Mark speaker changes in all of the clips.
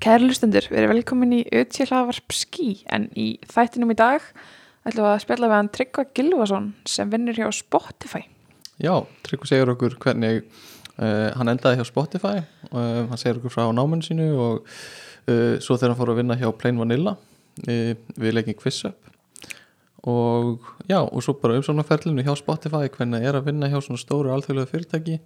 Speaker 1: Kæri lustendur, við erum velkomin í Ötjöhlaðvarp Ski en í þættinum í dag ætlum við að spjalla við hann Tryggva Gilvason sem vinnur hjá Spotify.
Speaker 2: Já, Tryggvi segir okkur hvernig uh, hann endaði hjá Spotify uh, hann segir okkur frá náminu sínu og uh, svo þegar hann fór að vinna hjá Plain Vanilla uh, við leikin QuizUp og já, og svo bara umsóknarferlinu hjá Spotify hvernig er að vinna hjá svona stóru alþjóðlega fyrirtæki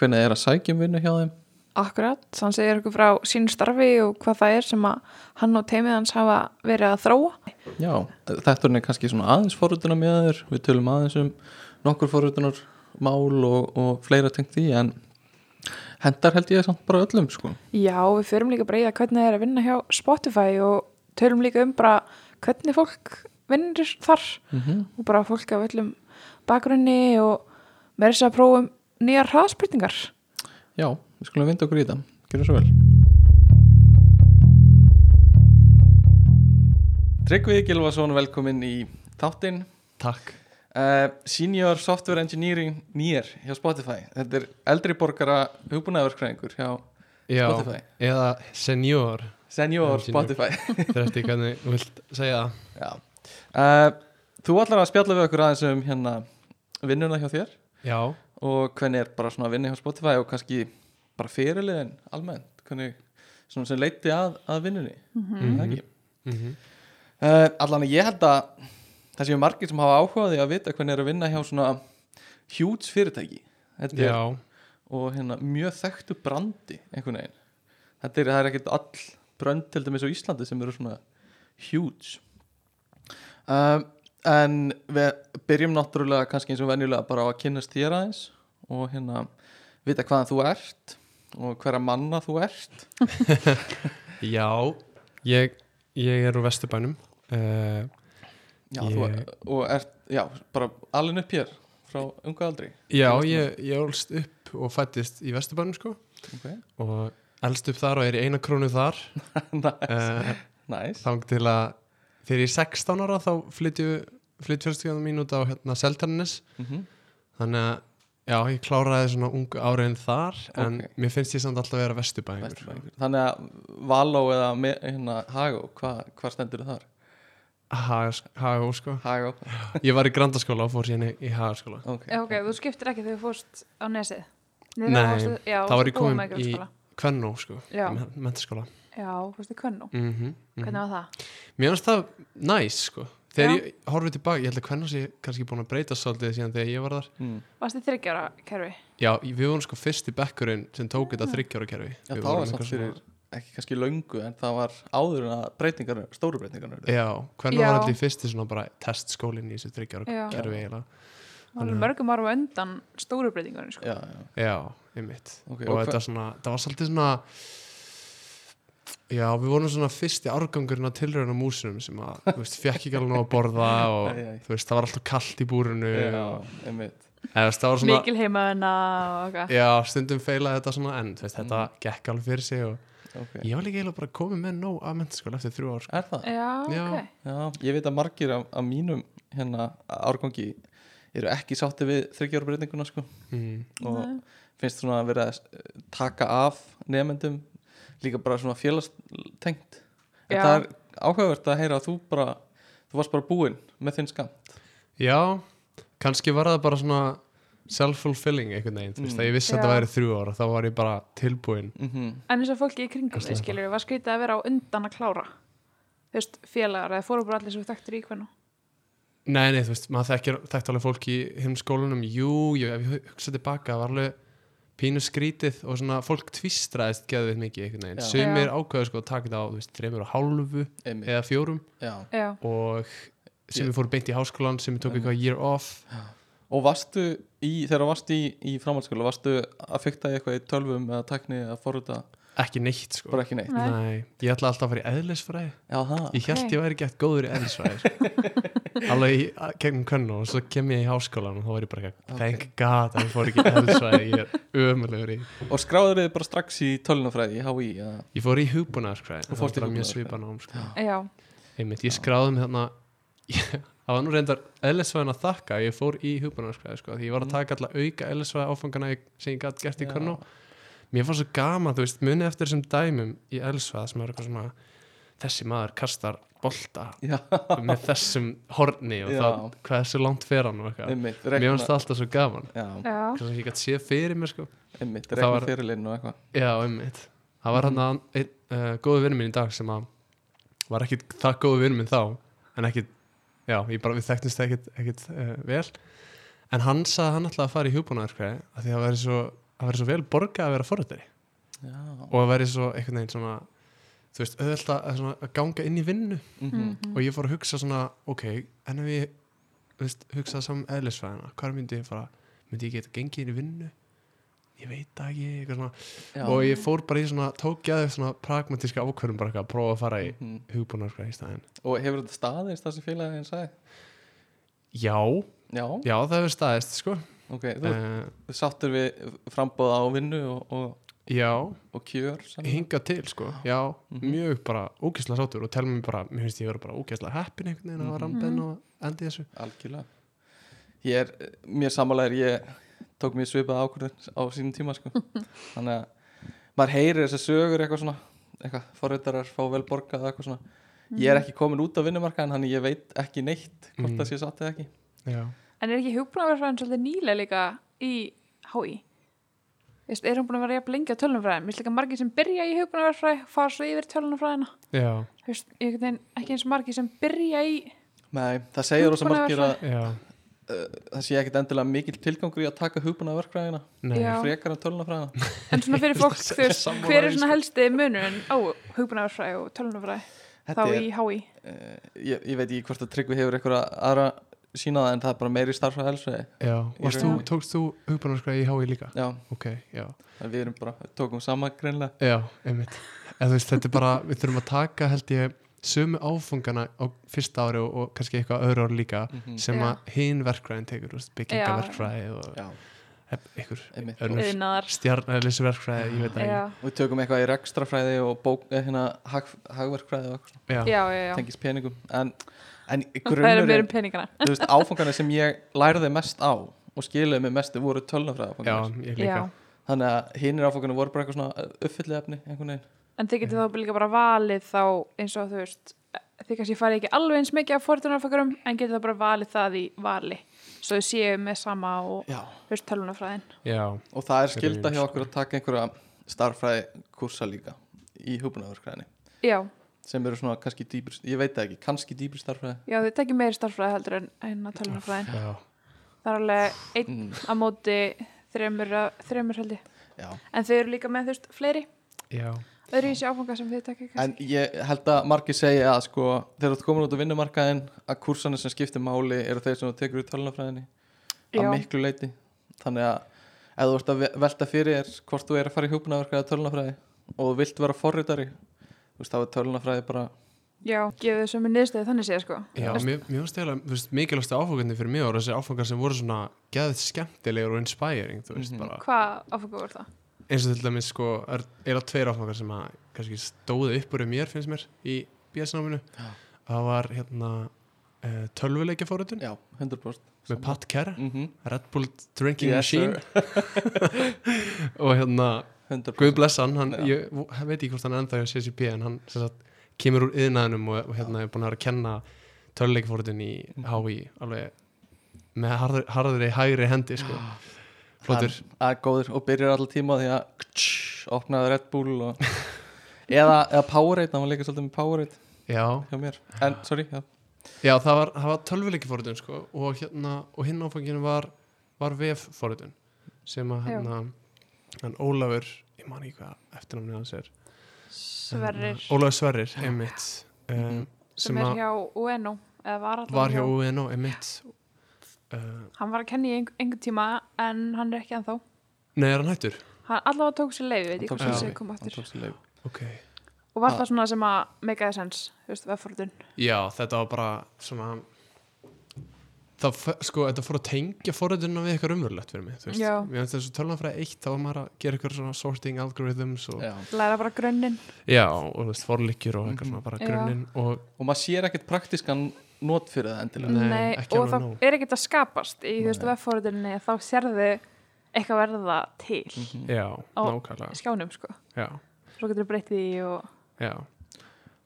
Speaker 2: hvernig er að sækja um vinnu hjá þeim
Speaker 1: Akkurat, hann segir okkur frá sínu starfi og hvað það er sem að hann og teimið hans hafa verið að þróa.
Speaker 2: Já, þetta er kannski svona aðeins forutuna með þeir, við tölum aðeins um nokkur forutunar mál og, og fleira tengt því en hendar held ég samt bara öllum sko.
Speaker 1: Já, við förum líka bara í það hvernig það er að vinna hjá Spotify og tölum líka um bara hvernig fólk vinnur þar
Speaker 2: mm
Speaker 1: og bara fólk af öllum bakgrunni og með þess að prófum nýjar hraðspurningar.
Speaker 2: Já, við skulum vinda okkur í þetta. Gjörðu svo vel. Tryggvi Gilvason, velkomin í þáttinn.
Speaker 3: Takk
Speaker 2: Uh, Senior Software Engineering nýjar hjá Spotify. Þetta er eldri borgara hugbúnaðverkfræðingur hjá
Speaker 3: Já,
Speaker 2: Spotify.
Speaker 3: eða senior
Speaker 2: Senior
Speaker 3: Já, senior.
Speaker 2: Spotify.
Speaker 3: Þegar eftir hvernig þú vilt segja það
Speaker 2: Já. Uh, þú ætlar að spjalla við okkur aðeins um hérna vinnuna hjá þér
Speaker 3: Já,
Speaker 2: og hvernig er bara svona að vinna hjá Spotify og kannski bara fyrirliðin almennt, hvernig svona sem leiti að, að vinnunni. Mm -hmm.
Speaker 3: mm
Speaker 2: Uh, allan að ég held að það séu margir sem hafa áhugaði að vita hvernig er að vinna hjá svona hjúts fyrirtæki Þetta er,
Speaker 3: já,
Speaker 2: og hérna mjög þekktu brandi einhvern veginn þetta er, það er ekkert all brönd til dæmis á Íslandi sem eru svona hjúts um, en við byrjum náttúrulega kannski eins og venjulega bara á að kynnast þér aðeins og hérna vita hvaðan þú ert og hverja manna þú ert
Speaker 3: já Ég, ég er úr Vesturbænum uh,
Speaker 2: já, þú,
Speaker 3: Ég-
Speaker 2: og ert, já, bara alin upp hér frá unga aldri
Speaker 3: Já, ég, ég ólst upp og fættist í Vesturbænum sko
Speaker 2: ok
Speaker 3: og elst upp þar og er í eina krónu þar uh,
Speaker 2: Næs,
Speaker 3: Þang til að þegar ég er 16 ára þá flytju flytt fjölstíðan mín út á hérna, Seltarnes
Speaker 2: Mhm.
Speaker 3: þannig að já, ég kláraði svona ungu áriðin þar en
Speaker 2: Ok.
Speaker 3: mér finnst ég samt alltaf að vera vesturbæðingur
Speaker 2: Vesturbæingur. Þannig að Való eða me, hérna, Hagó, hva, hvað stendur þar?
Speaker 3: Hagó sko
Speaker 2: Hagó,
Speaker 3: Ég var í grandaskóla og fór síðan í, í hagaskóla
Speaker 2: ok
Speaker 4: Já, ok, þú skiptir ekki þegar þú fórst á nesið Nei,
Speaker 3: Nei,
Speaker 4: já,
Speaker 3: þá var
Speaker 4: þú
Speaker 3: ég
Speaker 4: búið
Speaker 3: komin
Speaker 4: með grunnskóla.
Speaker 3: Kvennó sko,
Speaker 4: Já.
Speaker 3: mentaskóla
Speaker 4: Já, þú veist þið kvönnu,
Speaker 3: mm -hmm.
Speaker 4: hvernig var það?
Speaker 3: Mér finnst það næs sko Þegar
Speaker 4: Já.
Speaker 3: ég horfið tilbaka, ég held að Kvennó sé kannski búin að breyta svolítið síðan þegar ég var þar
Speaker 2: mm.
Speaker 4: Varst þið þryggjara kerfi?
Speaker 3: Já, við vorum sko fyrsti bekkurinn sem tók þetta þryggjára kerfi
Speaker 2: Já, það
Speaker 3: Við vorum
Speaker 2: var samt
Speaker 3: eitthvað svona-
Speaker 2: fyrir ekki kannski löngu en það var áður en að breytingar stóru breytingar urðu.
Speaker 3: Já, Kvennó
Speaker 4: Já.
Speaker 3: var allir fyrsti svona bara testskólinn í þessu þryggjára
Speaker 4: Já.
Speaker 3: kerfi eiginlega
Speaker 4: Það var alveg mörgum árum á undan stóru breytingunum, sko.
Speaker 2: já, já.
Speaker 3: Já, einmitt
Speaker 2: Ok,
Speaker 3: og,
Speaker 2: og
Speaker 3: þetta svona, það var svolítið svona Já, við vorum svona fyrsti árgangurinn á tilraunum músinum sem að, þú veist, fekk ekki alveg nóg að borða og,
Speaker 2: Æ, æ.
Speaker 3: þú veist, það var alltaf kallt í búrinu
Speaker 2: Já,
Speaker 3: og,
Speaker 2: einmitt
Speaker 3: eða, þú veist, það var svona
Speaker 4: Mikil heimaðina og eitthvað.
Speaker 3: Já, stundum feilaði þetta svona en, þú veist, þetta
Speaker 2: Mm.
Speaker 3: gekk alveg fyrir sig og
Speaker 2: okay.
Speaker 3: ég var líka eiginlega bara komið með nóg að menntaskóla eftir þrjú ár, sko.
Speaker 2: Er það?
Speaker 4: Já,
Speaker 3: Já.
Speaker 4: ok.
Speaker 2: Já, ég veit að margir af, af mínum hérna árgangi eru ekki sátti við þryggjára breytinguna sko
Speaker 3: mm.
Speaker 2: og
Speaker 4: Nei.
Speaker 2: finnst svona að vera að eh, taka af nefnendum líka bara svona félagstengt en
Speaker 4: Já.
Speaker 2: það er áhugavert að heyra að þú bara þú varst bara búinn með þinn skamt
Speaker 3: Já, kannski var það bara svona self-fulfilling einhvern veginn, þú veist,
Speaker 2: Mm.
Speaker 3: að ég vissi
Speaker 4: Já.
Speaker 3: að þetta væri þrjú ár og þá var ég bara tilbúin
Speaker 2: mm
Speaker 4: En eins og fólki í kringum
Speaker 3: Kannski
Speaker 4: þið, skilur, var skrítið að vera á undan að klára? Þú veist, félagar, eða fóru bara allir sem við þekktur í hvernig?
Speaker 3: Nei, nei, þú veist, maður þekkir, þekkt alveg fólk í himskólanum, jú, jú, ef ég hugsa tilbaka, það var alveg pínu skrítið og svona fólk tvistraðist geðveit mikið einhvern veginn,
Speaker 2: Já.
Speaker 3: sumir
Speaker 4: Já.
Speaker 3: ákveðu sko að taka þetta á, þú veist, þreymur og hálfu eða fjórum
Speaker 2: Já.
Speaker 4: Já.
Speaker 3: og sumir fóru beint í háskólan, sumir tók eitthvað year off,
Speaker 2: og varstu í, þegar varstu í, í framhaldsskóla varstu að fykta í eitthvað í tölvum eða tækni eða forrita,
Speaker 3: ekki neitt sko.
Speaker 2: bara ekki neitt
Speaker 4: Nei.
Speaker 3: Nei, ég ætla alltaf að fara í eðlisfræði,
Speaker 2: Já, það,
Speaker 3: ég held
Speaker 4: Ok.
Speaker 3: ég væri gett góður í eðlisfræði, sko. alveg í að- gegnum könnu og svo kem ég í háskólan og þá var ég bara, eitthvað, thank god að ég fór ekki í eðlisfræði, ég er ömulegur í
Speaker 2: og skráður þið bara strax í tölunafræði í HÍ eða,
Speaker 3: Ég fór í hugbúnaðarskræði
Speaker 2: Þú
Speaker 3: Það
Speaker 2: fórst
Speaker 3: var
Speaker 2: í
Speaker 3: bara mjög
Speaker 2: hugbúnaðarfræði.
Speaker 3: svipan ám sko.
Speaker 4: Já.
Speaker 3: Einmitt, ég skráði mig þarna Það var nú reyndar eðlisvæðin að þakka að Ég fór í hugbúnaðarskræði sko. Því ég var að taka alla auka eðlisvæði áfangana í- sem ég gætt gert í
Speaker 2: Mm. Já.
Speaker 3: Körnó mér fannst svo gaman, þú veist, munið eftir þessum dæmum í Elsvað sem er eitthvað svona þessi maður kastar bolta
Speaker 2: Já,
Speaker 3: með þessum horni og
Speaker 2: Já.
Speaker 3: þá hvað þessu langt fer hann og eitthvað
Speaker 2: einmitt,
Speaker 3: mér
Speaker 2: regna
Speaker 3: fannst það alltaf svo gaman
Speaker 2: Já,
Speaker 4: Já,
Speaker 3: Kannski ekki gætt séð fyrir mér sko
Speaker 2: einmitt,
Speaker 3: Og það
Speaker 2: regna
Speaker 3: var-
Speaker 2: fyrirlinn og eitthvað
Speaker 3: Já, einmitt Það var hann að einn uh, góðu vinnur minn í dag sem að var ekkit það góðu vinnur minn þá en ekkit, já, ég bara við þekktumst ekkit, ekkit uh, vel en hann sagði að hann ætlaði að fara í hugbúnaðarkræði af því að það væri svo, það væri svo vel borgað að vera forrættari
Speaker 2: Já,
Speaker 3: og það væri svo einhvern veginn svona þú veist, auðvitað að, svona að ganga inn í vinnu
Speaker 4: Mm.
Speaker 2: mhm,
Speaker 3: og ég fór að hugsa svona ok, en ef ég þú veist, hugsaði saman eðlisfræðina, hvað myndi ég fara myndi ég geta gengið inn í vinnu ég veit það ekki, eitthvað svona
Speaker 2: já
Speaker 3: og ég fór bara í svona, tók ég aðeins svona pragmatíska ákvörðum bara eitthvað að prófa að fara í
Speaker 2: mhm.
Speaker 3: hugbúnarsgræði í staðinn.
Speaker 2: Og hefur þetta staðist það sem félagin sagði?
Speaker 3: Já,
Speaker 2: Já,
Speaker 3: já það hefur staðist sko.
Speaker 2: ok, þú
Speaker 3: Uh,
Speaker 2: ert sáttur við frambóða á vinnu og, og,
Speaker 3: já,
Speaker 2: og kjör saman.
Speaker 3: hinga til sko. Já,
Speaker 2: Mhm.
Speaker 3: mjög bara ógæslega sátur og telma mér bara, mér finnst ég vera bara ógæslega heppin einhvern veginn að
Speaker 2: Mhm.
Speaker 3: vara rambin og endi þessu.
Speaker 2: algjörlega Ég er, mér samanlega er ég tók mér svipað ákvörðin á sínum tíma sko. þannig að maður heyrir þessar sögur eitthvað svona eitthvað, forreitarar fá vel borgað eða eitthvað svona ég er ekki komin út á vinnumarkaðin þannig ég veit ekki neitt hvort
Speaker 3: Mm.
Speaker 2: það sé satt eða ekki
Speaker 3: Já.
Speaker 4: en er ekki hugbúnaverfræðin svolítið nýlega líka í HÍ? Veist, er hún búin að vera jafn lengi á tölunumfræðin? Mér er líka margir sem byrja í hugbúnaverfræði fara svo yfir tölunumfræðina.
Speaker 3: já,
Speaker 4: Þú veist, einhvern veginn ekki eins margir sem byrja í
Speaker 2: Nei, það segir rosa margir að
Speaker 3: já,
Speaker 2: það sé ekkit endilega mikil tilgangur í að taka hugbúna verkræðina
Speaker 3: nei,
Speaker 4: Já.
Speaker 2: frekar en tölunafræðina
Speaker 4: En svona fyrir fólk, þú veist,
Speaker 3: Sammála
Speaker 4: hver er
Speaker 3: því,
Speaker 4: svona
Speaker 3: sko.
Speaker 4: helsti munurinn á hugbúnaverfræði og tölunumfræði? Þá
Speaker 2: Þetta
Speaker 4: í HÍ.
Speaker 2: Eh, ég, ég veit ekki hvort að Tryggvi hefur einhverja aðra sínaða en það er bara meiri starfræði elsvegi
Speaker 3: já. Varst þú,
Speaker 2: rauninni.
Speaker 3: tókst þú hugbúnarsgræði í HÍ líka?
Speaker 2: já,
Speaker 3: Ok, já.
Speaker 2: en við erum bara, tókum sama greinlega
Speaker 3: Já, einmitt en þú veist, þetta er bara, við þurfum að taka held ég sömu áfungana á fyrsta ári og, og kannski eitthvað öðru ári líka
Speaker 2: Mhm.
Speaker 3: sem
Speaker 4: Já.
Speaker 3: að hinn verkfræðin tekur þú veist, byggingaverkfræði og
Speaker 2: já,
Speaker 3: e- ykkur
Speaker 2: einmitt
Speaker 3: önnur
Speaker 4: Yðnaðar.
Speaker 3: stjarnæðlisverkfræði, ég veit það
Speaker 4: Já,
Speaker 3: ekki
Speaker 2: og við tökum eitthvað í rekstrafræði og bók, eh, hérna, hag, hagverkfræði og eitthvað,
Speaker 3: Já,
Speaker 4: já, já. já.
Speaker 2: svona, tengist peningum en, en
Speaker 4: Það er meira
Speaker 2: grunnurinn,
Speaker 4: um peningana.
Speaker 2: þú veist, áfangarnir sem ég læriði mest á og skiluði mig mest voru
Speaker 3: já,
Speaker 2: tölunafræði
Speaker 3: ég líka
Speaker 4: Já.
Speaker 2: þannig að hinnir áfangarnir voru bara eitthvað svona uppfyllið efni einhvern veginn
Speaker 4: En þið getur þá líka bara valið þá eins og þú veist, þið kannski farið ekki alveg eins mikið af forðunarfakarum en getur þá bara valið það í vali. Svo þið séu með sama og
Speaker 2: já.
Speaker 4: þú veist tölunarfræðin.
Speaker 3: já,
Speaker 2: og það er
Speaker 3: Fyrir
Speaker 2: skilda hjá
Speaker 3: jól,
Speaker 2: okkur að taka einhverja starfræði kursa líka í hugbúnaverkræðinni
Speaker 4: Já,
Speaker 2: sem eru svona kannski dýpri, ég veit það ekki, kannski dýpri starfræði
Speaker 4: já, þið tekjum meiri starffræði heldur en, en að tölunarfræðin.
Speaker 3: já,
Speaker 4: Það er alveg einn
Speaker 2: mm,
Speaker 4: á móti þremur, að- þremur heldur.
Speaker 2: já.
Speaker 4: En þau eru líka með þú veist fleiri,
Speaker 3: já,
Speaker 4: öðru í þessi áfanga sem þið tekja
Speaker 2: en
Speaker 4: kannski.
Speaker 2: ég held að margir segja að sko, þegar þú ert komin út á vinnumarkaðin að kursana sem skiptir máli eru þeir sem þú tekur í tölunafræðinni að
Speaker 4: já,
Speaker 2: miklu leiti, þannig að ef þú ert að ve- velta fyrir þér hvort þú er að fara í hugbúnaverkræði eða tölunafræði og þú vilt vera forritari þú veist, þá er tölunafræði bara
Speaker 4: já, gefið þau sömu niðurstöðu þannig séð sko.
Speaker 3: já mér mér finnst eiginlega, þú veist, mikilvægstu áfungandi fyrir mig voru þessi áfungar sem voru svona geðið skemmtilegur og inspiring, þú veist,
Speaker 2: Mhm.
Speaker 3: bara
Speaker 4: Hvað áfanga voru það?
Speaker 3: eins og til dæmis sko er, er að tveir áfangar sem að kannski stóðu upp úr um mér finnst mér í BS-náminu
Speaker 2: Já.
Speaker 3: það var hérna uh, tölvuleikjafóritun
Speaker 2: já, 100%
Speaker 3: með Pat Kerr,
Speaker 2: mm -hmm.
Speaker 3: Red Bull Drinking Machine og hérna
Speaker 2: 100%
Speaker 3: Guð blessan, hann,
Speaker 2: Já.
Speaker 3: ég hann veit ekki hvort hann er ennþá hjá CCP en hann sem sagt, kemur úr yðnaðinum og, og hérna er búin að vera að kenna tölvuleikjafóritun í
Speaker 2: Mm.
Speaker 3: HÍ alveg með harðri, harðri hægri hendi sko flottur,
Speaker 2: Hann- að góður og byrjar alltaf tíma á því að ktsch, opnaði Red Bull og eða, eða Powerade, hann var líka svolítið með Powerade
Speaker 3: já
Speaker 2: hjá mér, en sorry já.
Speaker 3: Já, það var, það var tölvuleiki fórhundun sko, og, hérna, og hinn áfanginu var, var VF fórhundun sem að
Speaker 4: Já.
Speaker 3: hérna, hann Ólafur ég man ekki hvað eftirnafnið hans er
Speaker 4: Sverrir.
Speaker 3: Hérna, Ólafur Sverrir, emitt um,
Speaker 2: Mhm.
Speaker 4: sem
Speaker 3: sem
Speaker 4: er
Speaker 3: að
Speaker 4: hjá UNO eða var allavega
Speaker 3: var hjá UNO, emitt uh,
Speaker 4: hann var að kenna í ein, einhver tíma en hann er ekki ennþá
Speaker 3: Nei, er hann hættur?
Speaker 4: hann allavega tók sér leiði, veit ég
Speaker 2: Hann
Speaker 4: hvað
Speaker 2: tók
Speaker 3: sér
Speaker 4: það
Speaker 2: leyfi.
Speaker 4: kom
Speaker 2: hann
Speaker 4: aftur
Speaker 2: tók sér Ah. leif
Speaker 3: Ok
Speaker 4: og var það svona sem að megaði sens, þú veist, vefforðun
Speaker 3: Já, þetta var bara svona það f- sko, þetta fór að tengja fórhundunna við eitthvað umverulegt fyrir mig, þú veist
Speaker 4: Já.
Speaker 3: Mér finnst þessu tölvanfræði eitt, þá var maður að gera eitthvað svona sorting algorithms og
Speaker 2: Já.
Speaker 4: læra bara grönnin
Speaker 3: Já, og þú veist, forlíkjur og eitthvað svona bara
Speaker 4: Já.
Speaker 3: grunninn og
Speaker 2: og maður sér ekkert praktískan not fyrir það endilega
Speaker 3: Nei, ekki
Speaker 4: og
Speaker 3: alveg
Speaker 4: það
Speaker 3: nóg.
Speaker 4: er ekkert að skapast í þú veist
Speaker 2: Nei.
Speaker 4: vefforðunni þá sérðu eitthvað verða til
Speaker 2: Mhm.
Speaker 3: já,
Speaker 4: Á-
Speaker 3: nákvæmlega
Speaker 4: í skjánum sko
Speaker 3: já,
Speaker 4: svo getur þú breytt því og
Speaker 3: já.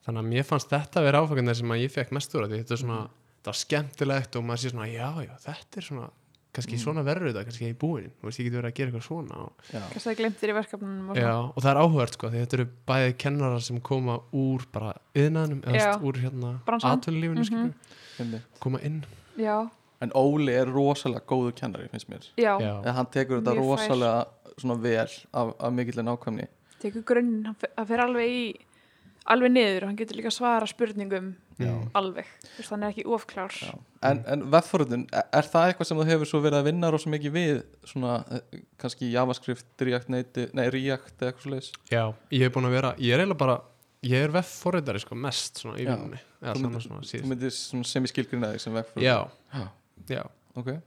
Speaker 3: þannig að mér fannst þetta að vera áfengarnir sem að ég fekk mest úr af því þetta er svona, þetta var skemmtilegt og maður sé svona, já, já, þetta er svona kannski svona verður þetta, kannski ég er búin þú veist, ég getur verið að gera eitthvað svona og,
Speaker 2: já,
Speaker 4: kannski það glemt þér í verkefnunum og
Speaker 3: já,
Speaker 4: svona.
Speaker 3: og það er áhugavert sko, því þetta eru bæði kennarar sem koma úr bara yðnaðinum, eða
Speaker 4: Já.
Speaker 3: st- úr hérna
Speaker 4: Bransanum.
Speaker 3: atvinnulífinu,
Speaker 4: Mhm.
Speaker 3: mm
Speaker 2: einmitt.
Speaker 3: koma inn
Speaker 4: já,
Speaker 2: en Óli er rosalega góðu kennari finnst mér,
Speaker 4: já,
Speaker 2: eða hann tekur
Speaker 4: Mjög
Speaker 2: þetta
Speaker 4: fær.
Speaker 2: rosalega svona vel af, af mikill nákvæmni
Speaker 4: tekur grunn hann fer- hann fer alveg í alveg niður hann getur líka svara spurningum
Speaker 3: Já.
Speaker 4: alveg, þú veist hann er ekki ofklár
Speaker 2: Já. en, en veffurðun, er það eitthvað sem þú hefur svo verið að vinna rosa mikið við svona eh, kannski javascript, react native nei, react eða eitthvað svoleiðis
Speaker 3: Já, ég hef búin að vera, ég er eiginlega bara ég er vefforritari sko mest svona í
Speaker 2: Já.
Speaker 3: vinnunni eða
Speaker 2: Þú
Speaker 3: svona
Speaker 2: myndir-
Speaker 3: svona
Speaker 2: þú
Speaker 3: síðan
Speaker 2: myndir svona sem í skilgrina þig sem veffurðun
Speaker 3: Já, já,
Speaker 2: ok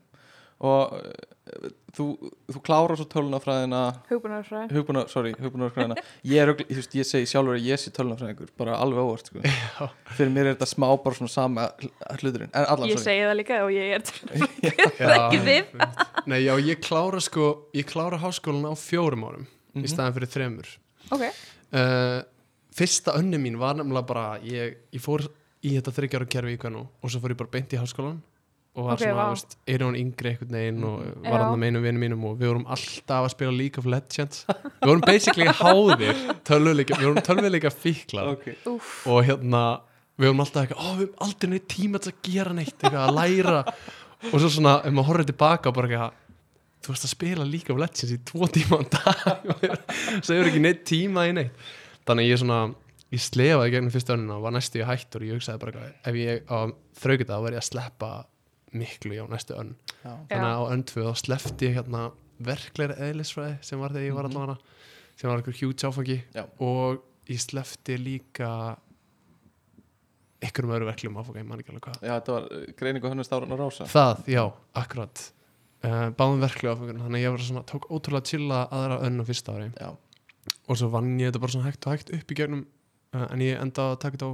Speaker 2: og eh, þú, þú klárar svo tölunafræðina
Speaker 4: hugbúinarfræði
Speaker 2: hugbúna, sorry, hugbúnarfræðina ég, er, örugglega- þú veist, ég segi sjálfur að ég sé tölunafræðingur bara alveg óvart sko.
Speaker 3: já,
Speaker 2: fyrir mér er þetta smá bara svona sama hl- hluturinn, en allan
Speaker 4: ég
Speaker 2: sorry
Speaker 4: segi það líka og ég er
Speaker 3: já.
Speaker 4: ekki þið
Speaker 3: Nei, já, ég klára sko ég klára háskólan á fjórum árum
Speaker 2: Mhm.
Speaker 3: í staðan fyrir þremur
Speaker 4: ok,
Speaker 3: uh, Fyrsta önni mín var nefnilega bara ég, ég fór í þetta þryggjára kerfi í hvernu og svo fór ég bara beint í háskólan og var
Speaker 4: Ok,
Speaker 3: svona,
Speaker 4: vá. Mm,
Speaker 3: þú veist, er hún yngri einhvern veginn og
Speaker 4: Já.
Speaker 3: var hann að meinu vinnu mínum og við vorum alltaf að spila League of Legends við vorum basically háðir tölvuleika, við vorum tölvuleika fíklar
Speaker 2: okay.
Speaker 4: úf
Speaker 3: og hérna við höfum alltaf eitthvað, ó við höfum aldrei neitt tíma til að gera neitt, eitthvað að læra og svo svona, ef maður horfir tilbaka bara eitthvað, þú varst að spila líka of Legends í tvo tíma á dag svo hefur ekki neitt tíma í neitt þannig að ég svona, ég slefaði gegnum fyrstu önuna og var næstu í hættur og ég hugsaði bara eitthvað, ef ég á þraugita þá var ég að sleppa miklu já næstu önn
Speaker 2: Já.
Speaker 3: þannig að á önn tvö þá sleppti ég hérna verkleira eðlisfræði sem var þegar ég var allavega sem var einhver hjúts áfangi
Speaker 2: Já.
Speaker 3: og ég sleppti líka einhverjum öðru verklegum áfangi, ég man ekki alveg hvað
Speaker 2: Já, þetta var eh, greining og hönnust ára rása
Speaker 3: það, já, akkurat uh, báðum verklegum áfangi þannig að ég var svona, tók ótrúlega chilla aðra önn á fyrsta ári
Speaker 2: Já,
Speaker 3: og svo vann ég þetta bara svona hægt og hægt upp í gegnum uh, en ég endaði að taka þetta á,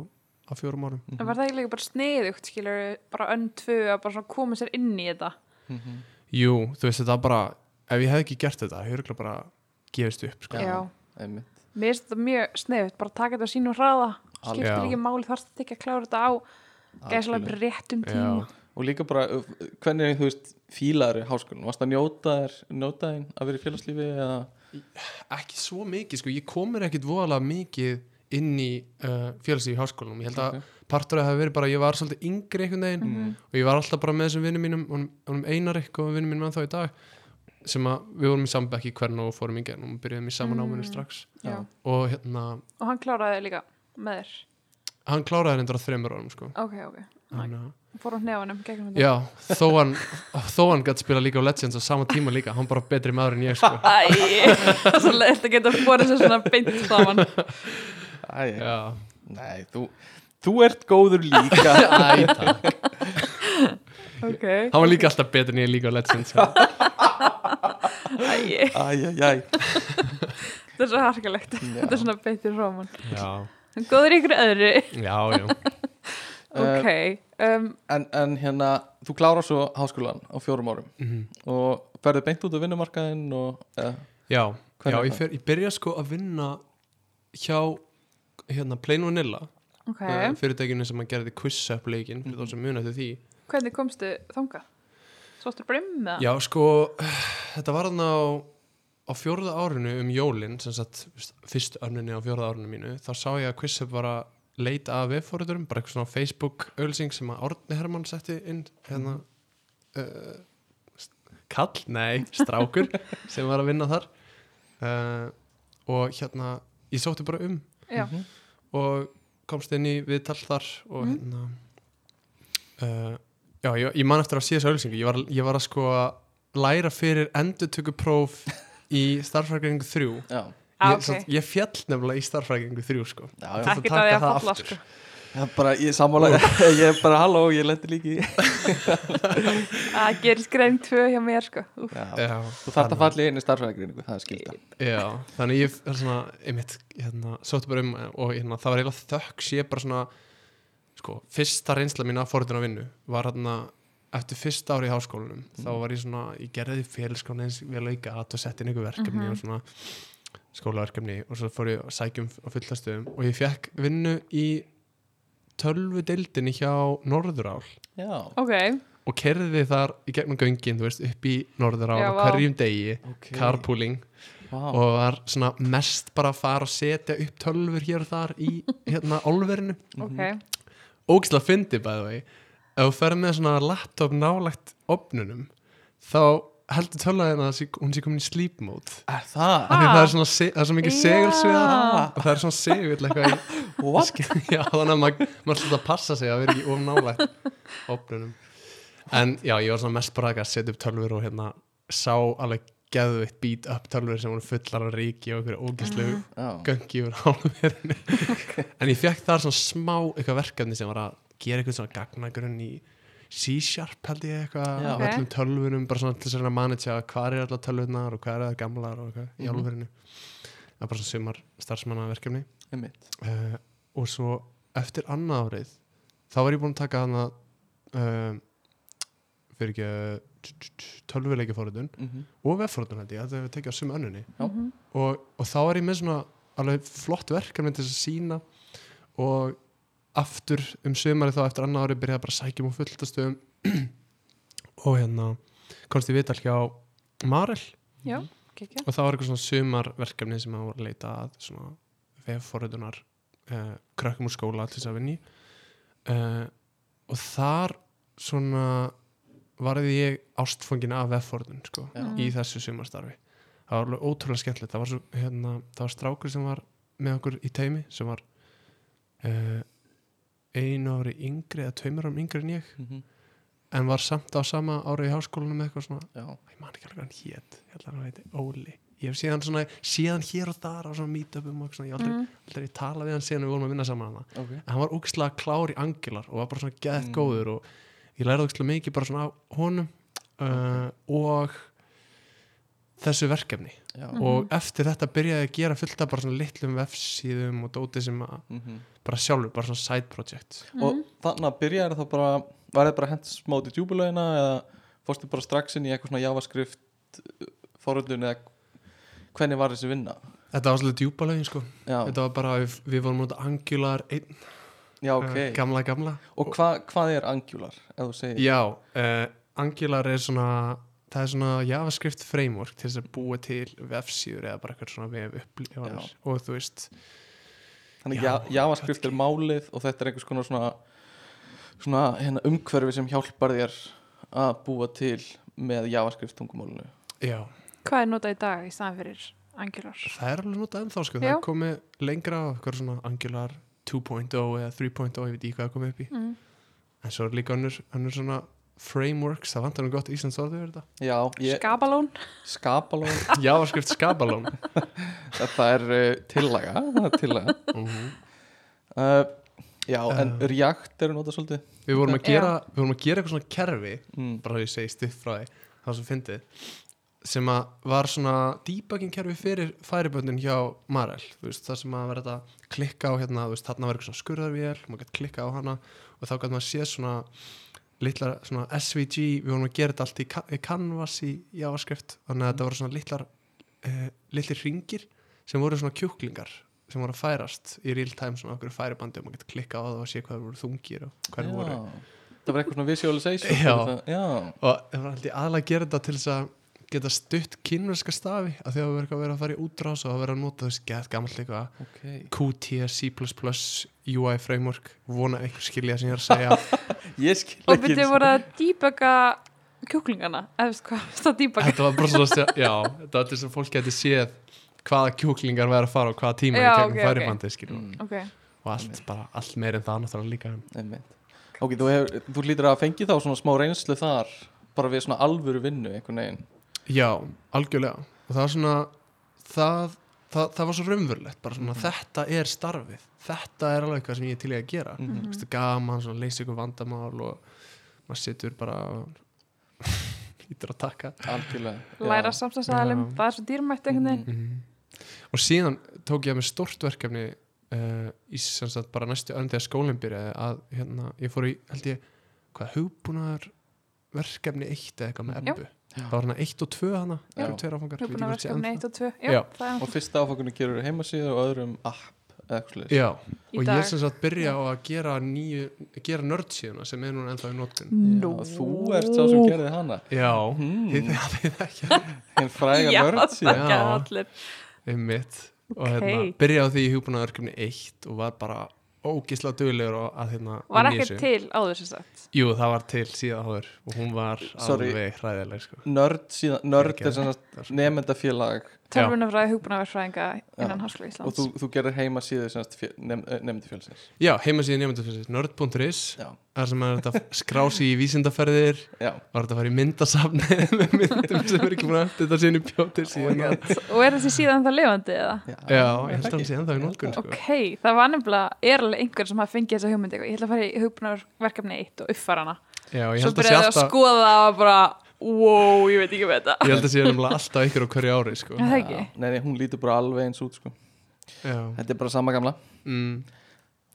Speaker 3: á fjórum árum
Speaker 4: En var það ekki líka bara sniðugt, skilur, bara önn tvö að bara svona koma sér inn í þetta?
Speaker 2: Mhm.
Speaker 3: Jú, þú veist þetta var bara ef ég hef ekki gert þetta, ég hefur bara gefist upp sko.
Speaker 2: Já.
Speaker 4: Já.
Speaker 2: einmitt
Speaker 4: Mér finnst þetta mjög sniðugt, bara taka þetta á sínum hraða, skiptir
Speaker 3: Já.
Speaker 4: ekki máli, þarfst þetta ekki að klára þetta á gæslega
Speaker 2: Algjörlega.
Speaker 4: bara réttum
Speaker 3: Já.
Speaker 4: tíma.
Speaker 2: Og líka bara, eh, hvernig þú veist fílaður í háskólanum, varst að njóta þér njóta þín að vera í félagslífi eða
Speaker 3: ekki svo mikið sko, ég komur ekkit voðalega mikið inn í uh, félagslíf í háskólanum ég held að
Speaker 2: Ok.
Speaker 3: partur að það hafi verið bara að ég var svolítið yngri einhvern veginn og ég var alltaf bara með þessum vinnum mínum honum, honum Einarik og vinnum mínum ennþá í dag sem að við vorum í sambekk í hvern og fórum í gegnum og byrjuðum í saman
Speaker 4: Mm.
Speaker 3: áminu strax
Speaker 4: Já.
Speaker 2: Já.
Speaker 3: og hérna,
Speaker 4: Og hann kláraði þetta líka með þér.
Speaker 3: hann kláraði reyndar á þreymur árum sko
Speaker 4: Ok, ok.
Speaker 3: hann, uh,
Speaker 4: Fór hann hnefanum, gegnum þetta.
Speaker 3: já, þó hann þó hann gætt spila líka á Legends á sama tíma líka hann bara betri maður en ég sko
Speaker 4: Æ, það er svo leitt að geta borðið sér svona beint saman.
Speaker 2: Æ, já.
Speaker 3: já,
Speaker 2: Nei, þú, þú ert góður líka
Speaker 3: Æ, takk.
Speaker 4: Ok.
Speaker 3: hann var líka alltaf betri en ég líka á Legends sko. já.
Speaker 4: Æ,
Speaker 2: Æ, já, já
Speaker 4: þetta er svo harkalegt.
Speaker 2: Já.
Speaker 4: Þetta er svona beintir saman.
Speaker 3: já,
Speaker 4: Góður í ykkur öðru.
Speaker 3: já, já
Speaker 2: Eh,
Speaker 4: Ok. Um,
Speaker 2: en, en hérna, þú klárar svo háskólan á fjórum árum og ferði beint út á vinnumarkaðinn og eða,
Speaker 3: Já,
Speaker 2: Hvernig
Speaker 3: já
Speaker 2: er
Speaker 3: ég,
Speaker 2: það?
Speaker 3: fer, ég byrja sko að vinna hjá hérna Plain Vanilla
Speaker 4: ok.
Speaker 3: okay. fyrirtækinu sem að gerði quiz-up leikinn fyrir þá sem muna eftir því
Speaker 4: Hvernig komstu þangað? Svostur bara um með það?
Speaker 3: Já, sko, þetta var þarna á, á fjórða árinu um jólin sem sagt, fyrst- fyrst önninni á fjórða árinu mínu þá sá ég að quiz-up var að leita að vefóruðurum, bara eitthvað svona Facebook-ölsing sem að Árni Hermann setti inn hérna uh, st- kall, nei, strákur sem var að vinna þar uh, og hérna ég sótti bara um
Speaker 4: Já.
Speaker 2: Mhm.
Speaker 3: og komst inn í viðtal þar og
Speaker 4: Mm.
Speaker 3: hérna uh, já, ég, ég man eftir að sé þessu auðlýsingu ég, var- ég var að sko að læra fyrir endutökupróf í starffrækningu 3 ég,
Speaker 2: já,
Speaker 4: Ah, ok.
Speaker 3: samt- ég fjall nefnilega í starffrækningu 3 sko
Speaker 2: já, já.
Speaker 3: Takk.
Speaker 4: Ekki
Speaker 3: taka
Speaker 4: það að
Speaker 3: það
Speaker 4: falla
Speaker 3: aftur.
Speaker 4: sko.
Speaker 2: Já, bara, ég sammála, ég er bara halló, ég lendi líki
Speaker 4: Það gerist grein tvö hjá mér sko. Úf,
Speaker 2: já. Eh,
Speaker 3: já,
Speaker 2: Þú þarft að falla í einu starfræðgreiningu, það er skilta
Speaker 3: já, þannig ég er svona einmitt, hérna, sóttu bara um eh, og hérna, það var eiginlega þökk sé bara svona sko, fyrsta reynsla mín að fórhundin á vinnu var hérna eftir fyrsta ári í háskólanum þá
Speaker 4: Mhm.
Speaker 3: var ég svona, ég gerði félskóna eins vel og ég gat og sett inn einhver verkefni
Speaker 4: Mhm.
Speaker 3: og svona skólaverkefni og svo fór ég að sækja um á fullastöðum og ég fekk vinnu í tölvu deildinni hjá Norðurál
Speaker 2: já,
Speaker 4: ok,
Speaker 3: og kerði þar í gegnum göngin, þú veist, upp í Norðurál
Speaker 4: Já,
Speaker 3: á
Speaker 4: vá.
Speaker 3: hverjum degi,
Speaker 2: ok
Speaker 3: carpooling
Speaker 2: wow.
Speaker 3: og var svona mest bara að fara og setja upp tölfur hér og þar í hérna álverinu
Speaker 4: ok
Speaker 3: ógislega fyndi bæði vegi ef þú fer með svona laptop nálægt opnunum þá heldur tölvaðin að það sé- hún sé komin í sleep mode
Speaker 2: er það?
Speaker 3: af því það er svona se- það er svo mikið
Speaker 4: Já.
Speaker 3: segulsviðar og það er svona segull eitthvað í,
Speaker 2: what?
Speaker 3: já, þannig að maður mað sluta að passa sig að vera ekki of nálægt opnunum en já, ég var svona mest bara að setja upp tölvur og hérna sá alveg geðveitt beat up tölvur sem voru fullar að ríki og einhverju ógislegu
Speaker 2: já,
Speaker 3: gangi yfir álverðinu en ég fekk þar svona smá eitthvað verkefni sem var að gera eitthvað svona gagnagrunn í C-sharp held ég eitthvað
Speaker 2: Já.
Speaker 3: okay. öllum tölvunum, bara svona til þess að reyna að manage að hvað er allar tölvunar og hvað er það gamlar og eitthvað í
Speaker 2: Mhm.
Speaker 3: álverðinu það er bara svona sumar starfsmannaverkefni
Speaker 2: einmitt
Speaker 3: uh, og svo eftir annað árið þá var ég búinn að taka hana uh, fyrir ekki uh, tölvuleikjaforðun
Speaker 2: Mhm.
Speaker 3: og vefforðun held ég, þetta hefur tekið á sum önnunni
Speaker 2: Já.
Speaker 4: Mhm.
Speaker 3: og, og þá er ég með svona alveg flott verkefni til þess að sína og aftur um sömari þá eftir annar ári byrjaði bara að sækja um á fullt að stöðum og hérna komst ég vital hjá Marel
Speaker 4: já,
Speaker 3: Mhm.
Speaker 4: kekja
Speaker 3: og það var eitthvað svona sömarverkefni sem að voru að leita að svona vefforðunar uh, krökkum úr skóla til þess að vinni uh, og þar svona varði ég ástfangin af vefforðun sko
Speaker 2: Já.
Speaker 4: Mm.
Speaker 3: í þessu sumarstarfi það var alveg ótrúlega skemmtilegt það var, svo, hérna, það var strákur sem var með okkur í teimi sem var uh, einu ári yngri eða tveimur árum yngri en ég
Speaker 2: Mhm.
Speaker 3: en var samt á sama ári í háskólanum með eitthvað svona,
Speaker 2: já,
Speaker 3: ég man ekki alveg hvað hann hét ég held að hann heiti Óli ég hef séð hann svona, síðan hér og þar á svona meetupum og eitthvað svona, ég hef aldrei,
Speaker 4: Mm.
Speaker 3: aldrei tala við hann síðan við vorum að vinna saman hana
Speaker 2: ok
Speaker 3: en hann var ógislega klár í angilar og var bara svona gett
Speaker 2: Mm.
Speaker 3: góður og ég lærði ógislega mikið bara svona á honum uh, og þessu verkefni
Speaker 2: já,
Speaker 4: Mhm.
Speaker 3: og eftir þetta byrjaði ég að gera fullt af bara svona litlum vefsíðum og dóti sem að
Speaker 2: mhm
Speaker 3: bara sjálfur, bara svona side project
Speaker 2: og þannig að byrjaði þá bara var það bara hent smóti djúbulögina eða fórstu bara strax inn í eitthvað svona javascript foröldun eða hvernig var þessi vinna
Speaker 3: þetta var svolítið djúpa lögin sko
Speaker 2: já,
Speaker 3: þetta var bara, við, við vorum út angular einn,
Speaker 2: já ok
Speaker 3: eh, gamla gamla
Speaker 2: og hva, hvað er angular ef þú segir
Speaker 3: já, uh, angular er svona það er svona javascript framework til þess að búa til vefsíður eða bara eitthvað svona vef upplifanir og þú veist
Speaker 2: þannig
Speaker 3: Já,
Speaker 2: ja, javascript er málið og þetta er einhvers konar svona svona hérna, umhverfi sem hjálpar þér að búa til með javascript tungumálinu
Speaker 3: Já,
Speaker 4: hvað er notað í dag í staðan fyrir angular
Speaker 3: það er alveg notað ennþá sko, það
Speaker 4: Já.
Speaker 3: er komið lengra á eitthvað svona Angular 2.0 eða 3.0, ég veit ekki hvað það komið upp í
Speaker 4: mm.
Speaker 3: en svo er líka önnur, önnur svona frameworks, það vantar um gott Íslands orðið yfir þetta
Speaker 2: já, ég,
Speaker 4: skapalón
Speaker 2: skapalón
Speaker 3: Javascript skapalón
Speaker 2: það er uh, tillaga, það er tillaga. Uh, já, en
Speaker 3: Eh.
Speaker 2: React eru notað svolítið
Speaker 3: Við vorum að gera, við vorum að gera eitthvað svona kerfi
Speaker 2: mm.
Speaker 3: bara þegar ég segi stutt frá því það sem fyndið sem að var svona debugging kerfi fyrir færiböndin hjá Marel þú veist, það sem að vera þetta klikka á hérna, þú veist, þarna var eitthvað svona skurðarvél maður gætt klikka á hana og þá gætt maður séð svona litlar svona SVG við vorum að gera þetta allt í, ka- í Canvas í Javascript þannig að þetta voru svona litlar uh, litlir ringir sem voru svona kjúklingar sem voru að færast í real time svona okkur færibandi og maður gætt klikka á það og sé hvað það voru þungir og hverju voru
Speaker 2: það var eitthvað svona visualization
Speaker 3: Já.
Speaker 2: fyrir það. já,
Speaker 3: og það var alltaf aðlega að gera þetta til þess að geta stutt kynverska stafi að því að það verður að vera að fara í útrás og að vera að nota þess gett gammalt eitthvað
Speaker 2: ok
Speaker 3: Qt, C++, UI framework vona einhver skilja sem ég er að segja
Speaker 2: ég skil
Speaker 4: og
Speaker 2: ekki
Speaker 4: byrjuðu voru að dýböka kjúklingana, eða veist hvað það dýböka
Speaker 3: þetta var bara svona að segja, já, þetta var til þess að fólk geti séð hvaða kjúklingar verður að fara og hvaða tíma
Speaker 4: Já,
Speaker 3: í
Speaker 4: ok,
Speaker 3: gegnum okay,
Speaker 4: ok.
Speaker 3: færibandi okay.
Speaker 2: Mm,
Speaker 4: ok,
Speaker 3: og allt, bara, allt meir en það náttúrulega líka
Speaker 2: einmitt. ok, þú, hef, þú lítur að fengi þá svona smá reynslu þar bara við svona alvöru vinnu einhvern veginn
Speaker 3: já, algjörlega og það var svona það, það, það var svo raunverulegt bara svona
Speaker 2: Mhm.
Speaker 3: þetta er starfið þetta er alveg eitthvað sem ég er til í að gera
Speaker 2: Mhm.
Speaker 3: Þú veist, gaman, svona leysi ykkur vandamál og maður situr bara ítur að taka
Speaker 2: algjörlega
Speaker 4: læra
Speaker 2: já.
Speaker 4: samstæðsæðalum
Speaker 3: Já. Mhm.
Speaker 4: það er svo dýrmætt einhvern veginn
Speaker 3: og síðan tók ég að mér stort verkefni uh, í sem sagt bara næstu öndi að skólinn byrjaði að hérna, ég fór í, held ég, hvað hugbúnaðar verkefni eitt eða eitthvað með
Speaker 4: Já.
Speaker 3: ebbu það var hana eitt og tvö hana
Speaker 2: Já.
Speaker 3: eru tveir áfangar
Speaker 4: Við erum búin
Speaker 3: Ég
Speaker 4: að
Speaker 3: veit ekki hvort
Speaker 4: verkefni 1 og
Speaker 3: sé
Speaker 4: 2 Já,
Speaker 3: Já.
Speaker 4: það er
Speaker 2: og fyrsta áfangunni gerur heimasíðu og öðrum app eða eitthvað
Speaker 3: ennþá-
Speaker 2: slíkt.
Speaker 3: já,
Speaker 4: í
Speaker 3: og ég
Speaker 4: dag
Speaker 3: sem sagt byrja á að gera nýju, gera nörd síðuna sem er núna ennþá í notin
Speaker 2: Já, þú ert sá sem gerði hana
Speaker 3: já,
Speaker 2: hmm,
Speaker 3: þið þið ekki
Speaker 2: en fræga
Speaker 4: Já,
Speaker 2: nörd
Speaker 4: það
Speaker 2: síðan
Speaker 3: Já.
Speaker 4: gerði allir
Speaker 3: einmitt og
Speaker 4: Ok.
Speaker 3: hérna, byrja á því í hugbúnaðarkefni eitt og var bara ógisla duglegur og að hérna
Speaker 4: Var
Speaker 3: vinna í
Speaker 4: ekkert
Speaker 3: þessu.
Speaker 4: til áður sem sagt
Speaker 3: Jú, það var til síðan áður og hún var
Speaker 2: Sorry.
Speaker 3: alveg hræðileg sko.
Speaker 2: nörd síðan, nörd er
Speaker 3: Ekki.
Speaker 2: sem sagt nefndafélag
Speaker 4: Tölvunafræði hugbúnaverfræðinga innan Háskóla
Speaker 2: og
Speaker 4: Íslands
Speaker 2: þú, þú gerðir heimasíðu sem sagt fjö- nefn- eh, nefndafélagsins
Speaker 3: Já, heimasíðin nefndafélagsins nörd.is
Speaker 2: já,
Speaker 3: þar sem maður er þetta skrási í vísindaferðir
Speaker 2: já,
Speaker 3: var þetta að fara í myndasafni með myndum sem er ekki búin að þetta sinni bjótið síðan að-
Speaker 4: Og er þessi síðan það lifandi eða?
Speaker 2: já,
Speaker 3: Já, ég held að
Speaker 2: ekki.
Speaker 3: hann sé ennþá í nólkun sko.
Speaker 4: Ok, það var nefnilega, er alveg einhver sem hafa fengið þessa hugmyndi Ég ætla að fara í hugbúnaverkefni 1 og uppfara hana
Speaker 3: Já, ég
Speaker 4: Svo
Speaker 3: held að sé
Speaker 4: byrjaði að
Speaker 3: alltaf
Speaker 4: skoða það og bara Wow, ég veit ekki með þetta
Speaker 3: ég held að sé nefnilega alltaf ykkur á hverju ári sko.
Speaker 4: Er Það ekki
Speaker 2: nei, nei, hún lítur bara alveg eins út sko.
Speaker 3: Já,
Speaker 2: þetta er bara sama gamla
Speaker 3: mm,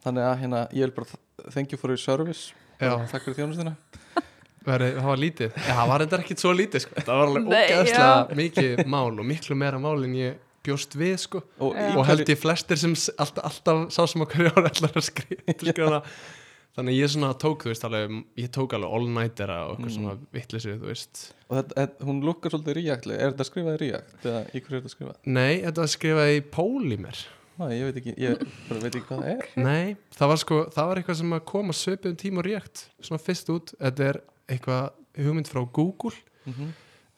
Speaker 2: þannig að hérna, ég vil bara þ- thank you for your service
Speaker 3: já
Speaker 2: Bara takk fyrir þjónustina
Speaker 3: veri, það var lítið Já, það var þetta ekkit svo lítið sko. það var alveg
Speaker 4: Nei,
Speaker 3: ógeðslega mikið mál og miklu meira mál en ég bjóst við sko.
Speaker 2: og,
Speaker 4: Já.
Speaker 2: í
Speaker 3: og held
Speaker 2: hverju-
Speaker 3: ég flestir sem s- alltaf, alltaf sá sem á hverju ári allar að skrifa skrifa þannig að ég svona tók þú veist alveg, ég tók alveg all nightera og eitthvað
Speaker 2: Mm.
Speaker 3: svona vittlisvið þú veist
Speaker 2: og þetta, þetta, hún lukkar svolítið ríaktli er þetta skrifað ríakt eða í hverju er þetta skrifað
Speaker 3: nei, þetta var skrifað í Pólimer
Speaker 2: Ná, ég veit ekki, ég bara veit ekki hvað það
Speaker 4: Hm.
Speaker 2: er
Speaker 3: nei, það var sko, það var eitthvað sem að koma söpum tíma og rétt, svona fyrst út þetta er eitthvað hugmynd frá Google
Speaker 2: mm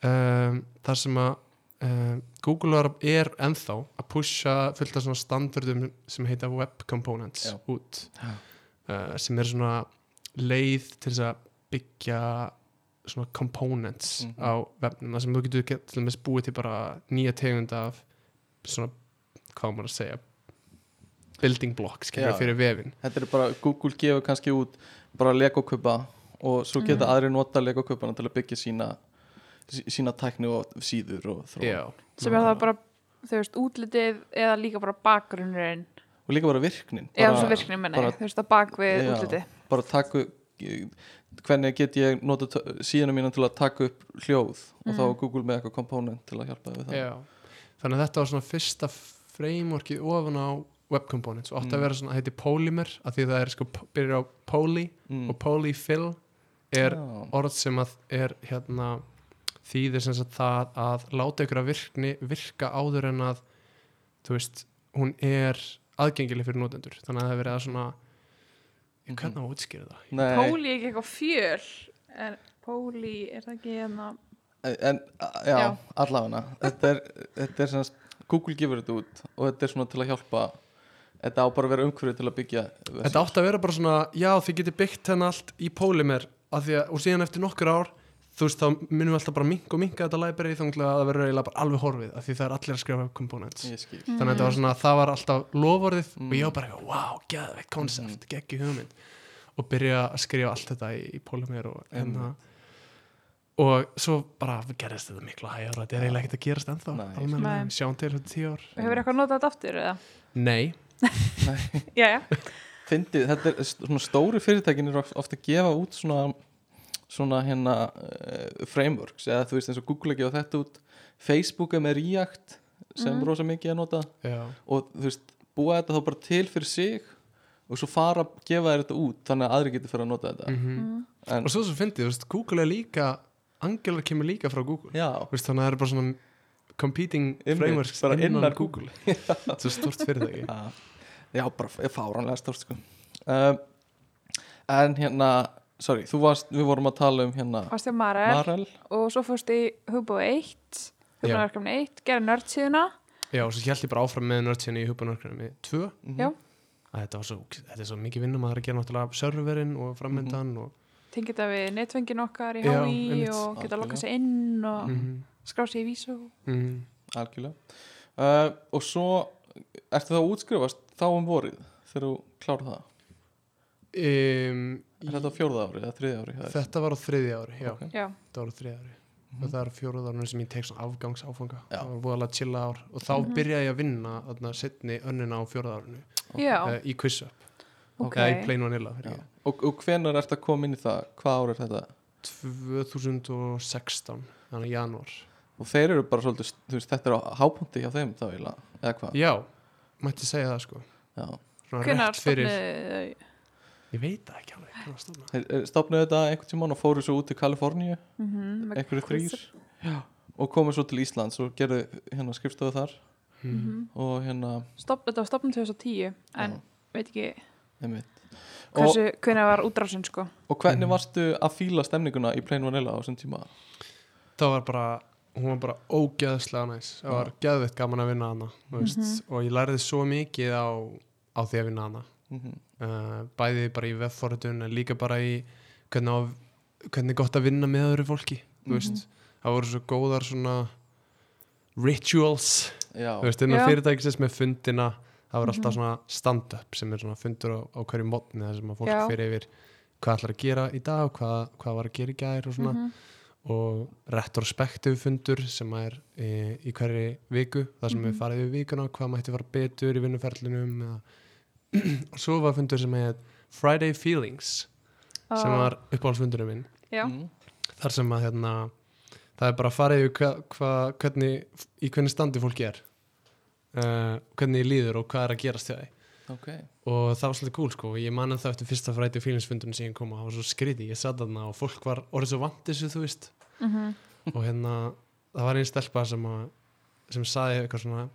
Speaker 3: um, þar sem að um, Google er, er ennþá að pusha fullt af svona standardum sem heita web components
Speaker 2: Já.
Speaker 3: út
Speaker 2: Já.
Speaker 3: uh, sem er svona leið til þess að byggja svona components
Speaker 2: Mhm.
Speaker 3: á webnum þar sem þú getur get- til dæmis búið til bara nýja tegund af svona, hvað á maður að segja building blocks skilur
Speaker 2: Já.
Speaker 3: fyrir vefin
Speaker 2: þetta er bara, Google gefur kannski út bara legokupa og svo geta
Speaker 4: Mhm.
Speaker 2: aðri nota legokupana til að byggja sína sí- sína tækni og síður og þróun
Speaker 3: Já,
Speaker 4: Sem er það bara, þau veist, útlitið eða líka bara bakgrunnurinn
Speaker 2: og líka bara virknin
Speaker 4: Eða
Speaker 2: bara,
Speaker 4: svo virknum menna
Speaker 2: bara-
Speaker 4: ég, þú veist, að bak við
Speaker 2: Já.
Speaker 4: útlitið
Speaker 2: bara taka upp- hvernig get ég nota t- síðuna mína til að taka upp hljóð og þá er Google með eitthvað komponent til að hjálpa þér við það
Speaker 3: Já, þannig að þetta var svona fyrsta frameworkið ofan á web components og átti að
Speaker 2: Mm.
Speaker 3: vera svona, það heiti polymer af því það er sko, p- byrjar á poly
Speaker 2: mm.
Speaker 3: og polyfill er
Speaker 2: Já.
Speaker 3: orð sem að er hérna þýðir sem sagt það að láta ykkur að virkni virka áður en að þú veist, hún er aðgengileg fyrir notendur, þannig að það er verið að svona ég
Speaker 2: Mhm.
Speaker 3: hvernig á að útskýra það?
Speaker 2: Nei,
Speaker 4: Póli er ekki eitthvað fjöl er, Póli, er það ekki hérna
Speaker 2: en, a- já,
Speaker 4: Já.
Speaker 2: allavega þetta er, þetta er semast, Google gefur þetta út og þetta er svona til að hjálpa þetta á bara að vera umhverfið til að byggja
Speaker 3: Þetta átti að vera bara svona, já þið getur byggt henn allt í Polymer af því að, og síðan eftir nokkur ár þú veist þá minnum við alltaf bara mink og minka þetta library þannig að það verður eiginlega bara alveg horfið af því það er allir að skrifa components
Speaker 2: ég skil
Speaker 4: Mm,
Speaker 3: þannig að þetta var svona, það var alltaf lovorðið
Speaker 2: Mm.
Speaker 3: og ég var bara, eitthvað, wow, geðveitt koncept mm. geggi hugmynd og byrja að skrifa allt þetta í, í Polymer og hérna og svo bara gerðist þetta miklu hægur og þetta er eiginlega ekkert að gerast ennþá
Speaker 2: Nei.
Speaker 3: almennilega,
Speaker 4: Nei.
Speaker 3: sjáum til þetta tíu ár
Speaker 4: Hefur eitthvað notað þetta aftur eða?
Speaker 3: Nei,
Speaker 4: Jæja,
Speaker 2: Fyndið, þetta er svona stóru fyrirtækin eru oft- oft að gefa út svona svona hérna uh, frameworks eða þú veist eins og Google að gefa þetta út Facebook er með React sem
Speaker 4: Mhm.
Speaker 2: rosa mikið að nota
Speaker 3: já,
Speaker 2: og þú veist, búa þetta þá bara til fyrir sig og svo fara að gefa þér þetta út þannig að aðri getur fyrir að nota þetta
Speaker 3: mhm
Speaker 2: en,
Speaker 3: og svo sem fyndið, þú veist, Google er líka Angular kemur líka frá Google
Speaker 2: já,
Speaker 3: Þú veist, þannig að það eru bara svona competing
Speaker 2: Einmitt,
Speaker 3: frameworks
Speaker 2: bara innan Google.
Speaker 3: þetta er stort fyrirtæki
Speaker 2: já, já, bara f- fáránlega stórt sko um, en hérna sorry, þú varst, við vorum að tala um hérna
Speaker 4: fannst ég Marel
Speaker 2: Marel,
Speaker 4: og svo fórst í Hubo 1
Speaker 3: Já.
Speaker 4: Hugbúnaverkefni 1, gera nördsíðuna
Speaker 3: já, og svo held ég bara áfram með nördsíðan í hubanörkjörnum í tvö
Speaker 2: mhm,
Speaker 4: Já.
Speaker 3: að þetta, var svo, þetta er svo mikið vinnum að það er að gera náttúrulega serverinn og framöndan
Speaker 2: Mhm.
Speaker 3: og,
Speaker 4: tengið þetta við netfengin okkar í
Speaker 3: Já,
Speaker 4: HÍ
Speaker 3: einmitt.
Speaker 4: og geta
Speaker 2: Algjörlega.
Speaker 4: að lokka sig inn og mm.
Speaker 3: Mhm,
Speaker 4: sig í vísu
Speaker 3: mhm.
Speaker 2: algjörlega uh, og svo ertu þá að útskrifast þá um vorið þegar þú klárar það
Speaker 3: Um,
Speaker 2: er þetta á fjórða ári eða þriðja ári Það er-
Speaker 3: þetta var á þriðja ári já,
Speaker 2: Ok. mhm.
Speaker 4: Já,
Speaker 3: þetta var á þriðja ári og það er fjóruð árunum sem ég tek svona afgangsáfanga
Speaker 2: Já.
Speaker 3: það var voðalega chilla ár og þá byrjaði ég að vinna þarna setni önnina á fjóruð árunum
Speaker 4: já,
Speaker 3: uh, í QuizUp
Speaker 4: ok
Speaker 3: eða í Plain Vanilla
Speaker 2: Já.
Speaker 3: fyrirgefðu.
Speaker 2: og, og hvenar ertu að koma inn í það hvað ári er þetta
Speaker 3: 2016 þannig janúar
Speaker 2: og þeir eru bara svolítið, þú veist, þetta er á hápunkti hjá þeim þá eiginlega, eða hvað
Speaker 3: já, mætti segja það sko
Speaker 2: Já.
Speaker 3: Svona
Speaker 4: Hvenær
Speaker 3: rétt fyrir-
Speaker 4: stofnuðu þau?
Speaker 3: ég veit það ekki alveg hvenær stofnaði.
Speaker 2: Þeir eh, stofnuðu þetta einhvern tímann og fóru svo út til Kaliforníu
Speaker 4: Mhm, með
Speaker 2: einhverju
Speaker 4: quiz.
Speaker 2: þrýr Já. og komu svo til Íslands og gerðu hérna skrifstofu þar
Speaker 3: Mhm.
Speaker 2: og hérna,
Speaker 4: Stofn- Þetta var stopnum 2010 en
Speaker 2: Já.
Speaker 4: veit ekki
Speaker 2: einmitt og,
Speaker 4: hversu, hvenær var útrásin sko
Speaker 2: og hvernig
Speaker 3: Mhm.
Speaker 2: varstu að fíla stemninguna í Plain Vanilla á þessum tíma?
Speaker 3: það var bara hún var bara ógeðslega næs það var geðveitt gaman að vinna hana mm -hmm.
Speaker 4: Mhm.
Speaker 3: og ég lærði svo mikið á, á því að vinna hana
Speaker 2: Mm -hmm.
Speaker 3: uh, bæði bara í vefforritun en líka bara í hvernig, á, hvernig er gott að vinna með öðru fólki mm veist,
Speaker 4: Mhm.
Speaker 3: það voru svo góðar svona rituals
Speaker 4: Mhm.
Speaker 2: Já,
Speaker 3: þú veist, innan
Speaker 4: Já. Mhm.
Speaker 3: fyrirtækisins með fundina það var alltaf svona stand-up sem er svona fundur á, á hverju mótni þar sem að fólk
Speaker 4: Já.
Speaker 3: fyrir yfir hvað ætlar að gera í dag hvað, hvað var að gera í gær og svona
Speaker 4: Mhm.
Speaker 3: og retrospektiv fundur sem að er e, í hverju viku þar
Speaker 4: Mhm.
Speaker 3: sem við farið yfir vikuna hvað mætti fara betur í vinnuferlinum eða. og svo var fundur sem heit Friday Feelings sem
Speaker 4: Ah,
Speaker 3: var uppáhaldsfundurinn minn
Speaker 4: já,
Speaker 2: Mhm.
Speaker 3: þar sem að hérna, það er bara að fara yfir hva, hva, hvernig, í hvernig standi fólki er uh, hvernig þér líður og hvað er að gerast hjá því
Speaker 2: ok
Speaker 3: og það var svolítið cool sko ég man en það eftir fyrsta fræti fílingsfundun sem ég kom og það var svo skriði, ég satt þarna og fólk var orðið svo vant þessu þú veist
Speaker 4: Mhm.
Speaker 3: og hérna, það var einn stelpa sem að, sem saði eitthvað svona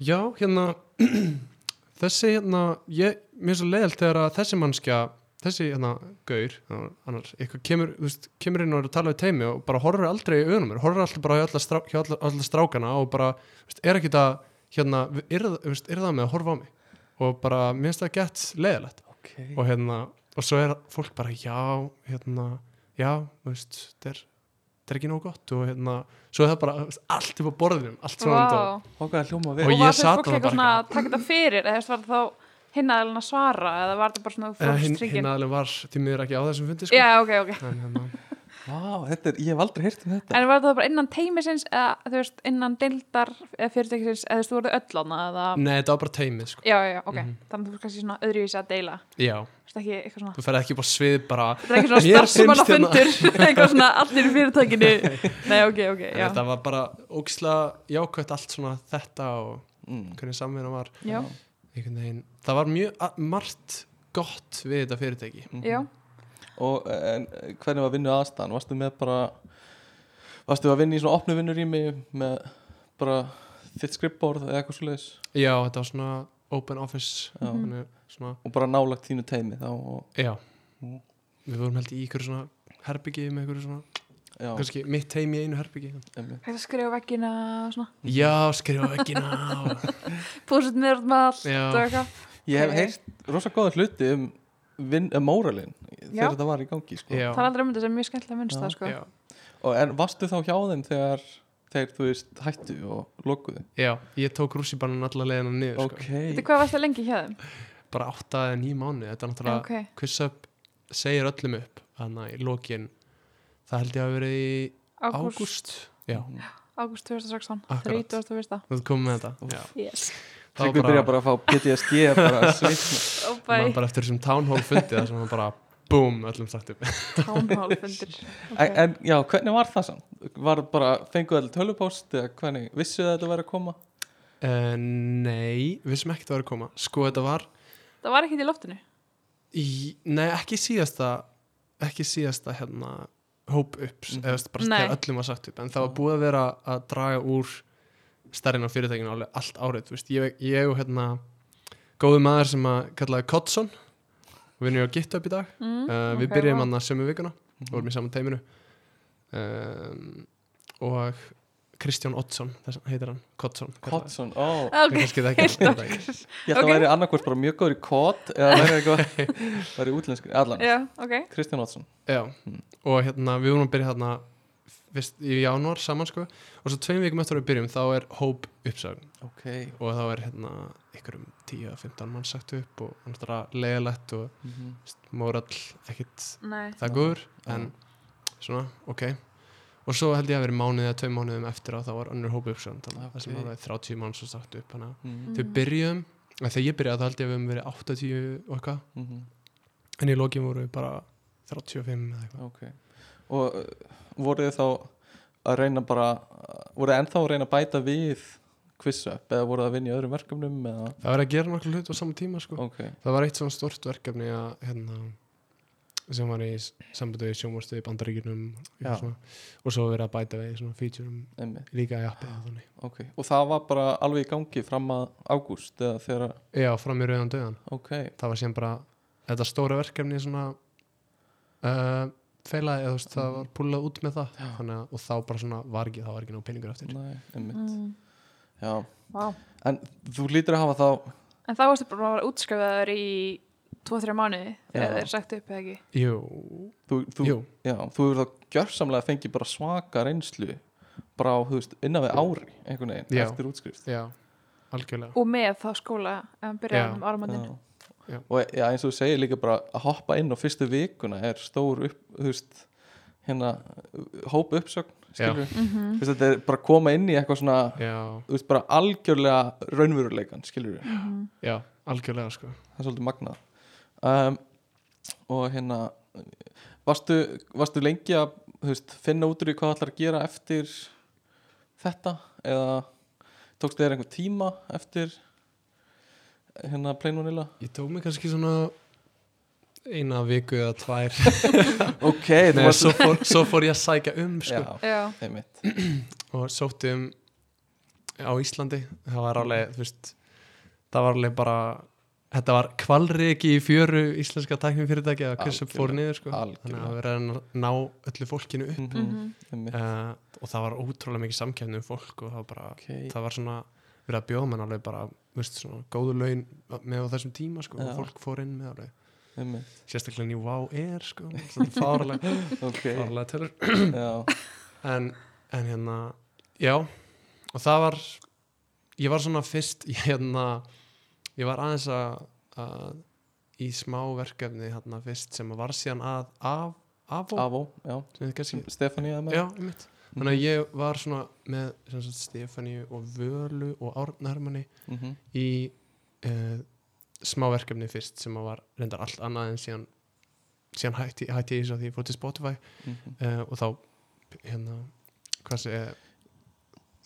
Speaker 3: já, hérna þessi hérna, ég, mér er svo leiðalt þegar að þessi mannskja, þessi hérna gaur, annars, eitthvað kemur þú veist, kemur inn og er að tala við teimi og bara horfir aldrei í augunum mér, horfir alltaf bara hjá alla, strá, hjá alla, alla strákana og bara, þú veist, er ekki það hérna, er, veist, er það með að horfa á mig og bara, mér finnst það gett leiðilegt
Speaker 2: okay.
Speaker 3: og hérna, og svo er fólk bara já, hérna, já þú veist, þetta er, þetta er ekki nóg gott og hérna, svo er það bara þú veist, allt upp á borðinum, allt svona
Speaker 4: vá
Speaker 2: og hvað er hljóma
Speaker 3: Og
Speaker 2: við
Speaker 4: og
Speaker 3: ég
Speaker 4: var þau
Speaker 3: sat
Speaker 4: fólk
Speaker 3: þarna
Speaker 4: eitthvað
Speaker 3: bara
Speaker 4: svona að taka þetta fyrir eða þú veist, var það þá hinn aðeins að svara eða var það bara svona
Speaker 3: Eða hinn, hinn
Speaker 4: fólkstryggin
Speaker 3: aðlega var því miður ekki á þessum fundi sko.
Speaker 4: já ok ok
Speaker 3: en hérna,
Speaker 2: Vá, þetta er, ég hef aldrei heyrt um þetta
Speaker 4: en var það bara innan teimisins eða þú veist innan deildar eða fyrirtækisins eða þú veist þú voruð öll ána eða
Speaker 3: nei, þetta var bara teimið sko.
Speaker 4: já já já, ok þannig að þú veist kannski svona öðruvísi að deila
Speaker 3: já,
Speaker 4: þú veist ekki eitthvað svona
Speaker 3: þú ferð ekki upp á svið bara,
Speaker 4: Það er ekki svona
Speaker 3: Mér finnst
Speaker 4: starfsmannafundur, eitthvað svona allir í fyrirtækinu. Nei, ok, ok,
Speaker 3: en
Speaker 4: já.
Speaker 3: þetta var bara óksla jákvæmt allt svona þetta og
Speaker 2: mm.
Speaker 3: hvernig samvinna var
Speaker 4: Já,
Speaker 3: einhvern veginn, það var mjög a- margt gott við þetta fyrirtæki
Speaker 4: já.
Speaker 2: Mhm. og en, hvernig var vinnu aðstæðan varstu með bara varstu að vinna í svona opnu vinnurými með bara þitt skrippborð eða eitthvað svo
Speaker 3: já, þetta var svona open office
Speaker 2: Já.
Speaker 4: Mhm.
Speaker 3: þannig, svona
Speaker 2: og bara nálagt þínu teimi þá og,
Speaker 3: Já
Speaker 2: Mm.
Speaker 3: Við vorum held í ykkur svona herbyggi með ykkur svona
Speaker 2: já,
Speaker 3: kannski mitt heim í einu herbyggi
Speaker 2: einmitt.
Speaker 4: Hægt að skrifa á veggina og svona.
Speaker 3: Já, skrifa veggina og...
Speaker 4: Púsit niður út með allt
Speaker 3: Já.
Speaker 4: og eitthvað.
Speaker 2: ég hef
Speaker 4: Ok.
Speaker 2: heyrt rosa góða hluti um, vin, um móralin
Speaker 4: Já.
Speaker 2: þegar þetta var í gangi sko.
Speaker 3: Já,
Speaker 4: Það er aldrei um þetta sem er mjög skemmtilega minnst það, sko.
Speaker 3: já,
Speaker 2: og en varstu þá hjá þeim þegar þegar þú veist hættu og lokuðu
Speaker 3: já Ég tók rússibannan alla leiðina niður
Speaker 2: ok,
Speaker 4: Þetta hvað varst það lengi hjá þeim?
Speaker 3: sko. Bara átta eða nýjum mánu Þetta er náttúrulega
Speaker 4: Ok.
Speaker 3: Quiz Up segir öllum upp Þannig að í lokin Það held ég að hafa verið í
Speaker 4: Ágúst.
Speaker 3: ágúst Já,
Speaker 4: Ágúst 2016.
Speaker 3: Akkurat.
Speaker 4: 31.
Speaker 3: þú ert komið með þetta Já.
Speaker 4: Yes.
Speaker 3: Það var
Speaker 2: Tryggvi byrja bara að fá PTSD bara svitna
Speaker 4: Og
Speaker 3: Man
Speaker 4: bæ,
Speaker 3: bara eftir þessum town hall fundi Það sem var bara Búm, öllum sagt upp
Speaker 4: tánhálfundir.
Speaker 2: En, en já, hvernig var það samt? Var bara, fenguðu allir tölupóst eða hvernig, vissuðu að þetta væri að koma?
Speaker 3: uh, Nei, við sem ekkert var að koma Sko, þetta var
Speaker 4: Það var ekkert í loftinu.
Speaker 3: Í, nei, ekki síðasta ekki síðasta hérna hóp upp, mm
Speaker 2: Mhm.
Speaker 3: -hmm. eða bara
Speaker 4: Nei.
Speaker 3: þegar öllum var sagt upp en það var búið að vera að draga úr stærinn á fyrirtækinu alveg allt árið þú veist, ég, ég og hérna góðu maður sem að kallaði Kotson vinnum við á GitHub í dag
Speaker 4: Mm,
Speaker 2: Eh,
Speaker 3: uh, við
Speaker 4: ok,
Speaker 3: byrjum
Speaker 4: vá.
Speaker 3: hann að sömu vikuna vorum í saman teiminu um, og Kristján Oddsson, þess heitir hann Kotson, kallaður.
Speaker 2: Kotson, ó,
Speaker 4: Ah, Ok,
Speaker 3: Ég kannski það ekki
Speaker 4: heilt
Speaker 3: þetta
Speaker 4: okkur.
Speaker 3: ekki.
Speaker 2: ég ætla að
Speaker 4: ok.
Speaker 2: væri annarkvort bara mjög góður í kott eða væri eitthvað, væri útlenskur, allan
Speaker 4: Já, ok.
Speaker 2: Kristján Oddsson,
Speaker 3: Já, og hérna við vorum að byrja hérna fyrst í janúar saman sko og svo tveim vikum eftir að við byrjum þá er hóp uppsagn
Speaker 2: ok
Speaker 3: og þá er hérna ykkur um 10-15 mann sagt upp og hann er að leiðalegt og
Speaker 2: mm -hmm.
Speaker 3: morall ekkit
Speaker 4: Nei.
Speaker 3: það góður en svona, ok og svo held ég að verið mánuðið eða tveim mánuðum eftir að þá var önnur hóp uppsagn þannig að það sem
Speaker 2: Ok.
Speaker 3: var 30 mann svo sagt upp þannig
Speaker 2: Mm
Speaker 3: að þau byrjum, mhm. að þegar ég byrjaði þá held ég að við höfum verið 80 og eitthvað
Speaker 2: -hmm.
Speaker 3: en í lokin voru við bara 35 eða eitthvað
Speaker 2: ok og uh, voruð þið þá að reyna bara voruð þið ennþá að reyna að bæta við quizzup eða voruð þið að vinna í öðrum verkefnum eða
Speaker 3: Það var að gera nokkru hlut á saman tíma sko.
Speaker 2: ok,
Speaker 3: Það var eitt svona stort verkefni að, hérna, sem var í s- sambandi við sjónvarstu í bandaríkjunum
Speaker 2: Já.
Speaker 3: og, svona. og svo verið að bæta við svona featureum
Speaker 2: einmitt,
Speaker 3: líka í appið og þannig.
Speaker 2: ok og það var bara alveg í gangi fram að ágúst eða þegar að,
Speaker 3: Já, fram í rauðan döðan.
Speaker 2: ok,
Speaker 3: Það var sem bara þetta stóra verkefni svona uh, feilaði, eða þú veist, það
Speaker 2: Mhm.
Speaker 3: var púlað út með það. Þannig að, og þá bara svona var ekki, það var ekki ná peningur eftir.
Speaker 2: næ, einmitt
Speaker 4: Mm.
Speaker 2: já,
Speaker 4: Vá.
Speaker 2: en þú lítur að hafa þá
Speaker 4: En þá varstu bara að vera útskrifaður í 2-3 mánuði
Speaker 2: Já.
Speaker 4: þegar þeir sagt upp eða ekki.
Speaker 3: Jú,
Speaker 2: þú, þú,
Speaker 3: jú,
Speaker 2: já, þú hefur þá gjörsamlega fengið bara svaka reynslu bara á, þú veist, innan við ári einhvern veginn,
Speaker 3: Já.
Speaker 2: eftir útskrift
Speaker 3: já, algjörlega.
Speaker 4: Og með þá skóla ef hann byrjaði
Speaker 3: Já.
Speaker 4: um áramöndin.
Speaker 2: Já.
Speaker 3: Já.
Speaker 2: og já, eins og þú segir líka bara að hoppa inn á fyrstu vikuna er stór upp, þú veist hérna, hóp uppsögn skilur, þú veist, þetta er bara að koma inn í eitthvað svona,
Speaker 3: Já,
Speaker 2: þú veist, bara algjörlega raunveruleikan, skilur við
Speaker 3: já, algjörlega sko.
Speaker 2: það er svolítið magnað um, og hérna varstu, varstu lengi að þú veist, finna út úr í hvað ætlar að gera eftir þetta eða tókstu þér einhver tíma eftir hérna Plain Vanilla
Speaker 3: Ég tók mig kannski svona eina viku eða tvær
Speaker 2: ok,
Speaker 3: Nei, svo, fór, svo fór ég að sækja um sko.
Speaker 2: já,
Speaker 4: Já.
Speaker 2: einmitt
Speaker 3: og sótti um á Íslandi það var alveg, þú veist það var alveg bara þetta var kvalriki í fjöru íslenska tæknum fyrirtæki að hversu fór
Speaker 2: Algjörlega,
Speaker 3: niður sko. þannig
Speaker 2: algjörlega.
Speaker 3: að vera að ná öllu fólkinu upp
Speaker 2: Mhm, einmitt.
Speaker 3: uh, og það var ótrúlega mikið samkefni um fólk og það var bara,
Speaker 2: Ok.
Speaker 3: það var svona verið að bjóða menn alveg bara, þú veist, svona góðu laun með á þessum tíma sko,
Speaker 2: Já.
Speaker 3: og fólk fór inn með alveg
Speaker 2: Einmitt,
Speaker 3: sérstaklega nýjum Wow Air sko, fárlega,
Speaker 2: ok
Speaker 3: fárlega tölur
Speaker 2: Já,
Speaker 3: en, en hérna, já og það var ég var svona fyrst ég, hérna, ég var aðeins að, að í smá verkefni hérna fyrst sem var síðan að af, afó,
Speaker 2: Avó, já,
Speaker 3: sem þið kannski
Speaker 2: Stefán í það með Mhm.
Speaker 3: já, einmitt þannig að ég var svona með sem sagt, Stefani og Völu og Árnarmanni
Speaker 2: Mhm,
Speaker 3: í uh, smá verkefni fyrst sem að var reyndar allt annað en síðan, síðan hætti, hætti ég svo því ég fór til Spotify
Speaker 2: mhm.
Speaker 3: uh, og þá hérna hvað sé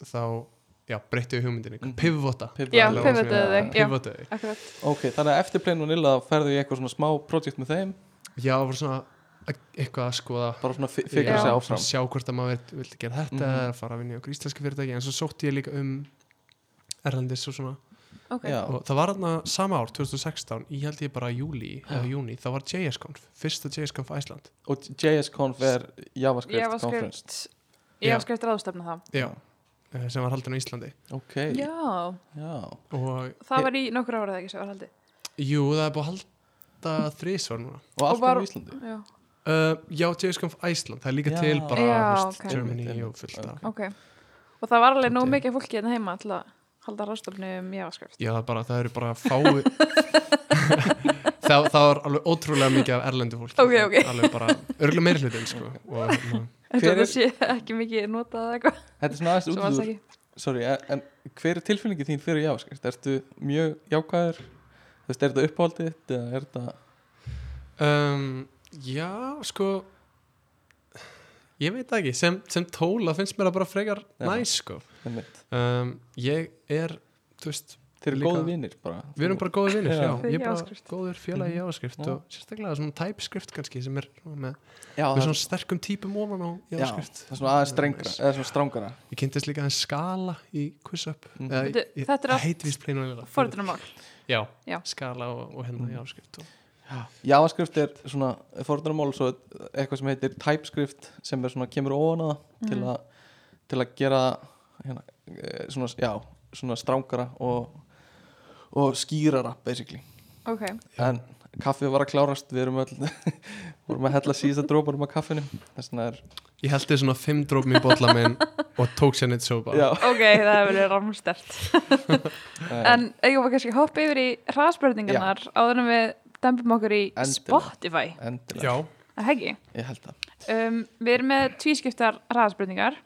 Speaker 3: þá já, breytti við hugmyndinni
Speaker 2: Mhm.
Speaker 3: pivota
Speaker 2: Pivot.
Speaker 4: Já,
Speaker 2: Alveg.
Speaker 4: pivotuðu þig. Já,
Speaker 3: pivotaði
Speaker 4: akkurat.
Speaker 2: Ok, þannig að eftir Plain Vanilla ferðu í eitthvað svona smá projekt með þeim
Speaker 3: já, var svona e- eitthvað að skoða
Speaker 2: bara svona fi- fikra
Speaker 3: Já,
Speaker 2: sig
Speaker 3: svona
Speaker 2: áfram
Speaker 3: sjá hvort að maður vill- vildi gera þetta
Speaker 2: Mhm.
Speaker 3: eða fara að vinna í okkur íslenska fyrirtæki en svo sótti ég líka um Erlandis og svona
Speaker 4: Ok.
Speaker 2: Já,
Speaker 3: og það var þarna sama ár, 2016 ég held ég bara júli eða júni þá var JSConf, fyrsta JSConf Æsland
Speaker 2: og JSConf er JavaScript,
Speaker 4: Ég var
Speaker 2: Conference
Speaker 4: skrift, ég var skrift ráðstefna þá.
Speaker 3: já, eh, sem var haldin á Íslandi
Speaker 2: Ok, já,
Speaker 4: Já.
Speaker 3: og
Speaker 4: Það var í nokkur ára þegar ekki sem var haldið.
Speaker 3: jú, það er búið að halda þrísvar núna
Speaker 2: og allt
Speaker 4: var-
Speaker 2: um Íslandi
Speaker 4: Já.
Speaker 3: Uh, já, JSConf Æsland, það er líka
Speaker 2: Já.
Speaker 3: til bara
Speaker 4: Já,
Speaker 3: þú veist,
Speaker 4: ok.
Speaker 3: Germany
Speaker 2: Einmitt,
Speaker 3: og fullt af
Speaker 4: Ok. Og það var alveg nóg
Speaker 3: Þetta er-
Speaker 4: mikið fólki hérna heima til að halda ráðstefnu um jáskrift.
Speaker 3: Já, það, er bara, það eru bara fái það, það var alveg ótrúlega mikið af erlendu fólki
Speaker 4: Ok, ok.
Speaker 3: Alveg bara, örgulega meiri hlutin sko. og, hérna,
Speaker 4: Þetta
Speaker 2: Hver
Speaker 4: er...
Speaker 2: er-
Speaker 4: sé ekki mikið notað eða eitthvað.
Speaker 2: Þetta er svona aðeins
Speaker 4: Svo
Speaker 2: út
Speaker 4: alls
Speaker 2: úr
Speaker 4: ekki.
Speaker 2: Sorry, en- en hver er tilfinningi þín fyrir JavaScript? Ertu mjög jákvæður? Þú veist, er þetta uppáhaldið? þitt eða Er þetta
Speaker 3: um, Já, sko Ég veit það ekki, sem, sem tóla finnst mér það bara frekar
Speaker 2: Já.
Speaker 3: næs sko.
Speaker 2: einmitt?
Speaker 3: um, Ég er, þú veist
Speaker 2: Þeir eru
Speaker 3: Líka-
Speaker 2: góði vinir bara
Speaker 3: Við erum bara góðir vinnir,
Speaker 2: Já. Mhm.
Speaker 3: já,
Speaker 4: Fyrir
Speaker 3: ég er bara
Speaker 4: JavaScript.
Speaker 3: góður félagi í JavaScript
Speaker 2: Já.
Speaker 3: og sérstaklega svona TypeScript kannski sem er svona með
Speaker 2: Já,
Speaker 3: með
Speaker 2: það
Speaker 3: svona sterkum típum ofan á
Speaker 2: Já,
Speaker 3: JavaScript
Speaker 2: það er svona aðeins strengra eða svona strangara
Speaker 3: ég kynntist líka aðeins skala í QuizUp
Speaker 2: Mhm.
Speaker 3: Eða
Speaker 4: Veitu,
Speaker 3: ég-
Speaker 4: þetta er
Speaker 3: það
Speaker 4: allt
Speaker 3: heitir víst plain vanilla
Speaker 4: Forðunarmál.
Speaker 3: já,
Speaker 4: Já.
Speaker 3: skala og, hérna og hennar
Speaker 2: Mhm.
Speaker 3: JavaScript og,
Speaker 2: JavaScript er svona fordramál svo eitthvað sem heitir TypeScript sem er svona kemur ofan að mm. til að til að gera hérna, eh, svona, já, svona strángara og, og skýrara basically
Speaker 4: Ok.
Speaker 2: en kaffið var að klárast við erum öll vorum að hella síðasta dróparum af kaffinu þess vegna er
Speaker 3: ég heldi svona fimm drópum í bolla minn og tók sér neitt sopa
Speaker 2: já,
Speaker 4: Ok, það hefur verið rámstert.
Speaker 2: eh,
Speaker 4: En eigum við kannski að hoppa yfir í hraðspurningarnar áður en við dembum okkur í
Speaker 2: Endilega.
Speaker 4: Spotify.
Speaker 2: endilega,
Speaker 3: já,
Speaker 4: Það heggi.
Speaker 2: ég held það
Speaker 4: Um, við erum með tvískiptar hraðspurningar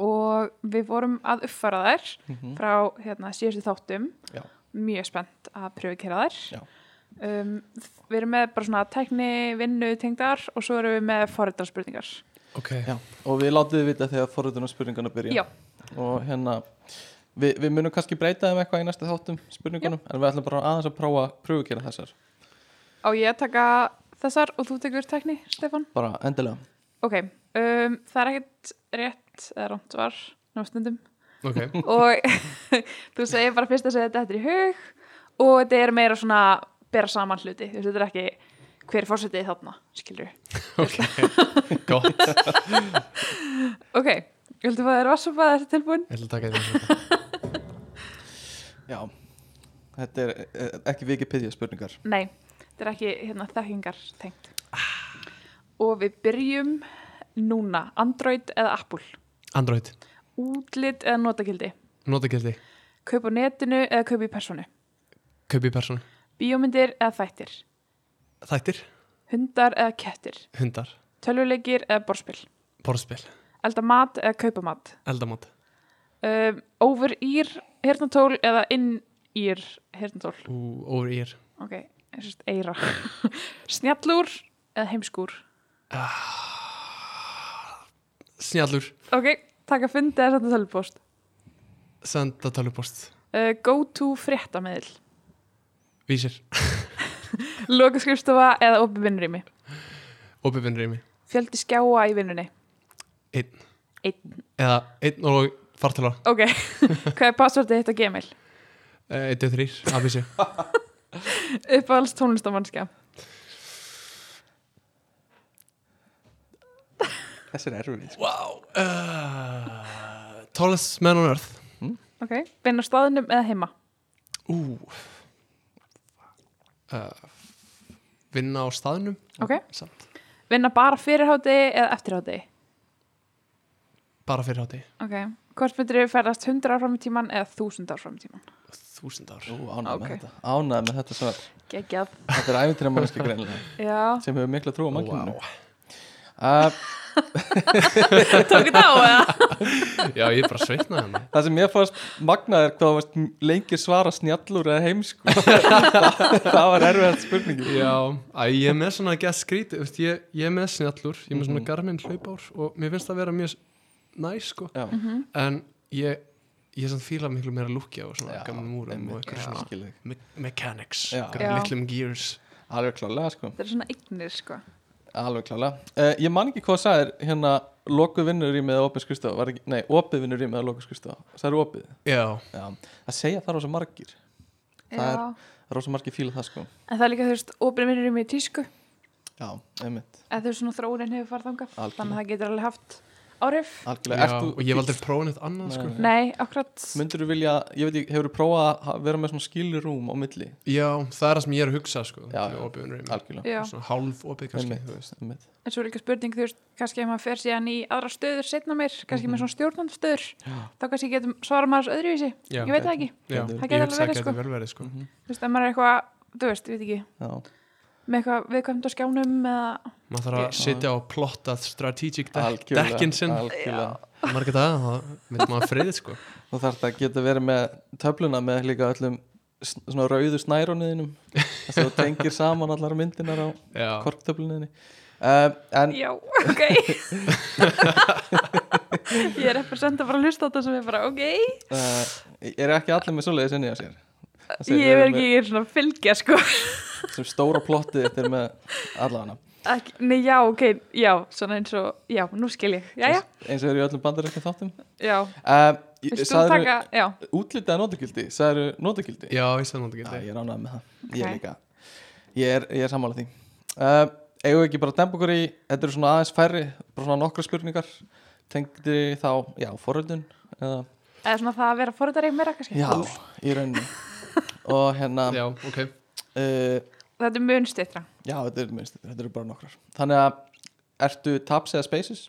Speaker 4: og við vorum að uppfara þær
Speaker 2: mm
Speaker 4: frá hérna, síðustu þáttum.
Speaker 2: Já.
Speaker 4: Mjög spennt að pröfu að kera þær.
Speaker 2: Já.
Speaker 4: um, við erum með bara svona tekni, vinnu, tengdar og svo erum við með foreldraspurningar
Speaker 3: ok,
Speaker 2: Já, og við látiði vita þegar forröðunar spurningarna byrja
Speaker 4: Já.
Speaker 2: og hérna við, við munum kannski breyta þeim eitthvað í næsta þáttum spurningunum, en við ætlum bara aðeins að prófa pröfukera þessar,
Speaker 4: á ég að taka þessar og þú tekur tekni, Stefan
Speaker 2: bara endilega
Speaker 4: ok, um, það er ekkert rétt eða rámt var náttundum
Speaker 3: ok
Speaker 4: og þú segir bara fyrst að segja þetta eftir í hug og þetta er meira svona bera saman hluti, þú veist, þetta er ekki hver fórsetið þarna, skilur
Speaker 3: gott, ég
Speaker 4: ok, viltu fá þér vassopa að þetta tilbúin?
Speaker 3: ætla að taka þetta
Speaker 2: Já, þetta er eh, ekki Wikipedia spurningar
Speaker 4: Nei, þetta er ekki hérna, þekkingar tengt og við byrjum núna, Android eða Apple
Speaker 3: Android,
Speaker 4: útlit eða notakildi
Speaker 3: notakildi,
Speaker 4: kaup á netinu eða kaup í personu
Speaker 3: kaupi persónu
Speaker 4: bíómyndir eða þættir
Speaker 3: þættir,
Speaker 4: hundar eða kettir
Speaker 3: hundar,
Speaker 4: tölvuleikir eða borspil
Speaker 3: borðspil
Speaker 4: elda mat eða kaupa mat
Speaker 3: eldamót,
Speaker 4: um, over ír hirtnatól eða inn ír hirtnatól
Speaker 3: over ear
Speaker 4: ok, ég sérst eira snjallúr eða heimskúr
Speaker 3: snjallur,
Speaker 4: ok, taka fundi eða senda tölvupost
Speaker 3: senda tölupost
Speaker 4: uh, go to fréttameðil
Speaker 3: vísir,
Speaker 4: loka skrifstofa eða opið vinnurými
Speaker 3: opiðvinnrými
Speaker 4: fjöldi skjáa í vinnunni
Speaker 3: Einn.
Speaker 4: einn,
Speaker 3: eða einn og fartala
Speaker 4: ok hvað er passvöldið þitt á gmail?
Speaker 3: eh, einn, tveir, þrýr, abísi
Speaker 4: uppáhalds tónlistamannskja
Speaker 2: Þessi er erfið
Speaker 3: wow uh, tallest man on earth
Speaker 4: ok, vinn á staðinum eða heima
Speaker 3: ú uh, vinna á staðnum
Speaker 4: ok,
Speaker 3: samt,
Speaker 4: vinna bara fyrirháti eða eftirháti
Speaker 3: bara fyrir hátti
Speaker 4: ok, hvort myndir þið ferðast 100 áfram í tíman eða 1000 áfram í tíman?
Speaker 3: þúsund ár
Speaker 2: Ánægð með
Speaker 4: Ok.
Speaker 2: þetta, ánægð með þetta svar
Speaker 4: geggjað,
Speaker 2: Þetta er æfintýra mannski greinlega
Speaker 4: já
Speaker 2: sem hefur mikla trú á mannkyninu
Speaker 3: Vá.
Speaker 2: uh,
Speaker 4: tók þetta á eða?
Speaker 3: já ég bara hérna. sveitnaði henni
Speaker 2: Það sem mér fannst magnað er hvað varst lengi svara snjallur eða heimsku það, það var erfiðast spurningi
Speaker 3: já, æ, ég er með svona að geta skrítið veist, ég, ég er með snjallur, ég er
Speaker 2: Mhm.
Speaker 3: með svona garminn hlaupár og mér finnst það vera mjög næ sko,
Speaker 2: Já,
Speaker 3: en ég ég er svona fíla miklu meira lúkja og svona
Speaker 2: Já,
Speaker 3: gammal múrum og
Speaker 2: einmitt,
Speaker 3: eitthvað
Speaker 2: já.
Speaker 3: svona
Speaker 2: Skil þig.
Speaker 3: me mechanics,
Speaker 2: Já.
Speaker 3: einhverjum
Speaker 4: Já.
Speaker 3: litlum gears
Speaker 2: Alveg klálega sko
Speaker 4: þetta er svona eignir sko
Speaker 2: Alveg klálega uh, Ég man ekki hvað sagðir hérna lokuð vinnur í með opið skristofa var ekki, Nei, opið vinnur í með lokuð skristofa Það er opið
Speaker 3: já,
Speaker 2: Já, að segja það rosa margir
Speaker 4: já.
Speaker 2: Það er- Það er rosa margir fíla það sko
Speaker 4: en það er líka þú veist, opin vinnur í mig í tísku
Speaker 2: Já, einmitt,
Speaker 4: en þú veist svona þróunin hefur farið þangað
Speaker 2: Algjörlega.
Speaker 4: þannig að það getur alveg haft áhrif
Speaker 2: algjörlega
Speaker 3: já
Speaker 2: Ert þú-
Speaker 3: og ég valdur prófan eitt annað
Speaker 2: Nei,
Speaker 3: sko
Speaker 2: nei.
Speaker 4: nei, akkurat
Speaker 2: Myndirðu vilja, ég veit ekki, hefur þú prófað að ha- vera með svona skilrúm á milli
Speaker 3: já, það er það sem ég er að hugsa sko
Speaker 2: Já,
Speaker 3: með
Speaker 2: já.
Speaker 3: opið unrými,
Speaker 2: Algjörlega,
Speaker 4: já.
Speaker 3: svona hálf opið kannski
Speaker 2: einmitt,
Speaker 3: þú veist.
Speaker 2: einmitt
Speaker 4: en svo er líka spurning þú veist, kannski ef maður fer síðan í aðra stöður setna meir, kannski með svona stjórnandastöður þá kannski getum svarað maður þessu öðruvísi
Speaker 3: Já.
Speaker 4: ég veit það ekki,
Speaker 3: já,
Speaker 2: Það
Speaker 3: ég
Speaker 4: gæti alveg
Speaker 3: hugsa að
Speaker 4: verið,
Speaker 3: geta
Speaker 4: sko.
Speaker 3: vel verið sko
Speaker 4: þú veist, ef maður er eitthvað þú veist, ég veit ekki,
Speaker 2: Mhm. Já,
Speaker 4: með eitthvað viðkvæmt á skjánum eða,
Speaker 3: maður þarf að
Speaker 2: Já.
Speaker 3: sitja og plotta strategic deck,
Speaker 2: algjörlega
Speaker 3: dekkin sinn
Speaker 2: Algjörlega,
Speaker 3: margir daga, þá veit maður friðið sko
Speaker 2: þú þarf að geta verið með töfluna með líka öllum s- svona rauðu snæroniðinum þess að þú tengir saman allar myndinar á
Speaker 3: já,
Speaker 2: korktöfluniðinni um, En
Speaker 4: já, ok ég er representa bara að hlusta á þetta sem er bara, ok
Speaker 2: uh, er ekki allir með svoleiðis inni á sér Það segir,
Speaker 4: ég
Speaker 2: við
Speaker 4: er
Speaker 2: erum
Speaker 4: ekki, ég er svona að fylgja sko
Speaker 2: með- sem stóra plottið þetta er með allana
Speaker 4: Ekki, nei, já, ok, já, svona eins og, já, nú skil ég, já, já,
Speaker 2: eins og eru í öllum bandaríkja þáttum
Speaker 4: já,
Speaker 2: uh,
Speaker 4: viltu þú
Speaker 2: sagðirðu-
Speaker 4: taka, já,
Speaker 2: útlitið að notagildi, sagðið eru notagildi
Speaker 3: já, ég sagði náttúrulega
Speaker 2: ég er ánægð með það,
Speaker 4: Ok.
Speaker 2: ég líka ég er, ég er sammála því uh, eigum við ekki bara að dempa okkur í þetta eru svona aðeins færri, bara svona nokkra spurningar tengdi þá, já, foröldun eða,
Speaker 4: eða svona það að vera fórhundar í meira kannski,
Speaker 2: já, í rauninni og hérna
Speaker 3: já,
Speaker 2: já,
Speaker 3: ok,
Speaker 2: uh,
Speaker 4: þetta er mun stýttra,
Speaker 2: já þetta, er, minnst, þetta eru bara nokkrar þannig að, ertu taps eða spaces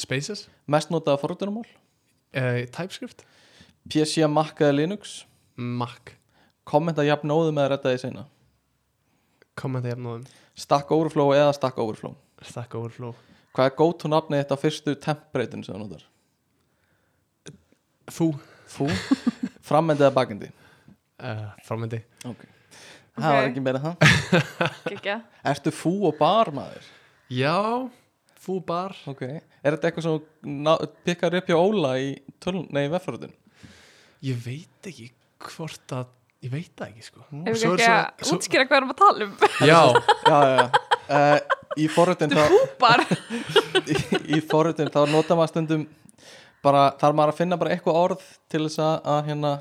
Speaker 3: spaces
Speaker 2: mest notaða foröldunumál
Speaker 3: uh, TypeScript,
Speaker 2: PC, Mac eða Linux
Speaker 3: Mac
Speaker 2: kommenta jafn óðum eða redda því seina
Speaker 3: kommenta jafnóðum,
Speaker 2: Stack Overflow eða Stack Overflow
Speaker 3: Stack Overflow
Speaker 2: Hvað er gótt hún afnið þetta fyrstu tempbreytin sem þú notar?
Speaker 3: þú,
Speaker 2: Fú, framendi eða bakendi
Speaker 3: uh, framöndi
Speaker 2: okay. það var
Speaker 4: Ok.
Speaker 2: ekki meira það
Speaker 4: Gekja.
Speaker 2: Ertu fú og bar maður?
Speaker 3: Já, fú bar
Speaker 2: Ok, er þetta eitthvað sem ná- pikkar upp hjá Óla í tölun, nei, veffaröðun?
Speaker 3: Ég veit ekki hvort að Ég veit það ekki sko
Speaker 4: Ef við
Speaker 3: Svo er
Speaker 4: ekki
Speaker 3: svo-
Speaker 4: að
Speaker 3: svo-
Speaker 4: útskýra hvað við erum að tala um.
Speaker 3: Já,
Speaker 2: Já, já, já uh, Í forröðun þá
Speaker 4: Bara,
Speaker 2: í, í forritin þá nota maður stundum bara, þarf maður að finna bara eitthvað orð til þess að, að hérna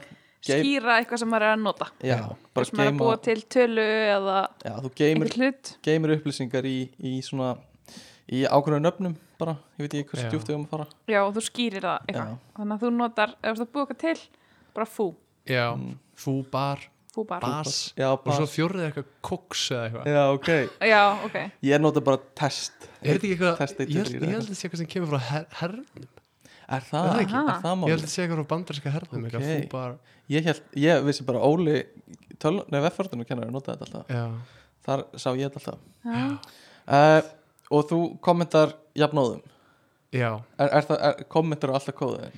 Speaker 2: geym-
Speaker 4: skýra eitthvað sem maður er að nota.
Speaker 2: já, bara
Speaker 4: Sem maður er að
Speaker 2: geima,
Speaker 4: búa til tölu eða
Speaker 2: já, þú geymir,
Speaker 4: einhver hlut.
Speaker 2: geymir upplýsingar í, í svona í ákveðinu nöfnum bara, ég veit ekki
Speaker 3: Já.
Speaker 2: hversu djúft við um að fara
Speaker 4: Já, og þú skýrir það eitthvað.
Speaker 2: Já.
Speaker 4: Þannig að þú notar, ef þú ert að búa eitthvað til, bara fú.
Speaker 3: já, fú bar
Speaker 4: Fú bara.
Speaker 3: Bas
Speaker 2: já,
Speaker 3: Og svo
Speaker 2: bara,
Speaker 3: fjórðið eitthvað koks eða eitthvað
Speaker 2: já, ok
Speaker 4: Já, ok.
Speaker 2: ég nota bara test
Speaker 3: Ég veit ekki
Speaker 2: Testa
Speaker 3: eitthvað
Speaker 2: í
Speaker 3: Ég held-
Speaker 2: tilrýra.
Speaker 3: ég held að þetta sé eitthvað sem kemur frá her, hernum
Speaker 2: er það,
Speaker 3: Er það
Speaker 2: er
Speaker 3: ekki?
Speaker 2: það,
Speaker 4: Aha.
Speaker 2: mál
Speaker 3: Ég held að þetta sé eitthvað frá bandarinska hernum Eitthvað
Speaker 2: Ok.
Speaker 3: fú bar
Speaker 2: ég, held, ég vissi bara Óli tölun, nei, veffaröðinu kennar notaði þetta alltaf
Speaker 3: Já,
Speaker 2: þar sá ég þetta alltaf
Speaker 4: Já.
Speaker 2: uh, og þú kommentar jafnóðum
Speaker 3: já
Speaker 2: er, er það, er, kommentar alltaf kóðið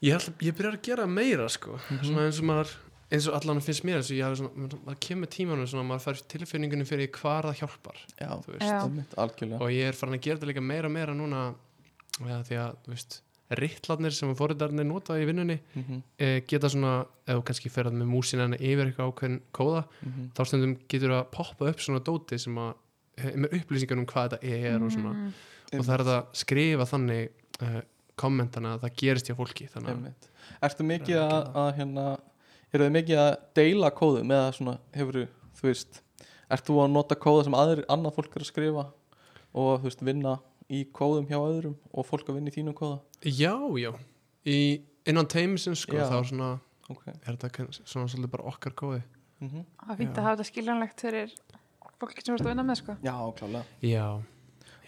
Speaker 3: Ég, ætla, ég byrjar að gera meira sko svona eins og maður eins og allan finnst mér eins og ég hafi svona maður kemur tímanum svona maður fær tilfinningunum fyrir hvar það hjálpar
Speaker 2: já,
Speaker 3: þú veist
Speaker 4: Já.
Speaker 2: Einmitt, algjörlega
Speaker 3: og ég er farin að gera þetta líka meira og meira núna ja, því að þú veist rittlarnir sem að fóriðarnir nota í vinnunni
Speaker 2: mm -hmm.
Speaker 3: e, geta svona eða þú kannski ferðar með músina henni yfir eitthvað ákveðin kóða
Speaker 2: mhm,
Speaker 3: þá stundum getur að poppa upp svona dóti sem að eh, með upplýsingar um hvað þetta er og svona
Speaker 4: Mm.
Speaker 3: og það er hægt að skrifa þannig e, kommentana að það gerist hjá fólki þannig að
Speaker 2: Ertu mikið
Speaker 3: Það er
Speaker 2: að,
Speaker 3: ekki
Speaker 2: að hérna, eru þið mikið að deila kóðum eða svona hefur þú veist ert þú að nota kóða sem aðrir, annað fólk er að skrifa og þú veist vinna í kóðum hjá öðrum og fólk að vinna í þínum kóða
Speaker 3: já, já, í, innan teimisins sko,
Speaker 2: Já.
Speaker 3: þá er svona
Speaker 2: okay.
Speaker 3: er þetta kann- svona svolítið bara okkar kóði
Speaker 2: mm -hmm.
Speaker 4: Það er fínt
Speaker 3: Já.
Speaker 4: að hafa þetta skiljanlegt fyrir fólki sem þú ert að vinna með, sko.
Speaker 2: Já, klálega
Speaker 3: já,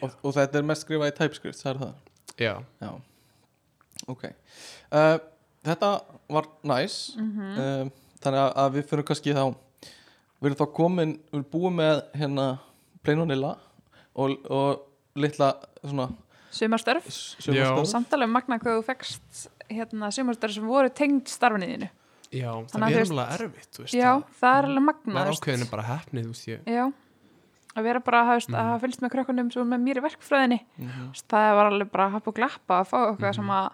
Speaker 2: og, og þetta er mest skrifað í TypeScript, það er það
Speaker 3: já,
Speaker 2: Já, ok uh, Þetta var næs um, Þannig að, að við fyrir kannski þá Við erum þá komin, við erum búið með hérna Plain Vanilla og, og litla svona
Speaker 4: Sumarstörf.
Speaker 2: sumarstörf
Speaker 4: Samtala um magna hvað þú fekst hérna sumarstörf sem voru tengd starfinni þínu.
Speaker 3: já
Speaker 4: Þannig að
Speaker 3: það
Speaker 4: þú
Speaker 3: er
Speaker 4: veist-
Speaker 3: umlega erfitt þú veist,
Speaker 4: Já,
Speaker 3: að-
Speaker 4: það er alveg magna.
Speaker 3: maður
Speaker 4: þú veist.
Speaker 3: ákveðin er bara hefnið þú veist ég
Speaker 4: Já, að vera bara þú veist,
Speaker 3: Mm.
Speaker 4: að hafa fylgst með krökkunum sem voru með mér í verkfræðinni
Speaker 2: Mhm.
Speaker 4: Þú veist, það var alveg bara happ og glappa að fá eitthvað sem að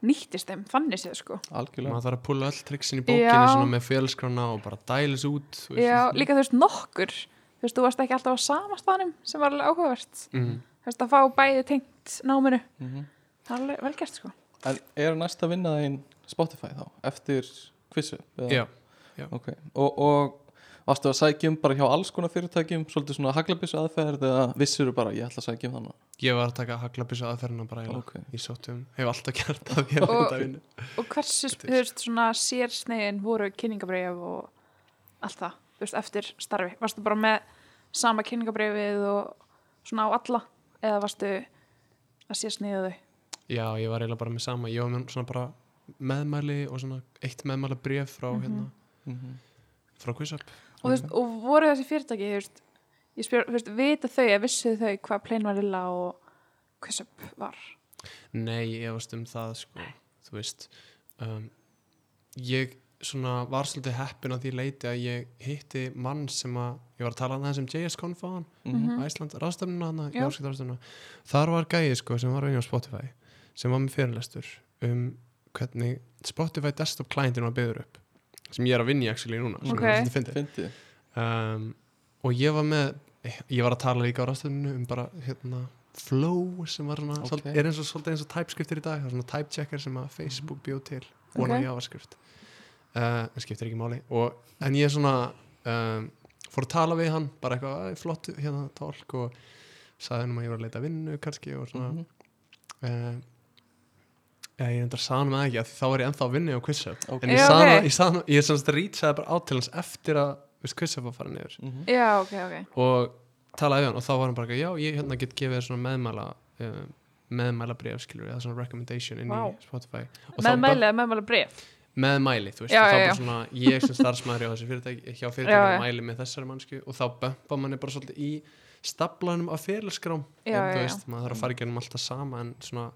Speaker 4: nýttist þeim þannig séð sko
Speaker 2: Algjörlega
Speaker 3: maður þarf að pulla öll triksin í bókinni
Speaker 4: Já.
Speaker 3: svona með fjölskrána og bara dælis út þú veist.
Speaker 4: Já, líka þú veist nokkur þú veist, þú varst ekki alltaf á sama staðnum sem var alveg áhugavert
Speaker 3: mm.
Speaker 4: þú veist, að fá bæði tengt náminu
Speaker 2: mm
Speaker 4: það er alveg vel gert sko
Speaker 2: En er næst að vinna þín Spotify þá, eftir kvissu?
Speaker 3: já,
Speaker 2: Ok, og, og varstu að sækja um bara hjá alls konar fyrirtækjum svolítið svona haglabissu aðferð eða vissuru bara, ég ætla að sækja um þannig
Speaker 3: ég var að taka haglabissu aðferðina bara eiginlega.
Speaker 2: Ok.
Speaker 3: ég sóttum, hef alltaf gert það ég er
Speaker 4: Og-
Speaker 3: alltaf að vinna
Speaker 4: og hversu, þú veist, svona sérsnegin voru kynningabreyf og allt það, þú veist, eftir starfi varstu bara með sama kynningabreyfið og svona á alla eða varstu að sérsnegið þau
Speaker 3: já, ég var eiginlega bara með sama ég var með svona bara meðmæli og svona eitt meðmæla bref frá
Speaker 2: mm
Speaker 3: hérna
Speaker 2: -hmm.
Speaker 3: frá QuizUp
Speaker 4: og, þú veist, og voru þessi fyrirtæki þú veist, ég spyr, þú veist, vita þau að vissu þau hvað Plain Vanilla og Quisup var
Speaker 3: Nei, ég efast um það sko, þú veist um, ég svona var svolítið heppin að því leiti að ég hitti mann sem að, ég var að tala um það sem JS-konf á hann, Æsland ráðstöfnuna hann,
Speaker 4: Mhm. Já.
Speaker 3: járskipt ráðstöfnuna þar var gæði sko sem var vinni á Spotify sem var með fyrirlestur um hvernig Spotify desktop clientinu var byggður upp, sem ég er að vinni actually núna, sem
Speaker 4: Ok.
Speaker 3: okay. er svolítið fyndið
Speaker 2: Fyndið
Speaker 3: um, og ég var með ég var að tala líka á rastuninu um bara hérna flow sem var svona,
Speaker 2: Ok.
Speaker 3: okay. er eins og svolítið eins og typeskriftir í dag, það er svona typechecker sem að Facebook bjóð til,
Speaker 4: Mhm.
Speaker 3: vona
Speaker 4: Ok.
Speaker 3: okay. javascript uh, en skiptir ekki máli og, en ég svona um, fór að tala við hann, bara eitthvað "Æ, flott hérna tólk og sagði hann um að ég var að leita að vinnu kannski og svona mm
Speaker 2: Mhm.
Speaker 3: ég endar saðan með ekki að þá er ég ennþá að vinna á QuizUp
Speaker 2: Ok.
Speaker 3: en ég
Speaker 4: Já,
Speaker 3: sagði
Speaker 4: ok.
Speaker 3: okay. ég, sagði hann- ég semst rýtsaði bara át til hans eftir að viðst, QuizUp var farin yfir
Speaker 2: mm
Speaker 4: já, ok, ok
Speaker 3: og talaði við hann og þá var hann bara eitthvað, já, ég hérna get gefið þér svona meðmæla uh, meðmæla bref, skilur við, það er svona recommendation inn
Speaker 4: Vá.
Speaker 3: í Spotify Og þá
Speaker 4: með
Speaker 3: bara-
Speaker 4: mæli eða með mæli bref
Speaker 3: meðmæli, þú veist,
Speaker 4: Já,
Speaker 3: og þá
Speaker 4: já,
Speaker 3: bara
Speaker 4: já.
Speaker 3: svona ég sem starfsmæður hjá þessu fyrirtæki hjá
Speaker 4: Já, já.
Speaker 3: fyrirtækinu mæli með þessari mannsku og þá bömpa manni bara svolítið í staplanum af fyrirlskrám
Speaker 4: Já,
Speaker 3: en
Speaker 4: já,
Speaker 3: þú
Speaker 4: já.
Speaker 3: veist, maður þarf að fara í gennum alltaf sama en svona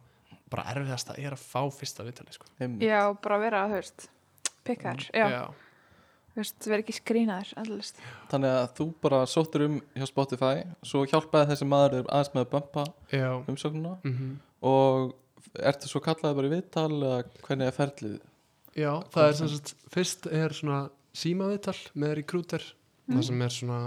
Speaker 3: bara erfiðast að er að fá fyrsta vitali, sko
Speaker 2: -hmm.
Speaker 4: já, bara vera, þú veist pikkar, já,
Speaker 3: já.
Speaker 4: þú veist, þú verður ekki skrínaður allist.
Speaker 2: Þannig að þú bara sóttir um hjá Spotify Svo hjálpaði þessi maður þér aðeins með að bömpa
Speaker 3: já,
Speaker 2: umsögnuna
Speaker 3: mm
Speaker 2: Og ertu svo kallaði bara í viðtal Eða hvernig er ferlið
Speaker 3: já það er sem sagt, fyrst er svona símaviðtal með recruiter
Speaker 2: Mm.
Speaker 3: það sem er svona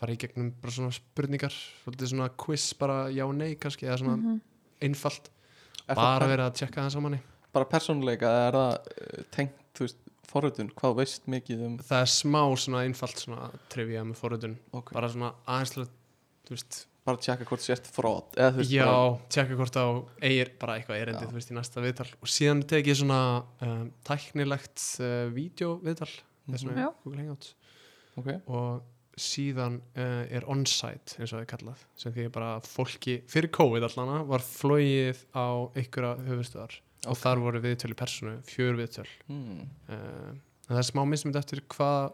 Speaker 3: farið í gegnum bara svona spurningar svolítið svona quiz bara já nei kannski eða svona
Speaker 4: Mhm,
Speaker 3: einfalt
Speaker 2: Mhm. Er það
Speaker 3: bara
Speaker 2: per-
Speaker 3: verið að tjekka það samanni
Speaker 2: bara persónuleika eða er það eh, tengt, þú veist, forröðun Hvað þú veist mikið um
Speaker 3: það er smá svona einfalt svona trivia með forutun
Speaker 2: Ok.
Speaker 3: bara svona aðeins til að þú veist,
Speaker 2: Bara tjekka hvort sért frót Eða þú veist,
Speaker 3: já,
Speaker 2: bara,
Speaker 3: tjekka hvort á eigir bara eitthvað erindi,
Speaker 2: Já.
Speaker 3: þú veist, í næsta viðtal og síðan tek ég svona um, tæknilegt uh, vídeoviðtal eða
Speaker 2: Mhm.
Speaker 3: svona
Speaker 4: Já.
Speaker 3: Google Hangout
Speaker 2: ok
Speaker 3: og síðan uh, er on-site eins og það er kallað sem því bara að fólki, fyrir COVID allana var flóið á einhverja höfustöðar og þar voru viðtöl í personu fjör viðtöl
Speaker 2: hmm.
Speaker 3: uh, en það er smá mismund eftir hvað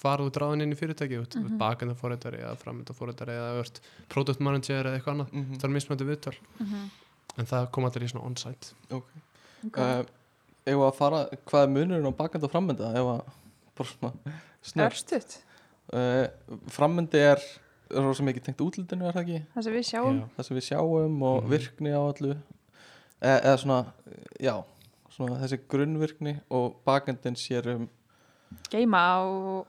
Speaker 3: hvar þú dráðin inn í fyrirtæki út, mm
Speaker 4: Mhm.
Speaker 3: -hmm. bakenda fóreitari eða framönda fóreitari eða ört product manager eða eitthvað annað,
Speaker 2: Mm
Speaker 3: það er mismöndi viðtöl
Speaker 4: Mm -hmm.
Speaker 3: en það kom allir í svona on-site Eh,
Speaker 2: uh, Ef að fara, hvað er munurinn á bakandi og framönda Ef að, bara svona snöggt.
Speaker 4: Örstuðt,
Speaker 2: uh, Framöndi er rosa mikið tengt útlitinu, er það ekki?
Speaker 4: það sem við sjáum.
Speaker 3: Já.
Speaker 2: Það sem við sjáum og
Speaker 3: Mhm.
Speaker 2: virkni á allu e Eða svona, eh, já Svona þessi grunnvirkni og bakendin sér um
Speaker 4: Geima og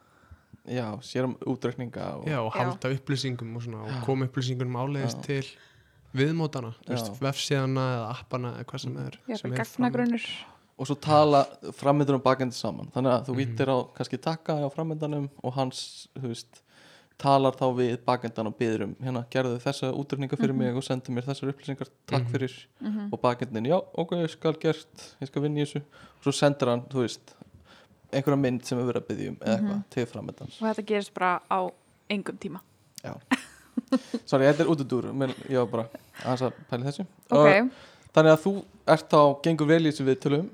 Speaker 2: Já, sér um útrekninga og,
Speaker 3: já, og
Speaker 4: Já.
Speaker 3: halda upplýsingum og, svona,
Speaker 2: Já.
Speaker 3: og koma upplýsingunum áleiðis
Speaker 2: Já.
Speaker 3: til viðmótana, þú
Speaker 2: Já.
Speaker 3: veist, vefsíðana eða appana eða hvað sem
Speaker 2: Mhm.
Speaker 3: það er, sem
Speaker 4: jafnvel
Speaker 3: er
Speaker 4: gagnagrunnur.
Speaker 2: og svo tala framöndanum bakandi saman þannig að þú
Speaker 3: Mhm.
Speaker 2: vítir á kannski takka á framöndanum og hans, þú veist talar þá við bakendan og byður um hérna gerðu þessa útrykninga fyrir mig og sendu mér þessar upplýsingar, takk
Speaker 3: Mhm.
Speaker 2: fyrir
Speaker 4: Mm -hmm.
Speaker 2: og bakendin, já, ok, ég skal gert ég skal vinna í þessu, og svo sendur hann þú veist, einhverja mynd sem er verið að byðja um eða eitthvað, til framöndans
Speaker 4: Og þetta gerist bara á engum tíma.
Speaker 2: sorry, þetta er út úr dúr, menn ég var bara aðeins að pæla í þessu
Speaker 4: Ok,
Speaker 2: Og þannig að þú ert þá, gengur vel í þessu viðtölum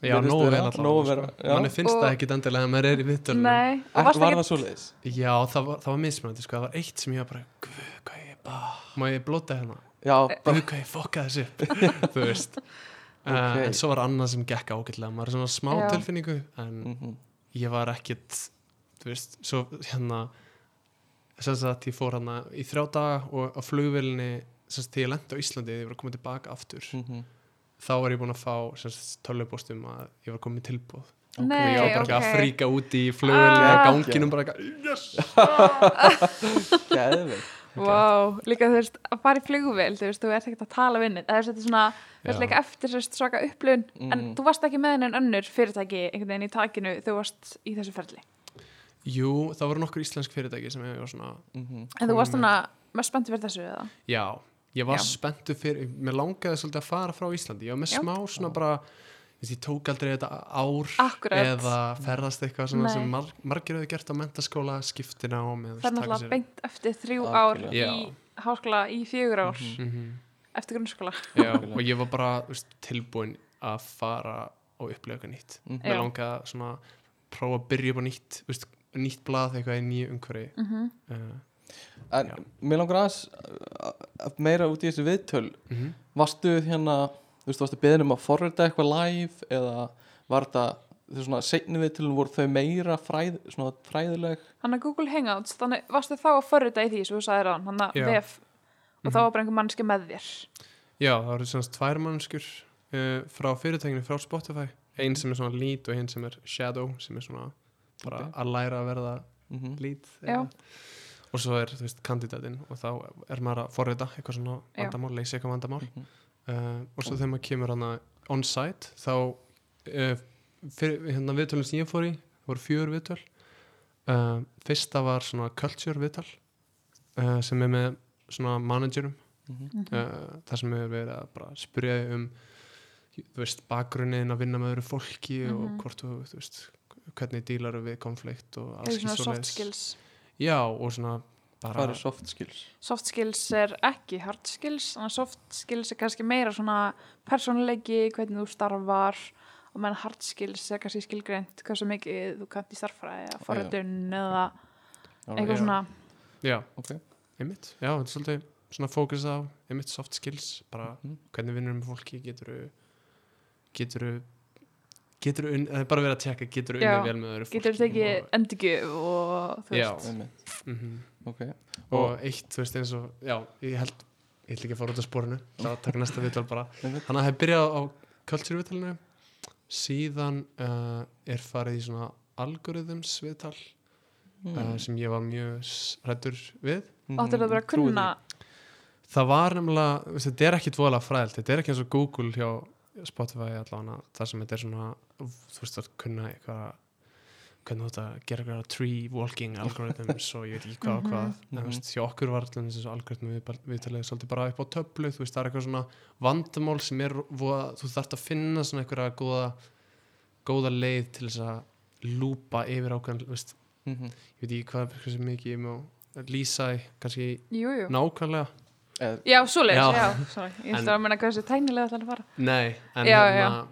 Speaker 3: Já, nógu vel allavega,
Speaker 2: nóg
Speaker 3: sko.
Speaker 2: vera, já.
Speaker 3: manni finnst
Speaker 4: Og-
Speaker 3: það ekkit endilega að maður er í viðtölum
Speaker 4: nei. Og
Speaker 2: Er,
Speaker 4: varst
Speaker 2: var
Speaker 4: ekki,
Speaker 2: það svo leiðis?
Speaker 3: já, það var, það var mismöndi, sko, það var eitt sem ég var bara guð, hvað ég bara, má ég blóta hérna
Speaker 2: Já,
Speaker 4: Eh,
Speaker 2: bara,
Speaker 3: Guð, hvað ég fokka þessu upp þú veist
Speaker 2: Ok.
Speaker 3: uh, en svo var annað sem gekk ágætlega maður er svona smá
Speaker 4: Já.
Speaker 3: tilfinningu en
Speaker 2: mm
Speaker 3: ég var ekkit þú veist, svo hérna sem sagt ég fór hana í þrjá daga og á flugvélinni sem sagt þegar ég lendi á Íslandi þegar ég var að koma tilbaka aftur
Speaker 2: -hmm.
Speaker 3: þá var ég búin að fá sem sagt tölvupóstum að ég var komið tilbúð og
Speaker 4: nei,
Speaker 3: ég var bara ekki að
Speaker 4: ok.
Speaker 3: fríka út í flugvélinni
Speaker 4: Ah.
Speaker 3: ah. ganginum bara ekki yes!
Speaker 2: Geðveikt.
Speaker 4: Vá, líka þú veist, að fara í flugvél, þú veist, þú ert ekkert að tala vinnið. Það er þetta svona, þú veist,
Speaker 3: Já.
Speaker 4: líka eftir þess svaka upplun, en
Speaker 2: Mm.
Speaker 4: þú varst ekki með henni en önnur fyrirtæki einhvern veginn í takinu, þú varst í þessu ferli.
Speaker 3: jú, það voru nokkur íslensk fyrirtæki sem ég var svona
Speaker 2: Mhm.
Speaker 4: En þú varst
Speaker 3: Komum
Speaker 4: svona, mest spenntið fyrir þessu eða?
Speaker 3: Já, ég var
Speaker 4: Já.
Speaker 3: spenntu fyrir mér langaði svolítið að fara frá Íslandi ég var með
Speaker 4: Já.
Speaker 3: smá svona bara veist, ég tók aldrei þetta ár
Speaker 4: Akkurat.
Speaker 3: eða ferðast eitthvað svona
Speaker 4: Nei.
Speaker 3: sem mar margir hefur gert á mentaskóla skiptina á með
Speaker 4: Það er náttúrulega beint eftir þrjú ár
Speaker 2: Algjörlega.
Speaker 4: í
Speaker 3: Já.
Speaker 4: háskóla, í fjögur ár,
Speaker 3: Mhm.
Speaker 2: Mhm.
Speaker 4: eftir grunnskóla.
Speaker 3: Já, og ég var bara veist, tilbúin að fara og upplega eitthvað nýtt
Speaker 2: Mhm.
Speaker 3: mér
Speaker 4: Já.
Speaker 3: langaði svona að prófa að byrja upp á nýtt veist, nýtt blað eitthvað í nýju umhverfi
Speaker 4: Mm
Speaker 3: uh,
Speaker 2: En
Speaker 3: Já.
Speaker 2: mér langar aðeins að- að meira út í þessu viðtöl
Speaker 3: mm
Speaker 2: Varstu hérna, þú veist, varstu beðin um að forrita eitthvað live eða var þetta, þau svona seinni viðtölun voru þau meira fræð, svona fræðileg
Speaker 4: Þannig að Google Hangouts, þannig varstu þá að förrita í því sem þú sagðir á hann, þannig
Speaker 3: Já. Mhm.
Speaker 4: að vef og þá var bara einhver mannski með þér.
Speaker 3: Já, það eru svona tvær mannskjur uh, frá fyrirtækinu frá Spotify
Speaker 4: Mhm.
Speaker 3: einn sem er svona lead og einn sem er shadow sem er svona bara
Speaker 2: Ok.
Speaker 3: að læra að verða
Speaker 2: mm
Speaker 3: lead
Speaker 4: Já.
Speaker 3: og svo er þú veist kandidatinn og þá er maður að forrita eitthvað svona
Speaker 4: Já.
Speaker 3: vandamál, leysa eitthvað vandamál
Speaker 2: Mhm.
Speaker 3: uh, og svo þegar maður kemur hana on-site þá uh, fyrir, hérna viðtölum sem ég fór í það voru fjör viðtöl uh, fyrsta var svona culture viðtöl uh, sem er með svona managerum
Speaker 2: Mhm.
Speaker 3: uh, þar sem hefur verið að bara spyrja þig um þú veist, bakgrunnin að vinna með öðru fólki
Speaker 4: Mhm.
Speaker 3: og hvort þú, þú veist hvernig dílar við konflikt og
Speaker 4: Það
Speaker 3: alls
Speaker 4: er svona
Speaker 3: kyns
Speaker 4: soft
Speaker 3: svoleiðis.
Speaker 4: skills.
Speaker 3: já, og svona bara
Speaker 2: Hvað er soft skills?
Speaker 4: Soft skills er ekki hard skills, þannig að soft skills er kannski meira svona persónuleiki, hvernig þú starfar og meðan hard skills er kannski skilgreint hversu mikið þú kannt í starffræði eða forritun eða eitthvað
Speaker 3: já.
Speaker 4: svona.
Speaker 3: já,
Speaker 2: Ok.
Speaker 3: einmitt, já, þetta er svolítið svona fókus á, einmitt soft skills bara
Speaker 2: Mhm.
Speaker 3: hvernig vinnur með fólki, getur getur getur unn, það er bara verið að tjekka getur unnið
Speaker 4: Já.
Speaker 3: vel með öðru fólki
Speaker 4: getur þetta ekki
Speaker 3: og,
Speaker 4: endurgjöf og þú
Speaker 3: Já.
Speaker 4: veist
Speaker 2: einmitt,
Speaker 3: mhm.
Speaker 2: ok
Speaker 3: og eitt, þú veist, eins og já, ég held, ég ætla ekki að fara út af spórinu það taka næsta viðtal bara
Speaker 2: Einmitt.
Speaker 3: hann hafði byrjað á kultúrviðtalinu síðan uh, er farið í svona algorithms viðtal
Speaker 2: Mm.
Speaker 3: uh,
Speaker 2: Mhm.
Speaker 3: sem ég var mjög hrættur við
Speaker 4: áttur það bara að kunna
Speaker 3: það var nefnilega, þú veist, þetta er ekki dvoðalega fræðilt, þetta er ekki eins og Google hjá Spotify allavega, þar sem þetta er svona þú veist að kunna eitthvað hvernig þú þetta gera eitthvað tree walking algorithms og ég veit ekki hvað og hvað en þú veist, hjá okkur var allavega þessu algoritmi við- viðtalið svolítið bara upp á töflu þú veist, það er eitthvað svona vandamál sem er voða, þú þarft að finna svona eitthvað góða, góða leið til þess að lúpa yfir ákveðan, þú veist,
Speaker 2: Mhm,
Speaker 3: ég veit ekki hvað hversu mikið ég má lýsa í, kannski
Speaker 4: jújú,
Speaker 3: nákvæmlega
Speaker 2: eða
Speaker 4: já, svoleiðis,
Speaker 3: Já.
Speaker 4: já, sorry, ég
Speaker 3: En-
Speaker 4: ætla að menna hversu tænilega það er að fara
Speaker 3: Nei, en
Speaker 4: Já,
Speaker 3: hérna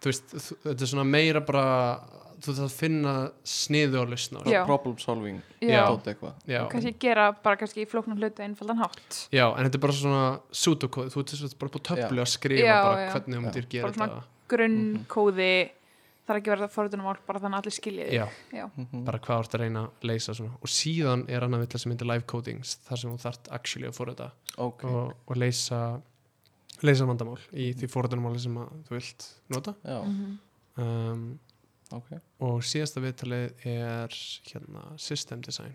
Speaker 3: þú veist, þ- þetta er svona meira bara þú veist að finna sniðu og lausn á
Speaker 2: pro-
Speaker 4: Já.
Speaker 2: problem solving
Speaker 3: Já.
Speaker 4: já,
Speaker 2: dót eitthvað
Speaker 3: Já.
Speaker 4: kannski gera bara kannski í flóknum hlutu einfaldan hátt
Speaker 3: já, en þetta er bara svona pseudocode, þú veist þetta er bara búið töflu að skrifa
Speaker 4: Já,
Speaker 3: bara
Speaker 4: já.
Speaker 3: hvernig þú myndir gera
Speaker 4: Bara svona-
Speaker 3: þetta
Speaker 4: grunnkóði
Speaker 3: Mhm.
Speaker 4: það er ekki verið að forðunum ál bara þannig að allir skilji þig
Speaker 3: Já,
Speaker 2: Mhm,
Speaker 3: bara hvað þú ert að reyna að leysa svona. og síðan er annað vilja sem myndir live codings þar sem þú þart actually að forrita
Speaker 2: ok,
Speaker 3: og, og leysa leysa vandamál í
Speaker 4: Mm.
Speaker 3: því forritanumáli sem að þú vilt nota
Speaker 2: já,
Speaker 4: Mhm.
Speaker 3: um,
Speaker 2: ok,
Speaker 3: og síðasta viðtalið er hérna system design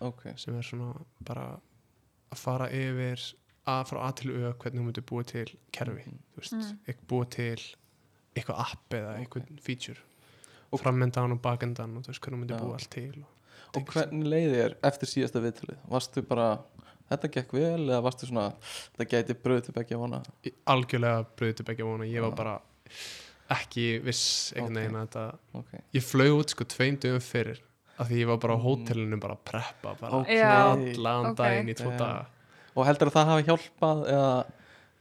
Speaker 2: ok
Speaker 3: sem er svona bara að fara yfir að frá A til Ö hvernig hún myndi búa til kerfi
Speaker 2: Mhm.
Speaker 3: þú veist,
Speaker 4: Mm.
Speaker 3: mm. búa til eitthvað app
Speaker 2: Ok.
Speaker 3: eða eitthvað feature
Speaker 2: Og-
Speaker 3: og framendan og bakendan og þú veist hvernig hún myndi
Speaker 2: Já.
Speaker 3: búa allt til og,
Speaker 2: og hvernig leiði er eftir síðasta viðtalið varstu bara, þetta gekk vel eða varstu svona, þetta gæti bröð til begja vona
Speaker 3: Í- algjörlega bröðið til begja vona ég var
Speaker 2: Já.
Speaker 3: bara ekki viss einhvern
Speaker 2: Ok.
Speaker 3: veginn að þetta
Speaker 2: ok,
Speaker 3: ég flög út sko tveim dögum fyrir af því ég var bara á hótelinu bara að preppa bara
Speaker 2: Mm. Ok.
Speaker 4: Já,
Speaker 3: allan
Speaker 4: ok.
Speaker 3: daginn í tvo
Speaker 2: Já.
Speaker 3: daga
Speaker 2: og heldur að það hafi hjálpað eða,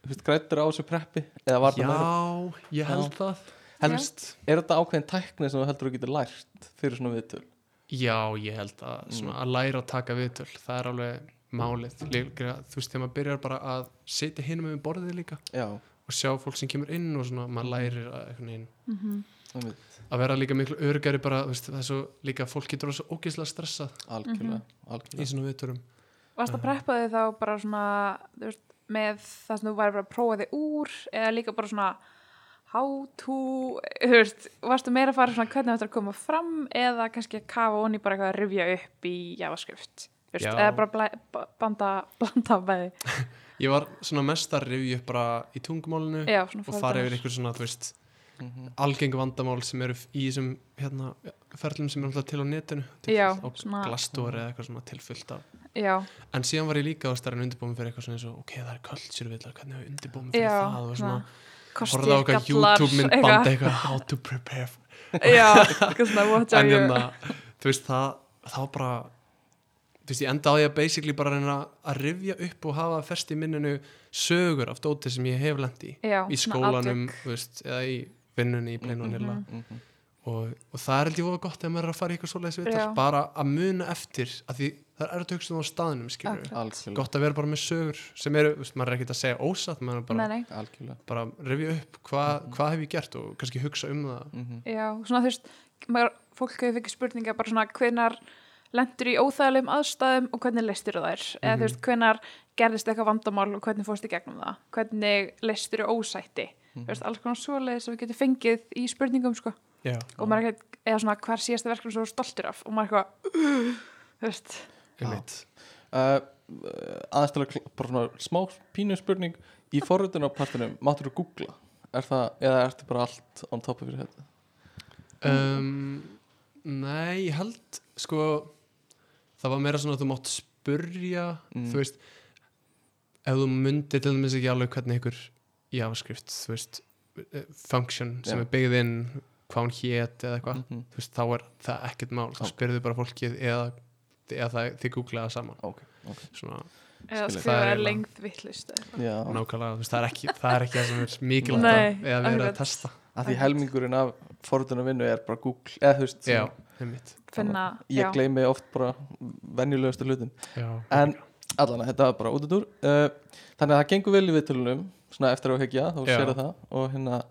Speaker 2: þú veist, grættur á þessu preppi eða var það meira,
Speaker 3: já, ég held það
Speaker 2: heldur, er þetta ákveðin tækni sem þú heldur að geta lært fyrir svona viðtöl
Speaker 3: Já, ég held að svona, að læra að taka viðtöl, það er alveg málið, líka, þú veist, þegar maður byrjar bara að sitja hinum með borðið líka
Speaker 2: já,
Speaker 3: og sjá fólk sem kemur inn og svona maður lærir að, einhvern veginn,
Speaker 4: Mhm.
Speaker 2: einmitt,
Speaker 3: að vera líka miklu örgari bara, þú veist, það er svo líka fólk getur að vera svo ógeðslega stressað
Speaker 4: Mhm.
Speaker 2: algjörlega,
Speaker 3: í
Speaker 2: algjörlega.
Speaker 3: svona viðtölum
Speaker 4: varst
Speaker 3: Mhm.
Speaker 4: að preppa þig þá bara svona þú veist, með það sem þú væri bara að prófa þig úr eða líka bara svona how to þú veist, varstu meira að fara svona hvernig þetta er að koma fram eða kannski að kafa onni bara eitthvað að rifja upp í javascript þú veist,
Speaker 3: Já.
Speaker 4: eða bara blæ, b- banda, blanda af með þig
Speaker 3: Ég var svona mest að rifja upp bara í tungumálinu
Speaker 4: Já, svona
Speaker 3: og fara
Speaker 4: fordæmis.
Speaker 3: yfir einhver svona, þú veist, algengu vandamál sem eru í þessum hérna, ferlum sem er alltaf til á netinu til
Speaker 4: Já,
Speaker 3: fullt- á
Speaker 4: svona-
Speaker 3: glastóri eða eitthvað svona tilfullt af
Speaker 4: já,
Speaker 3: En síðan var ég líka á starfinn undirbúin fyrir eitthvað svona eins og ok, það er kultúrvillar, hvernig hefur undirbúin fyrir
Speaker 4: Já,
Speaker 3: það og svona,
Speaker 4: kostir,
Speaker 3: horfða á okkar YouTube mynd band eitthvað, how to prepare for-
Speaker 4: já, eitthvað svona what are
Speaker 3: en
Speaker 4: you
Speaker 3: hérna, þú veist, það þá bara, þú veist, ég enda á því að basically bara reyna að rifja upp og hafa fest í minninu sögur af dóti sem ég hef lent í,
Speaker 4: já,
Speaker 3: í
Speaker 4: svona
Speaker 3: skólanum,
Speaker 4: atvik.
Speaker 3: þú veist, eða í vinnunni í pleinu og nýla
Speaker 2: Mhm.
Speaker 3: og, og það er held ég voða gott ef maður er að fara í eitthvað svoleiðis viðtal,
Speaker 4: Já.
Speaker 3: bara að muna eftir, að því það er erfitt að hugsa um það á staðnum, skilur
Speaker 4: Akkurat.
Speaker 2: algjörlega,
Speaker 3: Mm. gott að vera bara með sögur sem eru, þú veist, maður er ekkert að segja ósatt maður er bara,
Speaker 4: nei, nei,
Speaker 2: algjörlega.
Speaker 3: bara rifja upp hvað hva hef ég gert og kannski hugsa um það
Speaker 2: Mhm.
Speaker 4: Já, svona þú veist, maður, fólk hefur fengið spurninga bara svona hvenar lendur í óþægilegum aðstæðum og hvernig leistur þær eða
Speaker 3: Mhm.
Speaker 4: þú veist, hvenar gerðist eitthvað vandamál og hvernig fórst í gegnum það hvernig leistur í ósætti þú
Speaker 3: Mhm.
Speaker 4: veist, alls konar svoleið sem við getum fengið í spurningum sko,
Speaker 3: já,
Speaker 4: og maður er ekkert eða svona hver síðasta verkefni sem þú er stoltur af og maður er eitthvað, þú veist
Speaker 3: einmitt
Speaker 2: uh, aðeins til að kl- bara svona smá pínu spurning í forröðunarpartinum, máttur þú googla er það, eða ertu bara allt án topi fyrir þetta
Speaker 3: um, nei, ég held sko, það var meira svona að þú mátt spurja
Speaker 2: Mm.
Speaker 3: þú veist ef þú myndir til dæmis ekki alveg hvernig einhver javascript, þú veist eh, function sem
Speaker 2: Já.
Speaker 3: er byggð inn hvað hún hét eða eitthvað
Speaker 2: Mhm.
Speaker 3: þú veist, þá er það ekkert mál, þá
Speaker 2: Já.
Speaker 3: spyrðu bara fólkið eða, eða það, þið googlaði það saman
Speaker 2: ok, ok
Speaker 3: svona
Speaker 4: eða
Speaker 2: Skilja.
Speaker 3: Það er
Speaker 4: skrifa
Speaker 3: eiginlega-
Speaker 4: lengð vittlust
Speaker 2: Já,
Speaker 3: nákvæmlega, þú veist, það er ekki það er ekki það sem er mikilvægt
Speaker 4: Nei,
Speaker 3: að- eða verið að
Speaker 4: akkurat.
Speaker 3: testa
Speaker 2: að því helmingurinn af forröðunarvinnu er bara google, eða þú veist
Speaker 3: já, einmitt
Speaker 4: finna,
Speaker 2: ég
Speaker 4: já,
Speaker 2: gleymi oft bara venjulegustu hlutum
Speaker 3: já,
Speaker 2: en allan að þetta var bara út að dúr uh, þannig að það gengur vel í viðtölunum svona eftir á að hegja, þá
Speaker 3: Já.
Speaker 2: sér það og hérna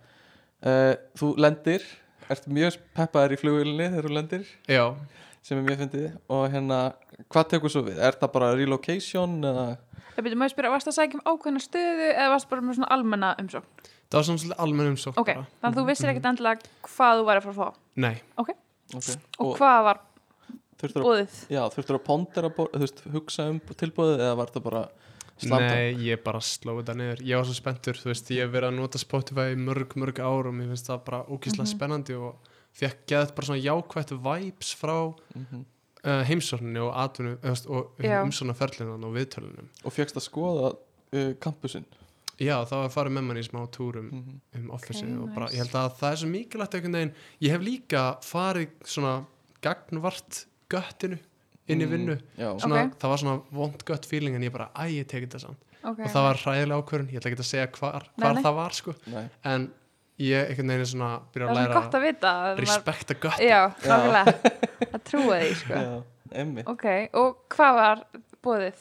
Speaker 2: uh, þú lendir ert mjög peppaður í flugvölinni þegar þú lendir
Speaker 3: já,
Speaker 2: sem er mjög fyndið og hérna, hvað tekur svo við? Er það bara relocation eða
Speaker 4: Það byrjum að spyrja, varst að sækja um ákveðna stöðu eða varst bara með svona almenna umsókn?
Speaker 3: það var svona svolítið almenn umsókn
Speaker 4: Ok,
Speaker 3: bara.
Speaker 4: þannig að þú
Speaker 3: mhm.
Speaker 4: vissir ekkert endilega hvað þú væri að fara að fá
Speaker 3: Nei,
Speaker 2: okay.
Speaker 4: og, hvað var
Speaker 2: þurftur að,
Speaker 4: bóðið?
Speaker 2: já, þurftur að pondera bor- þú veist, hugsa um tilbúið eða var það bara slanda?
Speaker 3: nei, ég bara sló þetta niður Ég var svo spenntur, þú veist, ég hef verið að nota Spotify í mörg, mörg ár og mér finnst það bara ókýrslega
Speaker 4: Mhm.
Speaker 3: spennandi og fekk geðað bara svona jákvætt vibes frá
Speaker 2: Mm
Speaker 3: uh, heimsókninni og, atvinnu, eh, þú veist, og
Speaker 4: Já.
Speaker 3: umsóknarferlinnan og viðtölunum
Speaker 2: og fegst að skoða uh, kampusin
Speaker 3: Já, það var að fara með manni í smá túrum
Speaker 2: mm
Speaker 3: um office
Speaker 4: Ok,
Speaker 3: og bara,
Speaker 4: nice.
Speaker 3: ég held að það er svo mikilvægt einhvern veginn, ég hef líka farið svona gagnvart göttinu inn í vinnu
Speaker 2: Mm. já,
Speaker 4: Ok.
Speaker 3: svona, það var svona vond gött feeling en ég bara, æ, ég tekið þetta samt
Speaker 4: Okay.
Speaker 3: og það var hræðilega ákvörun, ég ætla ekki að segja hvar,
Speaker 4: Nei,
Speaker 3: hvar
Speaker 4: nei.
Speaker 3: það var sko
Speaker 2: nei,
Speaker 3: en ég einhvern veginn svona
Speaker 4: það
Speaker 3: byrja
Speaker 4: var
Speaker 3: að
Speaker 4: svona gott
Speaker 3: læra
Speaker 4: að vita. að það
Speaker 3: að
Speaker 4: var-
Speaker 3: respekta gött
Speaker 4: Já, nákvæmlega. Það trúið því, sko.
Speaker 2: já, emmi
Speaker 4: Ok, og hvað var bóðið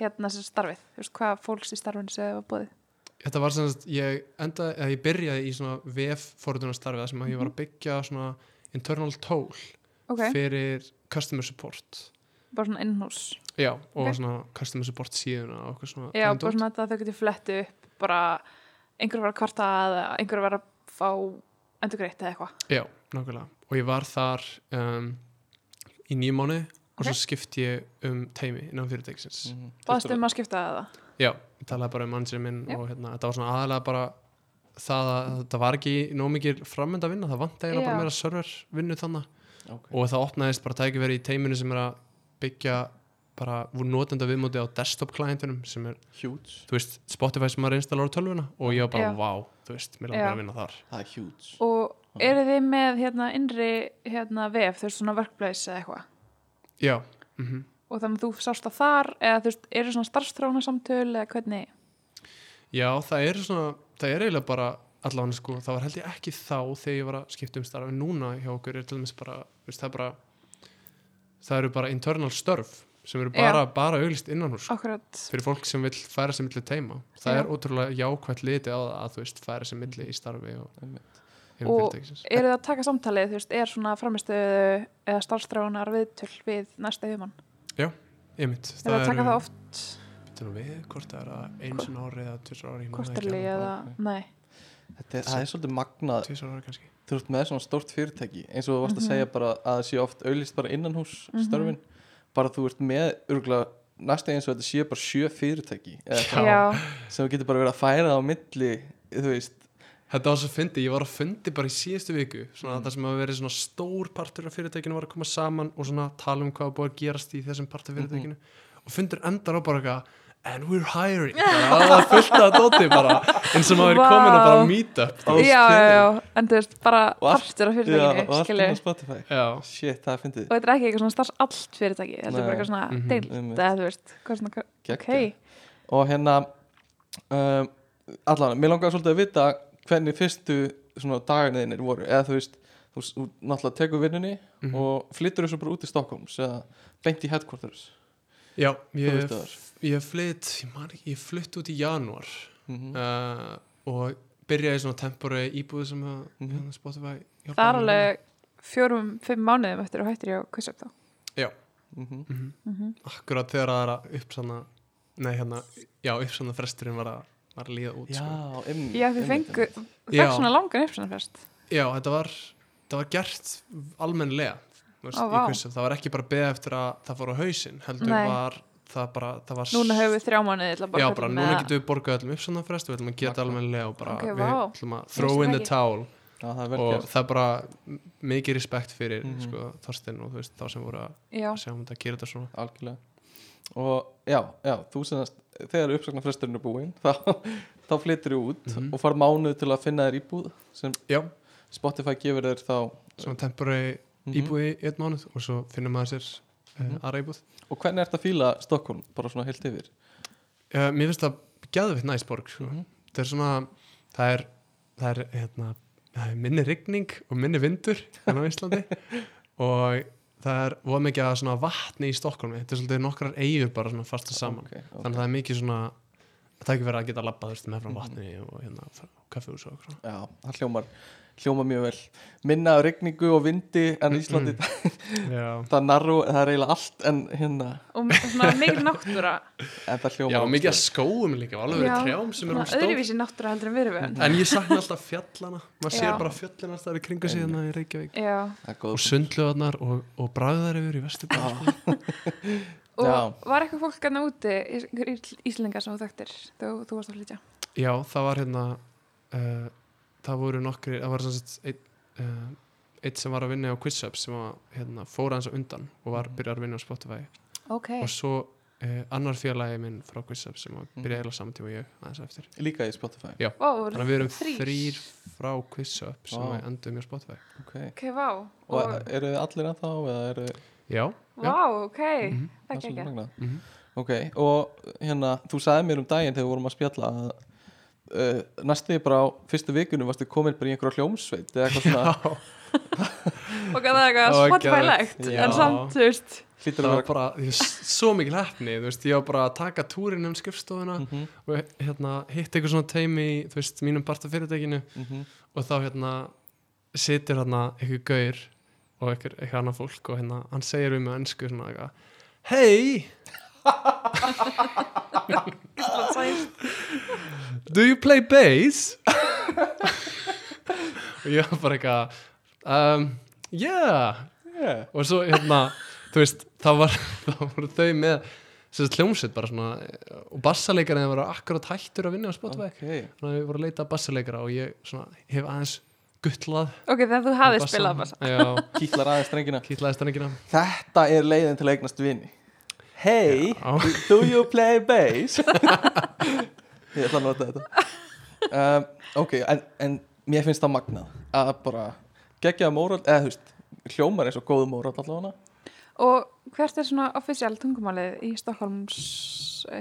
Speaker 4: hérna sem starfið? Þú veist, hvað fólkst í starfinu sem það var bóðið?
Speaker 3: þetta var sem sagt, ég endaði, eða ég byrjaði í svona VF forðunarstarfið sem að ég var að byggja svona internal tool
Speaker 4: Mhm. Ok,
Speaker 3: fyrir customer support
Speaker 4: bara svona innhús.
Speaker 3: Já, og
Speaker 4: Ok.
Speaker 3: svona customer support síðuna og okkur
Speaker 4: Já,
Speaker 3: svona þannig
Speaker 4: bara
Speaker 3: dót.
Speaker 4: svona þetta að þau getur flettu upp bara einhver var að kvarta eða einhver var að fá endurgreitt eða eitthvað.
Speaker 3: Já, nákvæmlega og ég var þar um, í nýjum mánu og
Speaker 4: Ok.
Speaker 3: svo skipti ég um teimi innan fyrirtækisins
Speaker 2: Mhm.
Speaker 4: Báðast um að skipta eða?
Speaker 3: Já, ég talaði bara um managerinn minn
Speaker 4: Já.
Speaker 3: og hérna, þetta var svona aðalega bara það að þetta var ekki nóg mikið framönda vinna, það vant eiginlega
Speaker 4: Já.
Speaker 3: bara meira server vinnu þannig
Speaker 2: Ok.
Speaker 3: og það opnaðist bara tækifæri í teiminu sem er að byggja bara voru notenda viðmóti á desktop klientunum sem er,
Speaker 2: huge,
Speaker 3: þú veist, Spotify sem maður einstallar á tölvuna og ég var bara,
Speaker 4: Já.
Speaker 3: vá, þú veist, mér
Speaker 4: Já.
Speaker 3: langar að vinna þar
Speaker 2: það er huge
Speaker 4: Og eru þið með hérna innri hérna vef, þú veist svona workplace eða eitthvað?
Speaker 3: Já, mhm
Speaker 4: Og þannig að þú sást það þar eða þú veist, eru svona starfstrána samtöl eða hvernig?
Speaker 3: Já, það er svona, það er eiginlega bara allavega sko, það var held ég ekki þá þegar ég var að skipta um starf en núna hjá okkur er til dæmis bara, veist, það er bara það eru bara internal störf sem eru bara, bara auglist innan hús sko,
Speaker 4: Akkurat,
Speaker 3: fyrir fólk sem vill færa sem milli teima það
Speaker 4: Já.
Speaker 3: er ótrúlega jákvæmt litið á það að þú veist færa sem milli í starfi og
Speaker 2: Einmitt.
Speaker 3: innan
Speaker 4: Og-
Speaker 3: fyrirtækisins
Speaker 4: eru þið að taka samtalið, þú veist, er svona framistöðu eða starfstránar viðtöl við næsta yfirmann?
Speaker 3: Ég mitt,
Speaker 4: Er það að taka það
Speaker 3: eru,
Speaker 4: oft
Speaker 3: byrjum við, hvort það er að eins og ári eða tvisar ári, ég man það
Speaker 4: kvartarli
Speaker 3: alveg.
Speaker 4: eða, nei?
Speaker 2: Þetta er, það er svolítið magnað
Speaker 3: tvisvar ári kannski
Speaker 2: þú ert með svona stórt fyrirtæki eins og þú
Speaker 4: Mhm.
Speaker 2: varst að segja bara að það sé oft auðlist bara innanhús störfin bara þú ert með örgulega næsta eins og þetta sé bara sjö fyrirtæki eða
Speaker 3: Já.
Speaker 2: eitthvað,
Speaker 4: Já,
Speaker 2: sem þú getur bara verið að færa á milli þú veist
Speaker 3: Þetta var svo fyndi, ég var að fundi bara í síðustu viku svona
Speaker 2: Mhm.
Speaker 3: það sem hafa verið svona stór partur af fyrirtækinu var að koma saman og svona tala um hvað var búið að gerast í þessum part
Speaker 2: Mhm.
Speaker 3: af fyrirtækinu og fundur endar á bara eitthvað and we're hiring bara, það var fullt af dóti bara eins og maður er
Speaker 4: Vá.
Speaker 3: komin að bara meet up
Speaker 2: Á
Speaker 4: já, já,
Speaker 2: skilin.
Speaker 4: já, en þú veist, bara
Speaker 2: Og allt-
Speaker 4: partur af
Speaker 2: Já, og
Speaker 4: fyrirtækinu,
Speaker 2: allt
Speaker 4: skilju.
Speaker 2: inn á Spotify
Speaker 3: Já,
Speaker 2: shit, það er fyndið
Speaker 4: Og þetta er ekki eitthvað svona starfs allt fyrirtæki, þetta er
Speaker 2: Nei.
Speaker 4: bara eitthvað svona
Speaker 3: Mhm.
Speaker 4: deild,
Speaker 2: Einmitt.
Speaker 4: eða þú veist, hvað svona, hvað- ok,
Speaker 2: Geggjað. og hérna um, allan, mér langar svolítið að vita hvernig fyrstu svona dagarniðinir voru eða þú veist, þú, þú náttúrulega tekur vinnunni
Speaker 3: Mhm.
Speaker 2: og flyttur þessu bara út í Stokkóms eða beint í headquarters
Speaker 3: já ég,
Speaker 2: Þú veist það.
Speaker 3: ég flytt ég, man ekki, ég flytt út í janúar
Speaker 2: mm
Speaker 3: uh, og byrjaði svona tempori íbúð sem að
Speaker 2: Mhm.
Speaker 3: hérna, Spotify
Speaker 4: það
Speaker 3: hjálpaði
Speaker 4: er
Speaker 3: mér með.
Speaker 4: alveg fjórum, fimm mánuðum eftir og hættir ég á Kvissöp þá.
Speaker 2: -hmm.
Speaker 3: Mhm.
Speaker 4: Mhm.
Speaker 3: Akkurat þegar það er að uppsanna Nei, hérna, já, uppsanna fresturinn var að, var að líða út
Speaker 2: já,
Speaker 3: sko.
Speaker 2: em,
Speaker 4: Já, þið
Speaker 2: em-
Speaker 4: fengu,
Speaker 2: em-
Speaker 4: fekk
Speaker 3: Já.
Speaker 4: svona langan uppsannarfest.
Speaker 3: já, þetta var þetta var gert almennlega þú veist,
Speaker 4: Ó,
Speaker 3: í
Speaker 4: vá.
Speaker 3: Quizzum. það var ekki bara beða eftir að það fór á hausinn heldur
Speaker 4: Nei.
Speaker 3: var það bara það var,
Speaker 4: Núna höfum við þrjá mánuði til að
Speaker 3: já,
Speaker 4: bara
Speaker 3: bara, núna getum við borgað öllum uppsanna frest við ætlum að geta
Speaker 2: Magnað.
Speaker 3: almennlega og bara
Speaker 4: Ok,
Speaker 3: við
Speaker 4: vá.
Speaker 3: ætlum að
Speaker 4: Ég
Speaker 3: throw
Speaker 4: vissi
Speaker 3: in
Speaker 4: það
Speaker 3: the
Speaker 4: ekki.
Speaker 3: towel
Speaker 2: já, það er vel
Speaker 3: og
Speaker 2: gert
Speaker 3: það er bara m- mikið respekt fyrir
Speaker 2: Mhm.
Speaker 3: sko, Þorstein og þú veist, þá sem voru að
Speaker 4: Já,
Speaker 3: sjá um þetta að gera þetta svona
Speaker 2: algjörlega og já, já, þú senast þegar uppsagnarfresturinn er búinn þá, þá flyttur þú út
Speaker 3: Mhm.
Speaker 2: og farð mánuð til að finna þér íbúð sem
Speaker 3: já,
Speaker 2: Spotify gefur þér þá
Speaker 3: svona temporary
Speaker 2: Mhm.
Speaker 3: íbúð í einn mánuð og svo finnum maður sér uh,
Speaker 2: Mhm.
Speaker 3: aðra íbúð
Speaker 2: og hvernig ert að fíla Stokkólm bara svona heilt yfir
Speaker 3: Uh, mér finnst það gæðvitt næst borg sko. það er svona það er, það er, hérna, það er minni rigning og minni vindur en á Íslandi og það er voða mikið að svona vatni í Stokkólmi þetta er svolítið nokkrar eigur bara svona fasta saman
Speaker 2: okay, okay.
Speaker 3: þannig að það er mikið svona tækifæri að geta labbað þurfti með frá vatni og hérna kaffi og svo okkur
Speaker 2: Já, það hljómar, hljómar mjög vel Minna af rigningu og vindi en Íslandi
Speaker 3: já,
Speaker 2: það narru, það er eiginlega allt en hérna,
Speaker 4: og m- svona mikil náttúra
Speaker 2: en það hljómar
Speaker 3: já og mikið að skóum líka og
Speaker 4: Já,
Speaker 3: alveg verið trjám sem er
Speaker 4: svona
Speaker 3: um stór
Speaker 4: öðruvísi náttúra heldur en við erum við
Speaker 3: en ég sakna alltaf fjallana maður sér
Speaker 4: Já.
Speaker 3: bara fjallina alltaf í kringu sig hérna í Reykjavík
Speaker 4: já,
Speaker 2: Það er
Speaker 3: og
Speaker 2: góð
Speaker 3: sundlöðarnar og, og bragðar yfir í vesturbæ sko.
Speaker 4: og
Speaker 2: Já.
Speaker 4: var eitthvað fólk hann úti ís- íslendingar sem þú þekktir þegar þú varst að flytja
Speaker 3: já, það var hérna uh, það voru nokkri það var sannsett eitt, uh, eitt sem var að vinna á QuizUp sem var, hérna, fór aðeins á undan og var byrjar að vinna á Spotify
Speaker 4: Mhm. ok,
Speaker 3: og svo uh, annar félagi minn frá QuizUp sem
Speaker 4: Mhm.
Speaker 3: var byrjaði eiginlega saman tíma og ég aðeins á eftir
Speaker 2: Líka í Spotify
Speaker 4: ó,
Speaker 3: þannig að við erum
Speaker 4: Þrír.
Speaker 3: þrýr frá QuizUp sem
Speaker 2: Vá.
Speaker 3: wow. endum í á Spotify
Speaker 2: ok
Speaker 4: ok, vá
Speaker 2: Og
Speaker 4: og,
Speaker 2: eru þið allir ennþá eða eru
Speaker 3: uh, já,
Speaker 4: vá, ok,
Speaker 3: Mhm.
Speaker 4: það er ekki
Speaker 2: magnað?
Speaker 3: Mhm.
Speaker 2: Ok, og hérna, þú sagði mér um daginn þegar við vorum að spjalla að uh, næstu bara á fyrstu vikunum varstu komin bara í einhverja hljómsveit eða eitthvað svona,
Speaker 4: og það er eitthvað
Speaker 3: Það var
Speaker 4: spotify-legt
Speaker 3: geðveikt.
Speaker 4: en
Speaker 3: Já.
Speaker 4: samt, þú veist
Speaker 2: hlýtur
Speaker 3: það
Speaker 2: að
Speaker 3: var
Speaker 2: vera
Speaker 3: bara ég, s- svo mikil hefni, þú veist, ég var bara að taka túrin um skrifstofuna
Speaker 2: Mhm,
Speaker 3: og hérna, hitt eitthvað svona teimi í, þú veist, mínum part af fyrirtækinu
Speaker 2: mhm.
Speaker 3: og þá hérna situr hérna einhver gaur og einhver, einhver annað fólk og hérna hann segir um með ennsku svona eitthvað Hey, do you play bass? og ég var bara eitthvað um, Yeah
Speaker 2: Yeah.
Speaker 3: og svo hérna, þú veist þá, var, þá voru þau með sem sagt hljómsveit bara svona eh, og bassaleikarinn var akkurat hættur að vinna á Spotify
Speaker 2: Ok,
Speaker 3: þannig að við vorum að leita að bassaleikara og ég svona, hef aðeins guttlað
Speaker 4: ok, þegar þú hafið spilað bara
Speaker 3: já,
Speaker 2: kýtlar aðeins strengina
Speaker 3: kýtlaði stanningina
Speaker 2: Þetta er leiðin til að eignast vini Hey,
Speaker 3: Já.
Speaker 2: do you play bass? Ég ætla að nota þetta um, Ok, en, en mér finnst það magnað að bara geggjaða móral eða þú veist, hljómar eins og góðu móral allavega
Speaker 4: Og hvert er svona offisjál tungumálið í Stokkólms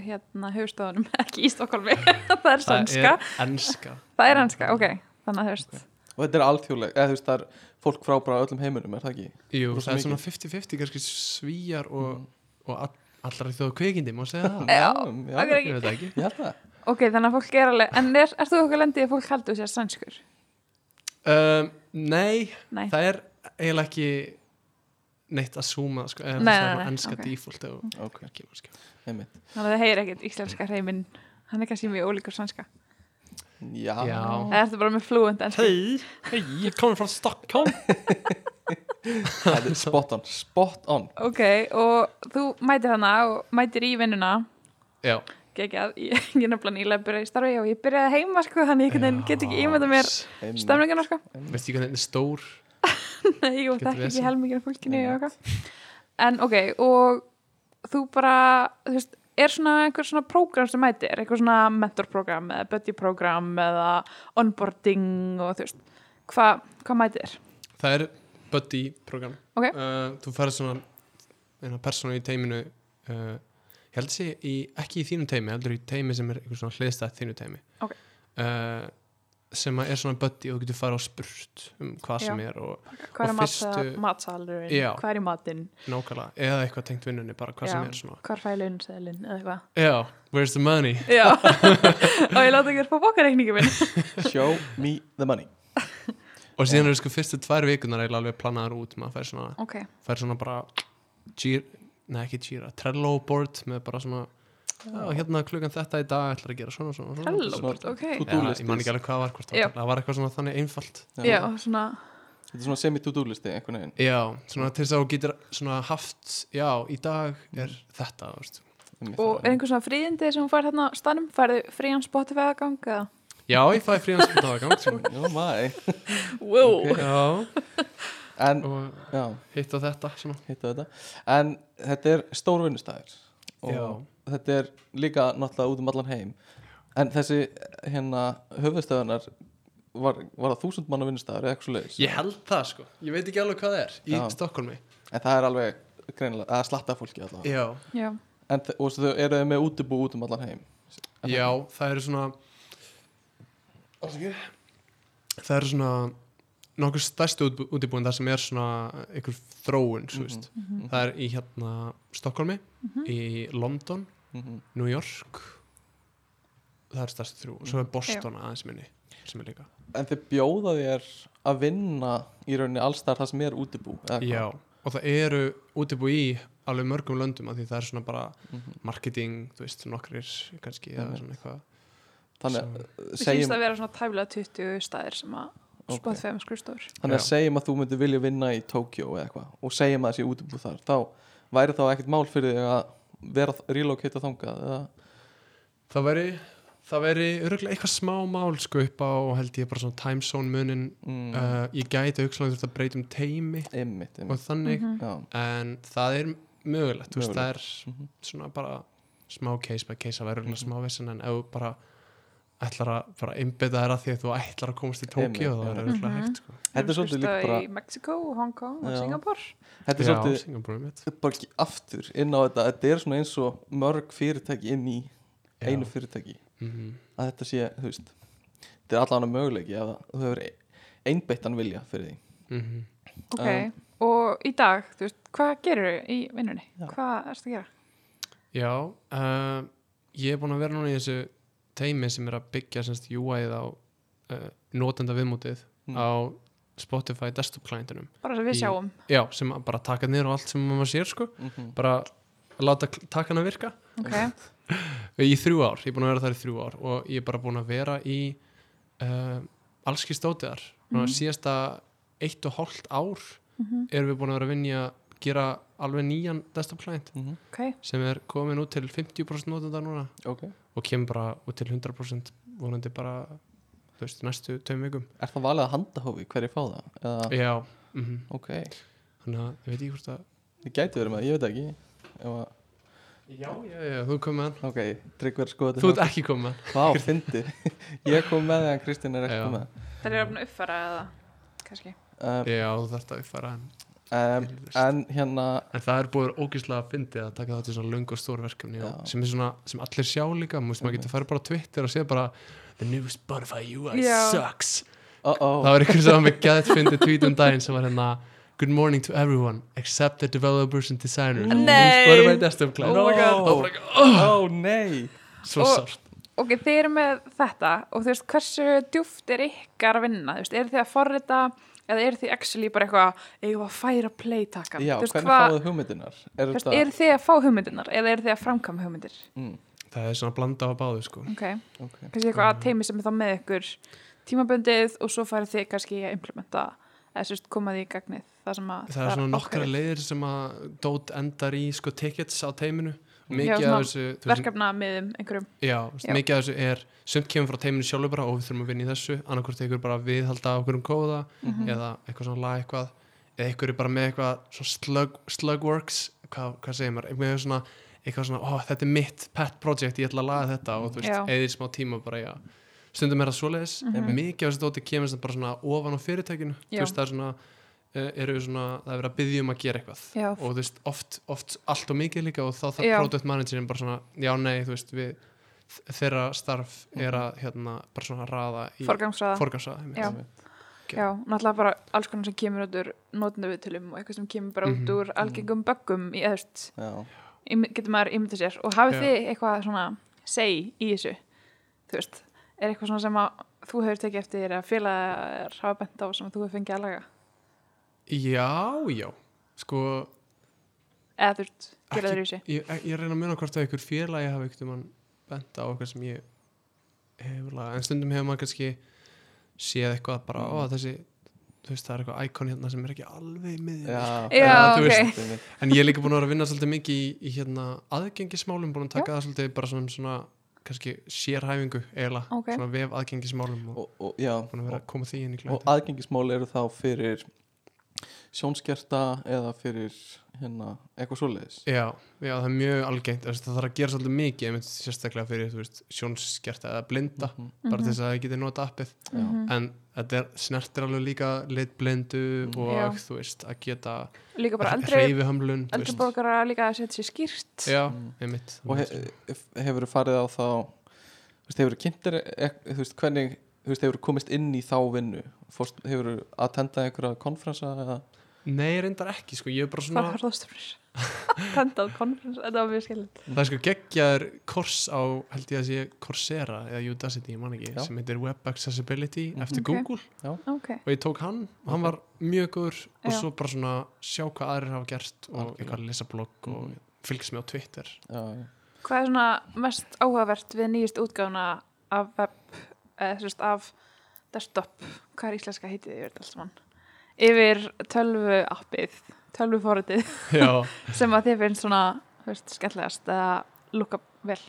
Speaker 4: hérna höfustofunum, ekki í Stokkólmi það er sænska,
Speaker 3: er enska
Speaker 4: það er hanska, ok þannig að þú veist,
Speaker 2: og þetta er alþjóðleg, eða þú veist, það er fólk frá bara öllum heiminum, er það ekki?
Speaker 3: Jú,
Speaker 2: Rosa
Speaker 3: það er
Speaker 2: mikið.
Speaker 3: svona 50-50 kannski svíjar og, og all, allra í þjóðu kveikindi, má segja það
Speaker 4: Já,
Speaker 2: Mm, já,
Speaker 4: ok.
Speaker 3: ég veit það ekki
Speaker 2: Ég held það
Speaker 4: ok, þannig að fólk er alveg en er, er þú okkur lendið að fólk haldur sér sænskur?
Speaker 3: um, Nei,
Speaker 4: Nei,
Speaker 3: það er eiginlega ekki neitt að súma sko, eða
Speaker 4: Nei,
Speaker 3: það
Speaker 4: nei,
Speaker 3: er
Speaker 4: nei,
Speaker 3: enska
Speaker 4: ok.
Speaker 3: default og,
Speaker 2: Ok,
Speaker 3: ekki, mannskja.
Speaker 2: einmitt
Speaker 4: þannig að það heyrir ekkert íslenska hreiminn hann er kannski mjög ólíkur sænska
Speaker 2: Já,
Speaker 3: Já,
Speaker 4: það ertu bara með flúend ensku
Speaker 3: Hei, hei, ég komið frá Stockholm
Speaker 2: þetta er spot on, spot on
Speaker 4: ok, og þú mætir hana og mætir í vinnuna
Speaker 3: Já,
Speaker 4: geggjað, ég ég er nefnilega nýlega að byrja í starfi og ég byrjaði heima sko, þannig að ég get ekki ímynda mér
Speaker 2: Einmitt.
Speaker 4: stemninguna sko
Speaker 3: Veist ég hvernig þetta er stór
Speaker 4: Nei, ég
Speaker 3: Getur
Speaker 4: þekki ekki
Speaker 3: verið.
Speaker 4: helmingin af fólkinu
Speaker 2: Nei,
Speaker 4: og eitthvað. En ok, og þú bara, þú veist, er svona einhver svona prógram sem mætir, eitthvað svona mentorprogram eða buddyprogram eða onboarding og þú veist, hvað hva mætir?
Speaker 3: Það er buddy program
Speaker 4: Ok.
Speaker 3: uh, Þú færð svona eina persónu í teiminu uh, ég held sé í, ekki í þínu teimi heldur í teimi sem er einhver svona hliðstætt þínu teimi
Speaker 4: Ok.
Speaker 3: uh, sem að er svona buddy og þú getur farið á spurt um hvað sem er og
Speaker 4: Hvað er
Speaker 3: Og
Speaker 4: matsa,
Speaker 3: fyrstu-
Speaker 4: matsalurinn?
Speaker 3: Já.
Speaker 4: Hvað er í matinn?
Speaker 3: nákvæmlega eða eitthvað tengt vinnunni bara hvað sem
Speaker 4: Já.
Speaker 3: er svona
Speaker 4: Hvað er fælun, seðlinn eða eitthvað?
Speaker 3: Já, where's the money?
Speaker 4: Já, og ég láta ekki að fá bókareikningi minn.
Speaker 2: Show me the money
Speaker 3: Og síðan eru sko fyrstu tvær vikunar eiginlega alveg planaðar út maður fær svona
Speaker 4: ok,
Speaker 3: fær svona bara gír, nei ekki gíra, Trello board með bara svona já, hérna klukkan þetta í dag ætlar að gera svona svona, svona
Speaker 4: trellóbort, ok.
Speaker 2: To do
Speaker 3: Já,
Speaker 2: list
Speaker 3: ég man ekki alveg hvað það var hvort það
Speaker 4: Já.
Speaker 3: var- það var eitthvað svona þannig einfalt
Speaker 4: Já, svona,
Speaker 2: Þetta er svona semi-to-do listi einhvern veginn
Speaker 3: já, svona til þess að þú getur svona haft já, í dag er þetta þú veist.
Speaker 2: Einmitt
Speaker 4: og
Speaker 2: það.
Speaker 4: er einhver svona fríðindi sem hún fær hérna á stanum? Færðu frían Spotify-aðgang eða?
Speaker 3: já, ég fæði fríðan spiltaðagang
Speaker 2: Jó, mæ
Speaker 4: Wow!
Speaker 2: Ok.
Speaker 3: já,
Speaker 2: En,
Speaker 3: og
Speaker 2: já,
Speaker 3: hitt og þetta svona
Speaker 2: hittu þetta En þetta er stór vinnustæður Og
Speaker 3: Já.
Speaker 2: þetta er líka náttúrulega út um allan heim En þessi, hérna, höfuðstæðunar Var, var það þúsund manna vinnustæður eða eitthvað svo leiðis
Speaker 3: ég held það sko, ég veit ekki alveg hvað það er í
Speaker 2: Já.
Speaker 3: Stokkólmi
Speaker 2: En það er alveg greinilega, eða slatta fólki allavega
Speaker 3: já,
Speaker 4: Já,
Speaker 2: En þ- og svo þau eru þau með útibú út um allan heim
Speaker 3: já, það eru svona það eru svona nokkur stærstu útbú- útibúin þar sem er svona einhver þróun, svo
Speaker 2: Mhm,
Speaker 3: veist
Speaker 4: Mhm.
Speaker 3: það er í hérna Stokkólmi í London
Speaker 2: Mhm.
Speaker 3: New York það er stærst þrjú svo er Boston aðeins minni sem er líka
Speaker 2: En þið bjóða þér að vinna í rauninni allstar það sem er útibú eða hvað?
Speaker 3: Já, og það eru útibú í alveg mörgum löndum af því það er svona bara
Speaker 2: Mhm.
Speaker 3: marketing, þú veist, nokkrir kannski, eða
Speaker 2: Einmitt.
Speaker 3: svona eitthvað
Speaker 2: Mhm. Þannig,
Speaker 3: sem-
Speaker 2: að
Speaker 4: Mér finnst
Speaker 2: segjum,
Speaker 4: það að vera svona tæflega 20 staðir sem að
Speaker 2: Ok.
Speaker 4: Spotify með skurstofur.
Speaker 2: þannig að
Speaker 3: Já.
Speaker 2: segjum að þú myndir vilja vinna í Tokjó eða eitthvað og segjum að þessi útibú þar þá væri þá ekkert mál fyrir þig að vera relocata þangað eða,
Speaker 3: Það veri, það veri örgulega eitthvað smá mál sko upp á held ég bara svona time zone munin
Speaker 2: mm,
Speaker 3: uh, ég gæti aukslega þurft að breyta um teimi
Speaker 2: einmitt,
Speaker 3: og
Speaker 2: einmitt.
Speaker 3: þannig,
Speaker 4: Mhm.
Speaker 2: Já,
Speaker 3: en það er mögulegt, þú veist, það er
Speaker 2: mhm.
Speaker 3: svona bara smá case by case að vera mm. smá vissin en ef þú bara ætlar að bara einbytta þér að því að þú ætlar að komast í Tókíu
Speaker 2: Einmitt,
Speaker 3: þá er
Speaker 2: einmitt.
Speaker 3: auðvitað
Speaker 4: Mhm.
Speaker 3: hægt sko.
Speaker 2: Þetta er svolítið líka bara-
Speaker 4: Í Mexiko, Hong Kong og
Speaker 2: Já.
Speaker 4: Singapore.
Speaker 2: þetta er
Speaker 3: Já,
Speaker 2: svolítið
Speaker 3: Singapore mitt
Speaker 2: bara ekki aftur inn á þetta þetta er svona eins og mörg fyrirtæki inn í einu fyrirtæki
Speaker 3: mm
Speaker 2: að þetta sé, þú veist þetta er allan að möguleiki að þú hefur einbeittan vilja fyrir því
Speaker 3: -hmm.
Speaker 4: Ok, Um, og í dag, þú veist, hvað gerir í vinnunni?
Speaker 2: Já.
Speaker 4: Hvað erstu að gera?
Speaker 3: Já uh, Ég er búin að vera núna í þessu teimi sem er að byggja semst UI-ið á uh, notenda viðmótið
Speaker 2: Mm.
Speaker 3: á Spotify desktop clientinum
Speaker 4: Bara sem við
Speaker 3: Í-
Speaker 4: sjáum.
Speaker 3: Já, sem að bara taka niður og allt sem maður sér sko
Speaker 2: mm -hmm.
Speaker 3: bara láta kl- takan að virka
Speaker 4: Ok,
Speaker 3: í þrjú ár, ég er búin að vera þar í þrjú ár og ég er bara búin að vera í uh, allski stótiðar mm. síðasta eitt og hálft ár erum við búin að vera að vinja gera alveg nýjan desktop client
Speaker 2: Mhm.
Speaker 4: ok,
Speaker 3: sem er komin út til 50% notenda núna
Speaker 2: ok,
Speaker 3: og kemur bara út til 100% vonandi bara þú veist, næstu tveim vikum
Speaker 2: er það valið að handahófi hverju fá það? Eða,
Speaker 3: já, mm -hmm.
Speaker 2: ok,
Speaker 3: þannig að ég veit ekki hvort að
Speaker 2: þið gæti verið með það, ég veit ekki Ef að,
Speaker 3: já, já, já, þú kom með hann
Speaker 2: ok, trygg verið skoða
Speaker 3: þú ert ekki kom með hann
Speaker 2: Vá, fyndi Ég kom með það en Kristín er ekki
Speaker 3: Já.
Speaker 2: kom með
Speaker 4: það er að uppfara eða kannski.
Speaker 2: um,
Speaker 3: já, þú þarft að uppfæra hann
Speaker 2: um, En hérna
Speaker 3: en það er búið ógislega að fyndi að taka það til svona löng og stór verkefni
Speaker 2: Já.
Speaker 3: og sem er svona, sem allir sjá líka múst, maður getur að fara bara á Twitter og sé bara the new Spotify UI
Speaker 4: Já.
Speaker 3: sucks
Speaker 2: oh, oh,
Speaker 3: það var ykkur sem var með gæðt fyndi tweet um daginn sem var hérna Good morning to everyone, except the developers and designers. The new
Speaker 4: Nei.
Speaker 3: Spotify desktop client.
Speaker 2: Oh my God.
Speaker 3: Og það var ekki-
Speaker 2: oh, nei
Speaker 3: Svo
Speaker 4: Og-
Speaker 3: sárt.
Speaker 4: Ok, þið eru með þetta og þú veist, hversu djúft er ykkar að vinna? Þú veist, eru þið að forrita eða eru þið actually bara eitthvað, eigum við að færa playtakan?
Speaker 2: Já,
Speaker 4: þú veist,
Speaker 2: hvernig
Speaker 4: hvað-
Speaker 2: fáðu hugmyndinar? Er
Speaker 4: Þú veist,
Speaker 2: þetta
Speaker 4: eru þið að fá hugmyndirnar eða eru þið að framkama hugmyndir?
Speaker 2: mm,
Speaker 3: Það er svona blanda á báðu sko
Speaker 4: Ok,
Speaker 2: okay.
Speaker 4: kannski eitthvað að teimi sem er þá með ykkur tímaböndið og svo farið þið kannski að implementa eða sérst koma því í gagnið það sem að
Speaker 3: Það er svona nokkra
Speaker 4: okkar
Speaker 3: leiðir sem að Dót endar í sko tickets á teiminu
Speaker 4: Já,
Speaker 3: Mikið
Speaker 4: svona
Speaker 3: af þessu þú veist,
Speaker 4: verkefna með um einhverjum
Speaker 3: já, þú veist,
Speaker 4: Já.
Speaker 3: Mikið af þessu er Sumt kemur frá teiminu sjálfur bara og við þurfum að vinna í þessu Annarkvort ykkur bara viðhalda á okkur um kóða
Speaker 4: Mhm.
Speaker 3: Eða eitthvað svona lag eitthvað Eða ykkur er bara með eitthvað svona slug, Slugworks, hvað, hvað segir maður Eitthvað svona, eitthvað svona ó, Þetta er mitt pet project, ég ætla að laga þetta Og þú
Speaker 4: Já. Mhm.
Speaker 3: veist, eða smá tíma bara já Stundum er það svoleiðis, mikið af þessu dóti kemur sem bara svona ofan á fyrirtækinu Þú
Speaker 4: Já.
Speaker 3: veist, það er svona eh, eru svona, það er verið að byggja um að gera eitthvað
Speaker 4: Já.
Speaker 3: og þú veist, oft, oft allt og mikið líka og þá þarf
Speaker 4: Já.
Speaker 3: product managerin bara svona, já nei, þú veist við, þeirra starf er að hérna, bara svona raða í
Speaker 4: Mhm. forgangsraða
Speaker 3: forgangsraða
Speaker 4: Já.
Speaker 3: einmitt.
Speaker 4: Já, náttúrulega bara alls konar sem kemur út úr notendaviðtölum og eitthvað sem kemur bara út
Speaker 3: Mhm.
Speaker 4: úr algengum böggum í eðust
Speaker 2: Já,
Speaker 4: getur maður ímynda sér og hafið
Speaker 3: Já.
Speaker 4: þið eitthvað svona segi í þessu þú veist, er eitthvað svona sem að þú hefur tekið eftir að félagar hafa bent á sem að þú hefur fengið að laga
Speaker 3: já, já sko,
Speaker 4: eða þú veist,
Speaker 3: Ekki-
Speaker 4: gera þér í þessu
Speaker 3: ég, ég reyna að muna hvort að ykkur félagi hafi ykkur mann bent á okkar sem ég hefur lagað, en stundum hefur maður kannski séð eitthvað bara, ó
Speaker 4: Mhm.
Speaker 3: þessi þú veist, það er eitthvað íkon hérna sem er ekki alveg miðið
Speaker 2: já,
Speaker 4: Já,
Speaker 2: já,
Speaker 4: ok.
Speaker 2: einmitt.
Speaker 3: En ég er líka búin að vera að vinna svolítið mikið í, í hérna aðgengismálum, búin að taka það svolítið bara svona, svona kannski sérhæfingu eiginlega,
Speaker 4: Ok.
Speaker 3: svona vef aðgengismálum og
Speaker 2: og, og, já,
Speaker 3: búin að vera að koma því inn í
Speaker 2: og
Speaker 3: glæðin.
Speaker 2: aðgengismál eru þá fyrir sjónskerta eða fyrir hérna, eitthvað svoleiðis
Speaker 3: Já, já, það er mjög algengt, þú veist, það þarf að gera svolítið mikið, einmitt sérstaklega fyrir, þú veist, sjónskerta eða blinda,
Speaker 4: Mhm.
Speaker 3: bara til þess að það getið nota appið,
Speaker 2: Mhm, Já.
Speaker 3: en þetta er, snertir alveg líka litblindu
Speaker 2: Mhm.
Speaker 3: og,
Speaker 4: Já.
Speaker 3: þú veist, að geta
Speaker 4: líka bara eldri,
Speaker 3: hreyfihömlun, þú
Speaker 4: eldri
Speaker 3: veist.
Speaker 4: borgara líka að setja sér skýrt
Speaker 3: Já,
Speaker 2: Mm.
Speaker 3: einmitt.
Speaker 2: og he, hefur farið á þá þú veist, hefur kynntir e- þú veist, hvernig, þú veist, hefur komist inn í þá vinnu Fórst, hefur að tenda einhverja konferensa eða
Speaker 3: Nei, reyndar ekki, sko, ég er bara
Speaker 4: hvað
Speaker 3: svona...
Speaker 4: var það stofnir Tendal conference, þetta var mjög skilint
Speaker 3: það er sko geggjaður kors á held ég að sé Coursera eða Udacity, ég man ekki,
Speaker 2: Já.
Speaker 3: sem heitir Web Accessibility
Speaker 2: Mhm.
Speaker 3: eftir
Speaker 4: Ok.
Speaker 3: Google
Speaker 4: Ok,
Speaker 3: og ég tók hann og hann var mjög góður og
Speaker 4: Já.
Speaker 3: svo bara svona sjá hvað aðrir hafa gert og
Speaker 2: Algjörlega.
Speaker 3: eitthvað að lesa blogg og
Speaker 2: Mhm.
Speaker 3: fylgst með á Twitter
Speaker 2: já,
Speaker 4: hvað er svona mest áhugavert við nýjist útgáfuna af web, eða þú veist, af desktop, hvað er íslenska heitið yfir þetta allt saman? Yfir tölvu appið, tölvu fóritið
Speaker 3: Já,
Speaker 4: sem að þið finnst svona, þú veist, skemmtilegast eða lukka vel.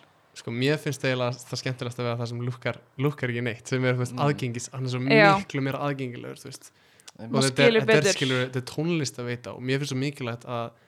Speaker 3: sko mér finnst eiginlega það skemmtilegast að vera það sem lukkar, lukkar ekki neitt sem er þú veist,
Speaker 2: Mm.
Speaker 3: aðgengis, hann er svo
Speaker 4: Já.
Speaker 3: miklu meira aðgengilegur þú veist
Speaker 2: einmitt.
Speaker 3: og
Speaker 4: Maður
Speaker 3: þetta er,
Speaker 4: skilur
Speaker 3: þetta er
Speaker 4: betur.
Speaker 3: skilur, þetta er tónlist að veita og mér finnst svo mikilvægt að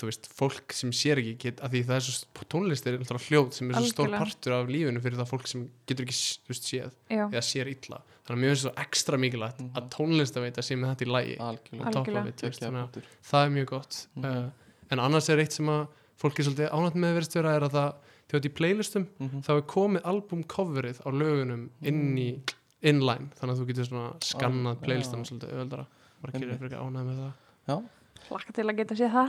Speaker 3: þú veist, fólk sem sér ekki get, að því það er svo, st- tónlist er náttúrulega hljóð sem er svo stór
Speaker 4: Algjörlega.
Speaker 3: partur af lífinu fyrir það fólk sem getur ekki s- þú veist, séð
Speaker 4: Já,
Speaker 3: eða sér illa, þannig að mér finnst svo ekstra mikilvægt
Speaker 2: Mhm.
Speaker 3: að tónlist að veita sé með þetta í lægi
Speaker 2: algjörlega
Speaker 4: Al-
Speaker 3: toppa
Speaker 4: Algjörlega.
Speaker 3: við, þú veist,
Speaker 2: Geggjaður
Speaker 3: þannig að
Speaker 2: punktur.
Speaker 3: það er mjög gott
Speaker 2: Mhm.
Speaker 3: uh, en annars er eitt sem að fólk er svolítið ánætt með verðist vera er að það, þegar þetta í playlistum
Speaker 2: Mhm.
Speaker 3: þá er komið albumcoverið á lögunum inn í inline þannig að þú getur svona skannað
Speaker 2: Á,
Speaker 3: playlistanum
Speaker 2: Mm. já.
Speaker 3: svolítið öðvöldara margir
Speaker 2: Einmitt.
Speaker 3: er fyrir ánægð með það
Speaker 4: hlakka til að geta séð það.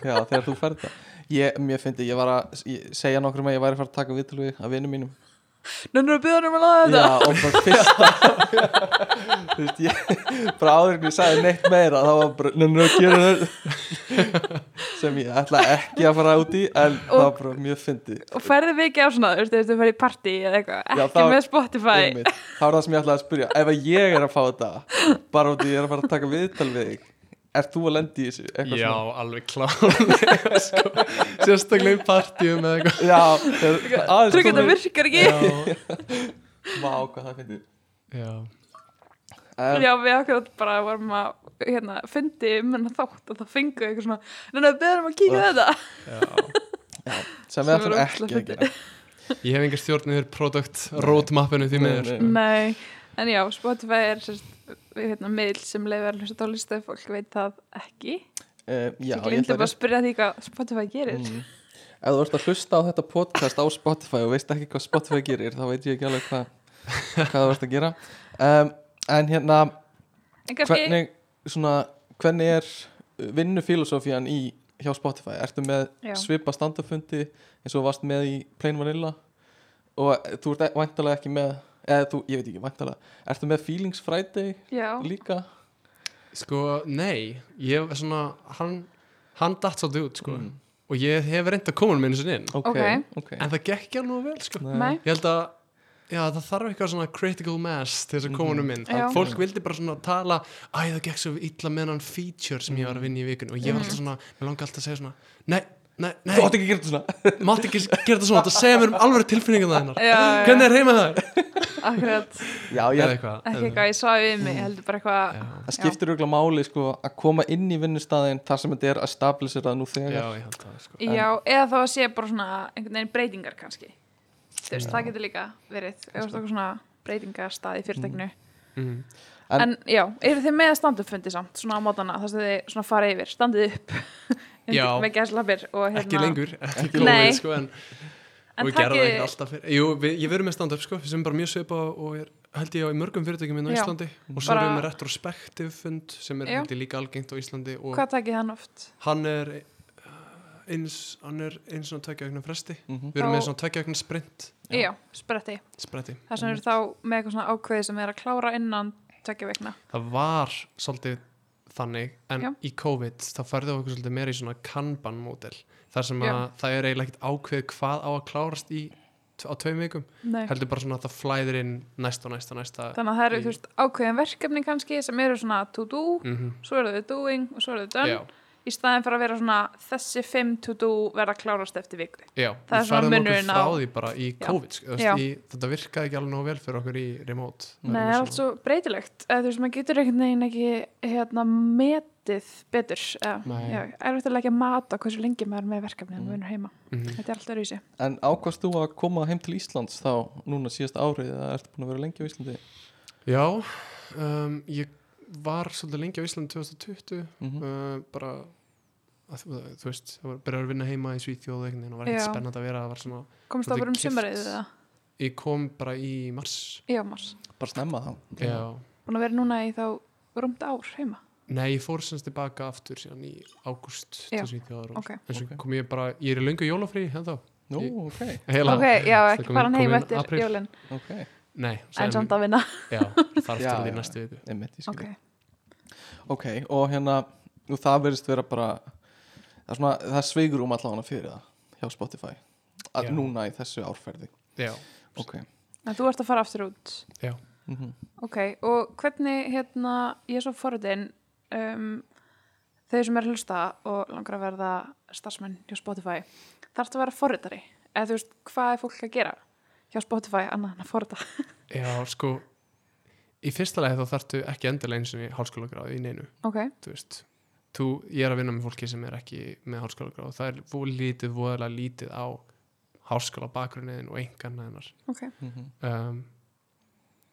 Speaker 2: Já, þegar þú ferð það ég, Mér fyndi, ég var að ég, segja nokkrum að ég væri að fara að taka viðtölu við að vinum mínum
Speaker 4: Nennir að byggja um að laga þetta?
Speaker 2: Já, og bara fyrsta Þú veist, ég bara áður en ég sagði neitt meira þá var bara, nefnir að gera þetta sem ég ætla ekki að fara út í en það var bara mjög fyndi
Speaker 4: Og ferði mikið á svona, þú veist, þú ferði í partí eða eitthvað,
Speaker 2: Já,
Speaker 4: ekki
Speaker 2: það-
Speaker 4: með Spotify.
Speaker 2: Einmitt. Það var það sem ég ætlaði að spyrja Ef að ég er að fá þetta bara út í ég er að fara að taka viðtal við þig Er þú að lendi í þessu? Eitthvað
Speaker 3: Já,
Speaker 2: svona.
Speaker 3: alveg klárlega sko. sérstaklega í partíum eða eitthvað
Speaker 2: Já, þegar aðeins
Speaker 4: Trygg þetta
Speaker 2: komið-
Speaker 4: virkar ekki.
Speaker 3: já,
Speaker 2: Vá, hvað það fyndi
Speaker 3: já,
Speaker 2: En,
Speaker 4: Já, við akkurat bara vorum að hérna, fyndi um hennar þátt og það fengu eitthvað svona, neina, við erum að kíkja
Speaker 2: Ugh.
Speaker 4: þetta.
Speaker 3: já.
Speaker 2: sem
Speaker 4: sem
Speaker 2: við
Speaker 4: er
Speaker 2: ætlum
Speaker 4: ógeðslega
Speaker 2: ekki að
Speaker 4: fyndið.
Speaker 2: gera
Speaker 3: ég hef engar stjórn yfir product roadmapinu því
Speaker 2: Nei,
Speaker 3: miður
Speaker 2: nei.
Speaker 4: Nei, en já, Spotify er sérst, hérna, miðl sem leifir að hlusta á listu, fólk veit það ekki.
Speaker 2: Eh, Já,
Speaker 4: ég glindi
Speaker 2: ætla
Speaker 4: bara að spyrja því hvað Spotify gerir.
Speaker 2: Mm. Ef þú ert að hlusta á þetta podcast á Spotify og veist ekki hvað Spotify gerir þá veit ég ekki alveg hvað, hvað þú ert að gera um, En hérna,
Speaker 4: En kannski,
Speaker 2: hvernig, svona, hvernig er vinnufilosófían í hjá Spotify? Ertu með
Speaker 4: Já.
Speaker 2: svipa standafundi eins og varst með í Plain Vanilla og eh, þú ert væntalega ekki með eða þú, ég veit ekki, væntalega Ertu með Feelings Friday
Speaker 4: já,
Speaker 2: líka?
Speaker 3: sko, nei ég er svona, hann hann datt svolítið út, sko
Speaker 2: Mm.
Speaker 3: og ég hef reynd að koma hann minn sinni inn
Speaker 2: Ok,
Speaker 4: Ok.
Speaker 2: ok
Speaker 3: en það gekk ekki alveg vel, sko
Speaker 2: Mm.
Speaker 4: nei,
Speaker 3: ég held að Já, það þarf eitthvað svona critical mass til þess að koma honum inn.
Speaker 4: Mhm. Já.
Speaker 3: Fólk vildi bara svona tala, æ, það gekk svo illa með hann feature sem ég var að vinna í vikun og ég
Speaker 4: Mhm.
Speaker 3: var alltaf svona, mér langi alltaf að segja svona, nei, nei, nei,
Speaker 2: Þú átt ekki að gera þetta svona
Speaker 3: mátt ekki gera þetta svona, það segja mér um alveg tilfinningan það hennar.
Speaker 4: já, já,
Speaker 3: Hvernig er heima það?
Speaker 4: akkurat,
Speaker 2: Já, ég
Speaker 3: Eða eitthvað.
Speaker 4: ekki eitthvað ég svaði við mig, heldur bara eitthvað,
Speaker 3: Já,
Speaker 2: Það skiptir auðvitað máli sko að koma inn í vinnustæðin þar sem þetta er að stabilisera nú
Speaker 3: já,
Speaker 2: þegar
Speaker 3: ég held það, sko.
Speaker 4: já, eða þá að sé bara svona einhvern veginn breytingar kannski. Þú veist, það getur líka verið, eða eitthvað svona breytingastað í fyrirtækinu.
Speaker 3: Mm.
Speaker 2: En-
Speaker 4: En, já, eru þið með standuppfundi samt, svona á mótana, þar sem þið svona fara yfir, standið upp undir-
Speaker 3: Já.
Speaker 4: með gæslappir og hérna
Speaker 3: Ekki lengur, ekki
Speaker 2: Ekki
Speaker 3: komið,
Speaker 4: lengur.
Speaker 3: sko, en,
Speaker 4: En
Speaker 3: og ég gerði það
Speaker 4: takið-
Speaker 3: ekki alltaf fyrir. Jú, við, ég verið með stand-up, sko, sem er bara mjög svipa og er, held ég á í mörgum fyrirtækjum minn á
Speaker 4: Já.
Speaker 3: Íslandi og svo
Speaker 4: Bara-
Speaker 3: erum við með retrospektiv fund sem er
Speaker 4: Já.
Speaker 3: held ég líka algengt á Íslandi og
Speaker 4: Hvað takið hann oft?
Speaker 3: hann er uh, eins, hann er eins og tvekja aukna fresti
Speaker 2: Mhm.
Speaker 3: við erum
Speaker 4: Þá-
Speaker 3: með svona tvekja aukna sprint
Speaker 2: Já.
Speaker 4: Já, spretti.
Speaker 3: spreti.
Speaker 4: Þar sem eru þá með eitthvað svona ákveði sem er að klára innan tökja veikna.
Speaker 3: það var svolítið þannig en
Speaker 4: Já.
Speaker 3: í COVID þá færðu okkur svolítið meira í svona kanban módel þar sem að
Speaker 4: Já.
Speaker 3: það er eiginlega ekkert ákveð hvað á að klárast í á tveim vikum,
Speaker 4: Nei.
Speaker 3: heldur bara svona að það flæðir inn næsta, næsta, næsta
Speaker 4: Þannig að það eru,
Speaker 3: í-
Speaker 4: þú veist, ákveðin verkefni kannski sem eru svona to do,
Speaker 3: Mhm.
Speaker 4: svo eru þau doing og svo eru þau done.
Speaker 3: Já,
Speaker 4: Í staðin fyrir að vera svona þessi fimm to do verða að klárast eftir viku.
Speaker 3: já,
Speaker 4: Það er
Speaker 3: við
Speaker 4: svona
Speaker 3: færðum okkur
Speaker 4: munurinn
Speaker 3: frá
Speaker 4: á-
Speaker 3: því bara í
Speaker 4: Já.
Speaker 3: COVID sko, þú
Speaker 4: Já.
Speaker 3: veist, í, þetta virkaði ekki alveg nóg vel fyrir okkur í remote
Speaker 4: Nei, það er allt svo breytilegt. Eða, þú veist, maður getur einhvern veginn ekki hérna, metið betur. Eða,
Speaker 3: Nei.
Speaker 4: já, er þetta ekki að mata hversu lengi maður er með verkefni en
Speaker 2: Mm.
Speaker 4: maður vinnur heima.
Speaker 3: Mhm.
Speaker 4: Þetta er alltaf rýsi.
Speaker 2: En ákvast þú að koma heim til Íslands þá núna síðast árið eða ertu búin að vera lengi á Íslandi?
Speaker 3: Já, um, ég var svolítið lengi á Íslandi 2020
Speaker 2: Mm
Speaker 4: Mhm.
Speaker 3: uh, bara að, þú þú veist, það var byrjar að vinna heima í Svíþjóð einhvern veginn og var ekkert
Speaker 4: Já.
Speaker 3: spennandi að vera það var svona,
Speaker 4: Komst
Speaker 3: Þetta
Speaker 4: það
Speaker 3: er
Speaker 4: bara um
Speaker 3: keypt.
Speaker 4: sumarið eða?
Speaker 3: ég kom bara í mars
Speaker 4: Já, mars.
Speaker 2: Bara snemma þá
Speaker 3: já,
Speaker 4: Búin að vera núna í þá rúmt ár heima.
Speaker 3: Nei, ég fór semst tilbaka aftur síðan í ágúst
Speaker 4: Já,
Speaker 3: 2019
Speaker 4: ok.
Speaker 3: En svo
Speaker 2: Ok.
Speaker 3: kom ég bara, ég er í löngu jólafrí ennþá
Speaker 2: Nú,
Speaker 3: Ég-
Speaker 2: ok,
Speaker 3: Heila,
Speaker 4: ok, já,
Speaker 3: Það
Speaker 4: ekki
Speaker 3: kom-
Speaker 4: fara hann
Speaker 3: kom
Speaker 4: heim
Speaker 3: inn
Speaker 4: eftir
Speaker 3: apríl.
Speaker 4: jólin
Speaker 2: ok
Speaker 3: Nei,
Speaker 4: en samt að vinna
Speaker 3: Já, þarf
Speaker 2: Já,
Speaker 3: til í
Speaker 2: já.
Speaker 3: næstu viku
Speaker 2: Einmitt, ég skil.
Speaker 4: ok,
Speaker 2: ok, og hérna og það verðist vera bara það er, svona, það er sveigurum allavega fyrir það hjá Spotify að
Speaker 3: Já.
Speaker 2: núna í þessu árferði
Speaker 3: Já,
Speaker 2: ok,
Speaker 4: en þú ert að fara aftur út
Speaker 3: já
Speaker 2: mm
Speaker 4: ok, og hvernig hérna ég er svo forðin um, þau sem er að hlusta og langar að verða starfsmenn hjá Spotify þarfst að vera forritari eða þú veist, hvað er fólk að gera hjá Spotify annað en að forrita
Speaker 3: Já, sko Í fyrsta lagi þá þarftu ekki endilega eins og í hálskólagráði í neinu
Speaker 4: ok,
Speaker 3: Þú veist Þú, ég er að vinna með fólki sem er ekki með hálskólagráð Það er vó lítið, voðalega lítið á hálskóla bakgrunniðin og engan hennar
Speaker 4: ok,
Speaker 2: Mhm.
Speaker 3: um,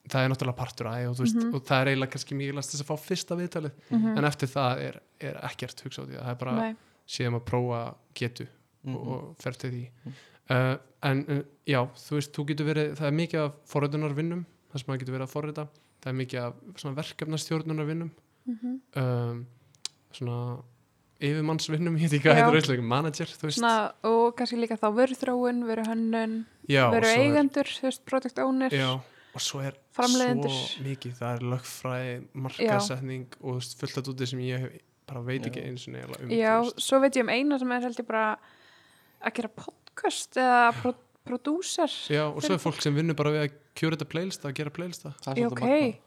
Speaker 3: það er náttúrulega partur aðeins og, þú veist,
Speaker 4: Mhm.
Speaker 3: og það er eiginlega kannski mjög last þess að fá fyrsta viðtalið
Speaker 4: mm
Speaker 3: en eftir það er, er ekkert hugsa á því það er bara
Speaker 4: nei,
Speaker 3: síðan að prófa getu og,
Speaker 2: -hmm.
Speaker 3: og fer til því
Speaker 2: Mhm.
Speaker 3: uh, en uh, já, þú veist, þú getur verið það er mikið af forröðunarvinnum það sem maður getur verið að forröða það er mikið af svona verkefnastjórnunarvinnum
Speaker 4: mm
Speaker 3: um, svona yfirmannsvinnum, ég veit ekki hvað
Speaker 4: Já.
Speaker 3: þetta er auðvitað manager, þú veist
Speaker 4: svona, og kannski líka þá veru þróun, veru hönnun
Speaker 3: já,
Speaker 4: veru
Speaker 3: og svo er-
Speaker 4: eigendur, þú veist, product owner
Speaker 3: Já, og svo er
Speaker 4: Framleiðendur.
Speaker 3: svo mikið, það er lögfræði, markasetning og þú veist, fullt að úti sem ég hef, bara veit ekki
Speaker 2: Já.
Speaker 3: eins og neila um.
Speaker 4: Já,
Speaker 3: þú veist.
Speaker 4: svo veit ég um eina sem er held ég bara að gera podcast eða pro prodúser
Speaker 3: Já, og svo er fólk sem vinnur bara við að kjöra þetta playlista, að gera playlista.
Speaker 2: það er
Speaker 4: Já,
Speaker 2: svolítið
Speaker 4: ok,
Speaker 2: magnað.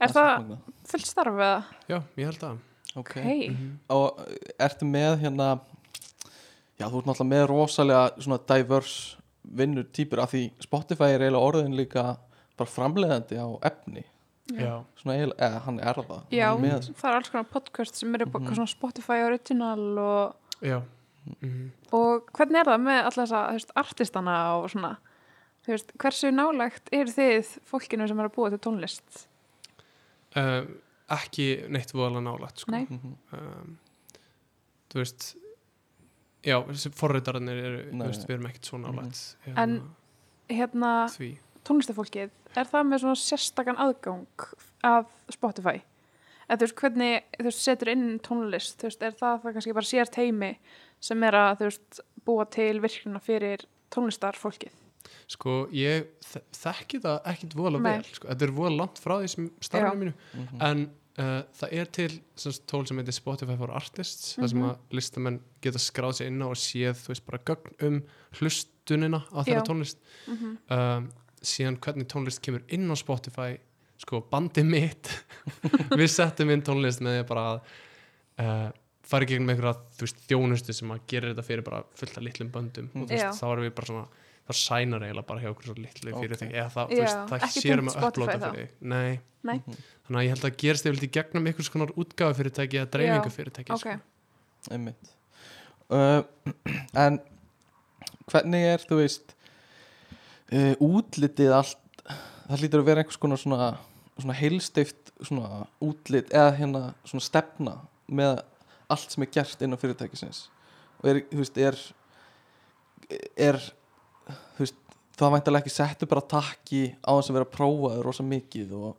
Speaker 4: er
Speaker 2: svolítið
Speaker 4: það
Speaker 2: magnað.
Speaker 4: fullt starf eða?
Speaker 3: Já, ég held að.
Speaker 2: ok, Mhm.
Speaker 4: Hei,
Speaker 2: og ertu með hérna já, þú ert náttúrulega með rosalega svona diverse vinnutýpur af því Spotify er eiginlega orðin líka bara framleiðandi á efni
Speaker 4: Já.
Speaker 3: Já,
Speaker 2: svona eiginlega, eða hann er það
Speaker 4: já,
Speaker 2: hann er með,
Speaker 4: það er alls konar podcast sem eru bara
Speaker 2: Mhm.
Speaker 4: svona Spotify original og,
Speaker 3: já. Mm.
Speaker 4: og hvernig er það með alla þessa, þú veist, artistana og svona, þú veist, hversu nálægt eru þið fólkinu sem er að búa til tónlist?
Speaker 3: Uh, ekki neitt voðalega nálægt, sko.
Speaker 4: Nei.
Speaker 2: Mhm.
Speaker 3: Um, þú veist, já, þessi forritarnir eru,
Speaker 2: Nei,
Speaker 3: þú veist,
Speaker 2: nei.
Speaker 3: við erum ekkert svo nálægt.
Speaker 4: En- Hérna,
Speaker 3: hérna, Því.
Speaker 4: tónlistafólkið, er það með svona sérstakann aðgang að Spotify? Eða þú veist, hvernig þú veist, setur inn tónlist, þú veist, er það það kannski bara sér teimi sem er að þú veist, búa til virknina fyrir tónlistarfólkið?
Speaker 3: Sko, ég þe- þekki það ekkert voðalega
Speaker 4: Nei.
Speaker 3: vel, sko. Þetta er voðalega langt frá því sem
Speaker 4: Já.
Speaker 3: starfinu mínu.
Speaker 2: mhm.
Speaker 3: en uh, það er til sem sagt, tól sem heitir Spotify for Artists þar sem
Speaker 4: Mhm.
Speaker 3: að listamenn geta skráð sér inn á og séð, þú veist, bara gögn um hlustunina á
Speaker 4: Já.
Speaker 3: þeirra tónlist
Speaker 4: Mm -hmm.
Speaker 3: um, síðan hvernig tónlist kemur inn á Spotify sko, bandið mitt við settum inn tónlist með því að bara að uh, fara í gegnum einhverja, þú veist, þjónustu sem að gera þetta fyrir bara fullt af litlum böndum
Speaker 4: Mhm.
Speaker 3: og þú
Speaker 4: Já.
Speaker 3: veist, þá erum við bara svona þá sænar eiginlega bara hjá okkur svo litlu fyrir
Speaker 2: Ok.
Speaker 3: þig eða það,
Speaker 4: Já,
Speaker 3: þú veist, það
Speaker 4: ekki
Speaker 3: sérum
Speaker 4: tengt
Speaker 3: að upplota
Speaker 4: Spotify þá.
Speaker 3: fyrir þig nei
Speaker 4: Nei,
Speaker 3: Þannig að ég held að gerist yfirleitt í gegnum einhvers konar útgáfufyrirtæki eða sko. dreifingafyrirtæki.
Speaker 4: ok.
Speaker 2: einmitt uh, en hvernig er þú veist uh, útlitið allt það lítur að vera einhvers konar svona, svona heilstift svona útlit eða hérna svona stefna með allt sem er gert innan fyrirtækisins og er, þú veist, er er þú veist, það væntalega ekki settu bara takki á þess að vera prófaður rosa mikið og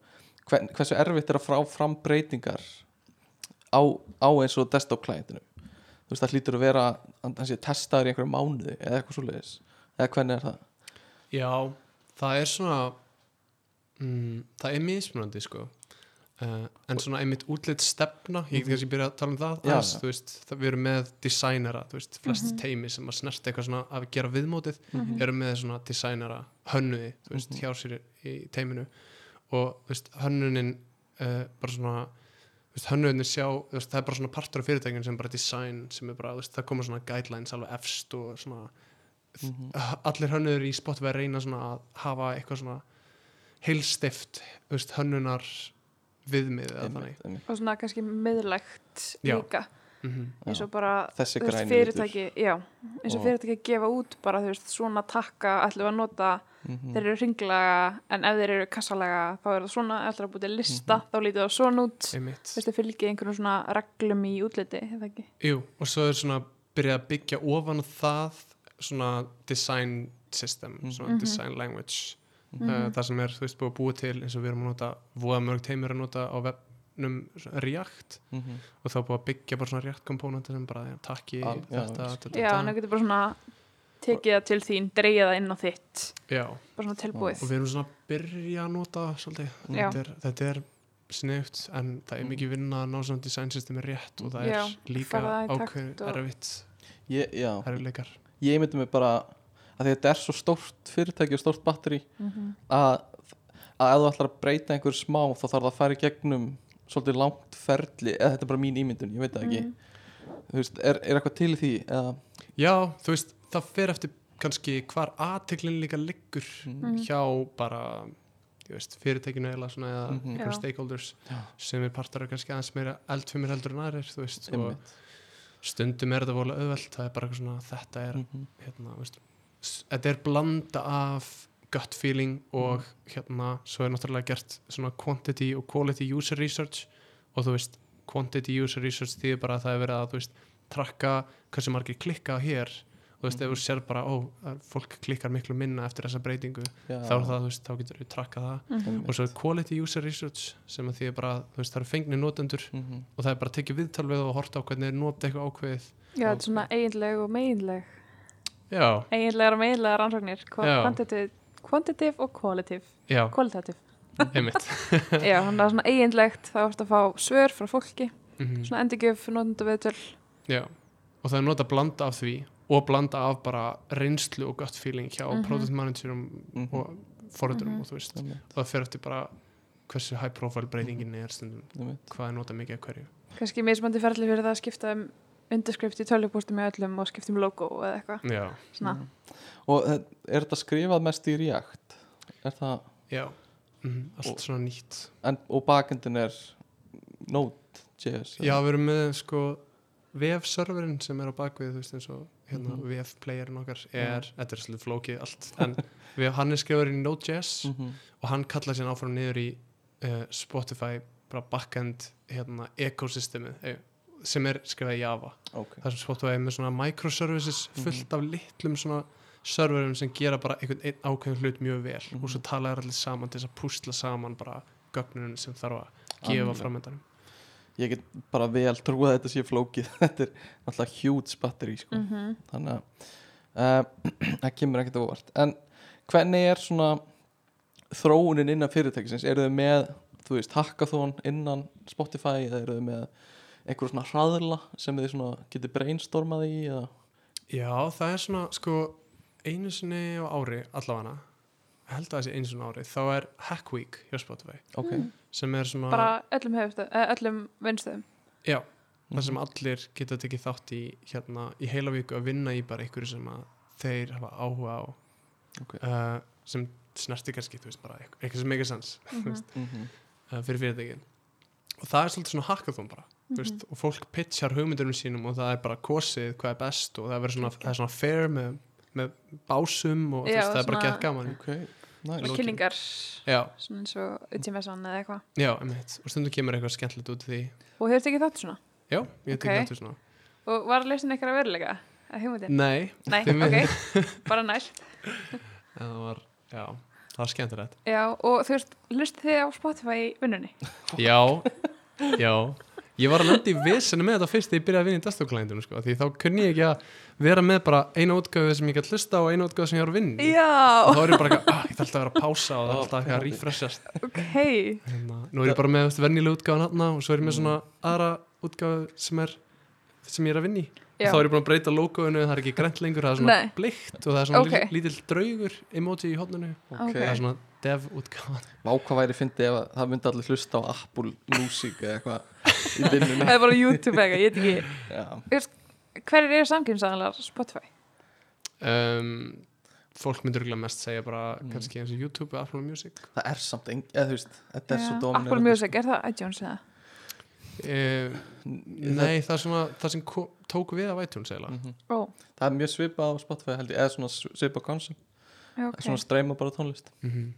Speaker 2: hvern, hversu erfitt er að frá fram breytingar á, á eins og desktop klæðinu þú veist, það hlýtur að vera að hann sé testaður í einhverju mánuði eða eitthvað svoleiðis eða hvernig er það
Speaker 3: Sko. Já, það er svona, mm, það er mismunandi sko. Uh, en svona einmitt útlitt stefna, ég get kannski byrja að tala um það,
Speaker 2: Já,
Speaker 3: aðeins,
Speaker 2: já.
Speaker 3: þú veist, það við erum með designera, þú veist, flest teimi sem að snerta eitthvað svona að gera viðmótið,
Speaker 2: Mhm.
Speaker 4: Mhm.
Speaker 3: eru með svona designera, hönnuði, þú veist, hjá sér í teiminu og þú veist, hönnunin uh, bara svona þú veist, hönnuðinni sjá, þú veist, það er bara svona partur af fyrirtækjum sem bara design, sem er bara, þú veist, það koma svona guidelines alveg efst og svona
Speaker 2: Mhm.
Speaker 3: allir hönnuður í Spotify reyna svona að hafa eitthvað svona heilstift, þú veist, hönnunar viðmið eða þannig
Speaker 2: Einmitt, einmitt.
Speaker 4: Og svona kannski miðlægt
Speaker 3: Já.
Speaker 4: líka,
Speaker 3: mm
Speaker 4: eins og bara
Speaker 2: þessi
Speaker 4: þú veist,
Speaker 2: græni
Speaker 4: fyrirtæki, já, eins og
Speaker 2: Og-
Speaker 4: fyrirtæki gefa út bara, þú veist, svona takka ætlum við að nota
Speaker 2: Mhm.
Speaker 4: þeir eru ringlaga en ef þeir eru kassalega þá er það svona, ætlar að búið til lista þá lítið það svona út
Speaker 3: einmitt,
Speaker 4: veistu fylgið einhverjum svona reglum í útliti eða ekki
Speaker 3: jú, og svo er svona byrjað að byggja ofan á það svona design system svona
Speaker 4: Mhm.
Speaker 3: design language eh,
Speaker 2: Mhm.
Speaker 3: mm það sem er, þú veist, búið að búa til eins og við erum að nota, voða mörg teimur að nota á web, gegnum svona React
Speaker 2: mm -hmm.
Speaker 3: og þá búið að byggja bara svona React komponentin sem bara já, takki
Speaker 2: Al- já,
Speaker 3: þetta
Speaker 2: ég
Speaker 3: þetta,
Speaker 4: Já, en það
Speaker 3: þetta.
Speaker 4: getur bara svona tekið það til þín, dreigja það inn á þitt
Speaker 3: já,
Speaker 4: bara svona tilbúið
Speaker 3: og við erum svona að byrja að nota það svolítið
Speaker 2: Mhm.
Speaker 4: Já.
Speaker 3: þetta er, þetta er sniðugt en það er mikið vinna að ná svona design systemi rétt og það er
Speaker 4: Já,
Speaker 3: líka
Speaker 4: fara það í takt
Speaker 3: ákveð
Speaker 4: og-
Speaker 3: erfitt
Speaker 2: ég, já,
Speaker 3: erfileikar
Speaker 2: ég myndi mig bara að því að þetta er svo stórt fyrirtæki og stórt batteri
Speaker 4: mm -hmm.
Speaker 2: að, að ef þú ætlar að breyta einhver smá þá þarf það að fara í gegnum svolítið langt ferli, eða þetta er bara mín ímyndun ég veit það
Speaker 4: Mhm.
Speaker 2: ekki, þú veist, er, er eitthvað til í því eða,
Speaker 3: já, þú veist, það fer eftir kannski hvar aðteklin líka liggur
Speaker 4: Mhm.
Speaker 3: hjá bara ég veist, fyrirtækinu eða svona eða mm
Speaker 2: Mhm.
Speaker 3: einhverjum
Speaker 4: Já.
Speaker 3: stakeholders
Speaker 2: Já.
Speaker 3: sem er partar af kannski aðeins meira eldfumir heldur en aðrir þú veist, og
Speaker 2: einmitt
Speaker 3: stundum er þetta vola auðvelt það er bara eitthvað svona, þetta er
Speaker 2: Mhm.
Speaker 3: hérna, veist, s- þetta er blanda af gut feeling og hérna, svo er náttúrulega gert svona quantity og quality user research og þú veist, quantity user research því bara að það er verið að, þú veist, trakka hversu margir klikka hér og þú veist, ef þú sér bara, ó, það er- fólk klikkar miklu minna eftir þessa breytingu,
Speaker 2: Já,
Speaker 3: þá er það, þú veist, þá getur við trakkað það
Speaker 4: Mhm.
Speaker 2: einmitt.
Speaker 3: og svo er quality user research sem að því er bara, þú veist, það eru fengnir notendur
Speaker 2: Mhm.
Speaker 3: og það er bara að tekja viðtal við og horta á hvernig er nota eitthvað ákveðið
Speaker 4: Já, þetta er svona eiginleg og meinleg
Speaker 3: já,
Speaker 4: eiginlegar og meinlegar rannsóknir Qua-
Speaker 3: Já.
Speaker 4: quantitative, quantitative og qualitative
Speaker 3: já,
Speaker 4: qualitative,
Speaker 3: einmitt
Speaker 4: já, þannig að svona eiginlegt þá ertu að fá svör frá fólki
Speaker 3: Mhm.
Speaker 4: svona endingjöf, notenda viðtöl
Speaker 3: Já, og það er nota að blanda af því og blanda af bara reynslu og gott feeling hjá
Speaker 4: Mhm.
Speaker 3: product managerum
Speaker 2: Mhm.
Speaker 3: og foreldurum
Speaker 4: Mhm.
Speaker 3: og þú veist
Speaker 2: Einmitt,
Speaker 3: og það fer eftir bara hversu high profile breytingin er stundum,
Speaker 2: einmitt.
Speaker 3: hvað er nota mikið af hverju
Speaker 4: kannski mismandi ferli fyrir það að skipta um underskrift í töljupústum með öllum og skipta um logo eða eitthvað
Speaker 3: Já,
Speaker 4: svona,
Speaker 2: og það- er þetta skrifað mest í React er það,
Speaker 3: já, mhm, allt
Speaker 2: Og-
Speaker 3: svona nýtt
Speaker 2: en, og bakendin er Node.js eða?
Speaker 3: Já, við erum með sko vef-serverinn sem er á bakvið þú veist eins og hérna
Speaker 2: Mhm.
Speaker 3: vef-playerinn okkar er, þetta er svolítið flókið allt en við, hann er skrifur í Node.js
Speaker 2: Mhm.
Speaker 3: og hann kallaði sér áfram niður í uh, Spotify bara backend hérna, ekosystemi sem er skrifað í Java
Speaker 2: ok,
Speaker 3: þar sem Spotify er með svona microservices fullt af litlum svona serverum sem gera bara einhvern einn ákveðin hlut mjög vel og svo tala þær allir saman til þess að púsla saman bara gögnunum sem þarf að gefa
Speaker 2: Algjörlega.
Speaker 3: framöndanum
Speaker 2: ég get bara vel trúið að þetta sé flókið þetta er náttúrulega huge batteri sko.
Speaker 4: mm -hmm.
Speaker 2: þannig að uh, það kemur ekkert á óvart en hvernig er svona þróunin innan fyrirtækisins eru þau með, þú veist, hackathon innan Spotify eða eru þau með einhverjum svona hraðla sem þau svona getur brainstormað í eða
Speaker 3: Já, það er svona sko einu sinni á ári allavega ég held að það sé einu sinni á ári þá er Hack Week hjá Spotify
Speaker 4: Mm.
Speaker 2: ok,
Speaker 3: sem er svona
Speaker 4: bara öllum höfustöð, öllum vinstöðum
Speaker 3: Já, þar
Speaker 4: Mhm.
Speaker 3: sem allir geta tekið þátt í hérna í heila viku að vinna í bara einhverju sem að þeir hafa áhuga á
Speaker 2: Ok.
Speaker 3: uh, sem snerti kannski, þú veist, bara eitth- eitthvað sem ekki sens
Speaker 4: Mhm.
Speaker 3: mm -hmm.
Speaker 2: mm
Speaker 3: uh, fyrir fyrirtækin og það er svolítið svona hackathon bara
Speaker 4: Mhm.
Speaker 3: mm veist, og fólk pitchar hugmyndunum sínum og það er bara kosið hvað er best og það er, verið svona, það er svona fair með, með básum og þú
Speaker 4: Já,
Speaker 3: veist, það er bara
Speaker 4: svona-
Speaker 3: gett gaman
Speaker 2: ok, nice
Speaker 4: svona
Speaker 3: Loki.
Speaker 4: kynningar
Speaker 3: Já,
Speaker 4: svona eins og Utimesson eða eitthvað
Speaker 3: já, emitt og stundum kemur eitthvað skemmtilegt út af því
Speaker 4: og hefur tekið þátt svona
Speaker 3: Já, ég
Speaker 4: Ok.
Speaker 3: tekið þetta svona
Speaker 4: og var lesin eitthvað að veruleika að hugmyndin?
Speaker 3: Nei,
Speaker 4: Nei,
Speaker 3: Því miður.
Speaker 4: ok, bara næl
Speaker 3: en það var, já, það var skemmtilegt
Speaker 4: Já, og þú veist, hlustu þið á Spotify í vinnunni?
Speaker 3: Já, já Ég var að landa í vesinu með þetta fyrst þegar ég byrjaði að vinna í desktop-klæntunum sko, því þá kunni ég ekki að vera með bara eina útgáfu sem ég gæti hlusta á og eina útgáfu sem ég var að vinna í. og
Speaker 4: Já,
Speaker 3: þá er ég bara ekki, ah, ég ætla alltaf að vera að pása og það er alltaf eitthvað að refreshast
Speaker 4: ok
Speaker 3: hérna, Nú er ég bara með veist, venjulega útgáfan hann og svo er ég með svona aðra útgáfu sem er sem ég er að vinna í og
Speaker 4: Já,
Speaker 3: þá er ég búin að breyta logoinu, það er ekki grænt lengur það er svona
Speaker 4: Nei.
Speaker 3: bleikt og það er svona
Speaker 4: Ok.
Speaker 3: okay. lítill draugur emoji í hodninu
Speaker 2: ok,
Speaker 3: það
Speaker 4: Ok.
Speaker 3: er svona dev útgáfan
Speaker 2: vá hvað væri fyndið ef að það myndi allir hlusta á Apple Music eða eitthvað í vinnunni
Speaker 4: það er bara YouTube eitthvað, ég veit ekki
Speaker 2: já,
Speaker 4: Hverjir eru samkynsaðanlega Spotify?
Speaker 3: um, fólk myndur ekki mest segja bara
Speaker 2: Mm.
Speaker 3: kannski eins og YouTube eða Apple Music
Speaker 2: það er samt eng, eða þú veist, þetta er
Speaker 4: Já.
Speaker 2: svo dominant
Speaker 4: Apple Music, er það iTunes eða?
Speaker 3: uh,
Speaker 2: nei,
Speaker 3: Nei, það er svona það sem ko- tók við af iTunes eiginlega
Speaker 4: Ó,
Speaker 2: Mhm. það er mjög svipað á Spotify held ég, eða svona svipað koncept
Speaker 4: já,
Speaker 2: okay.
Speaker 4: ok
Speaker 2: svona streyma bara tónlist
Speaker 3: mm -hmm.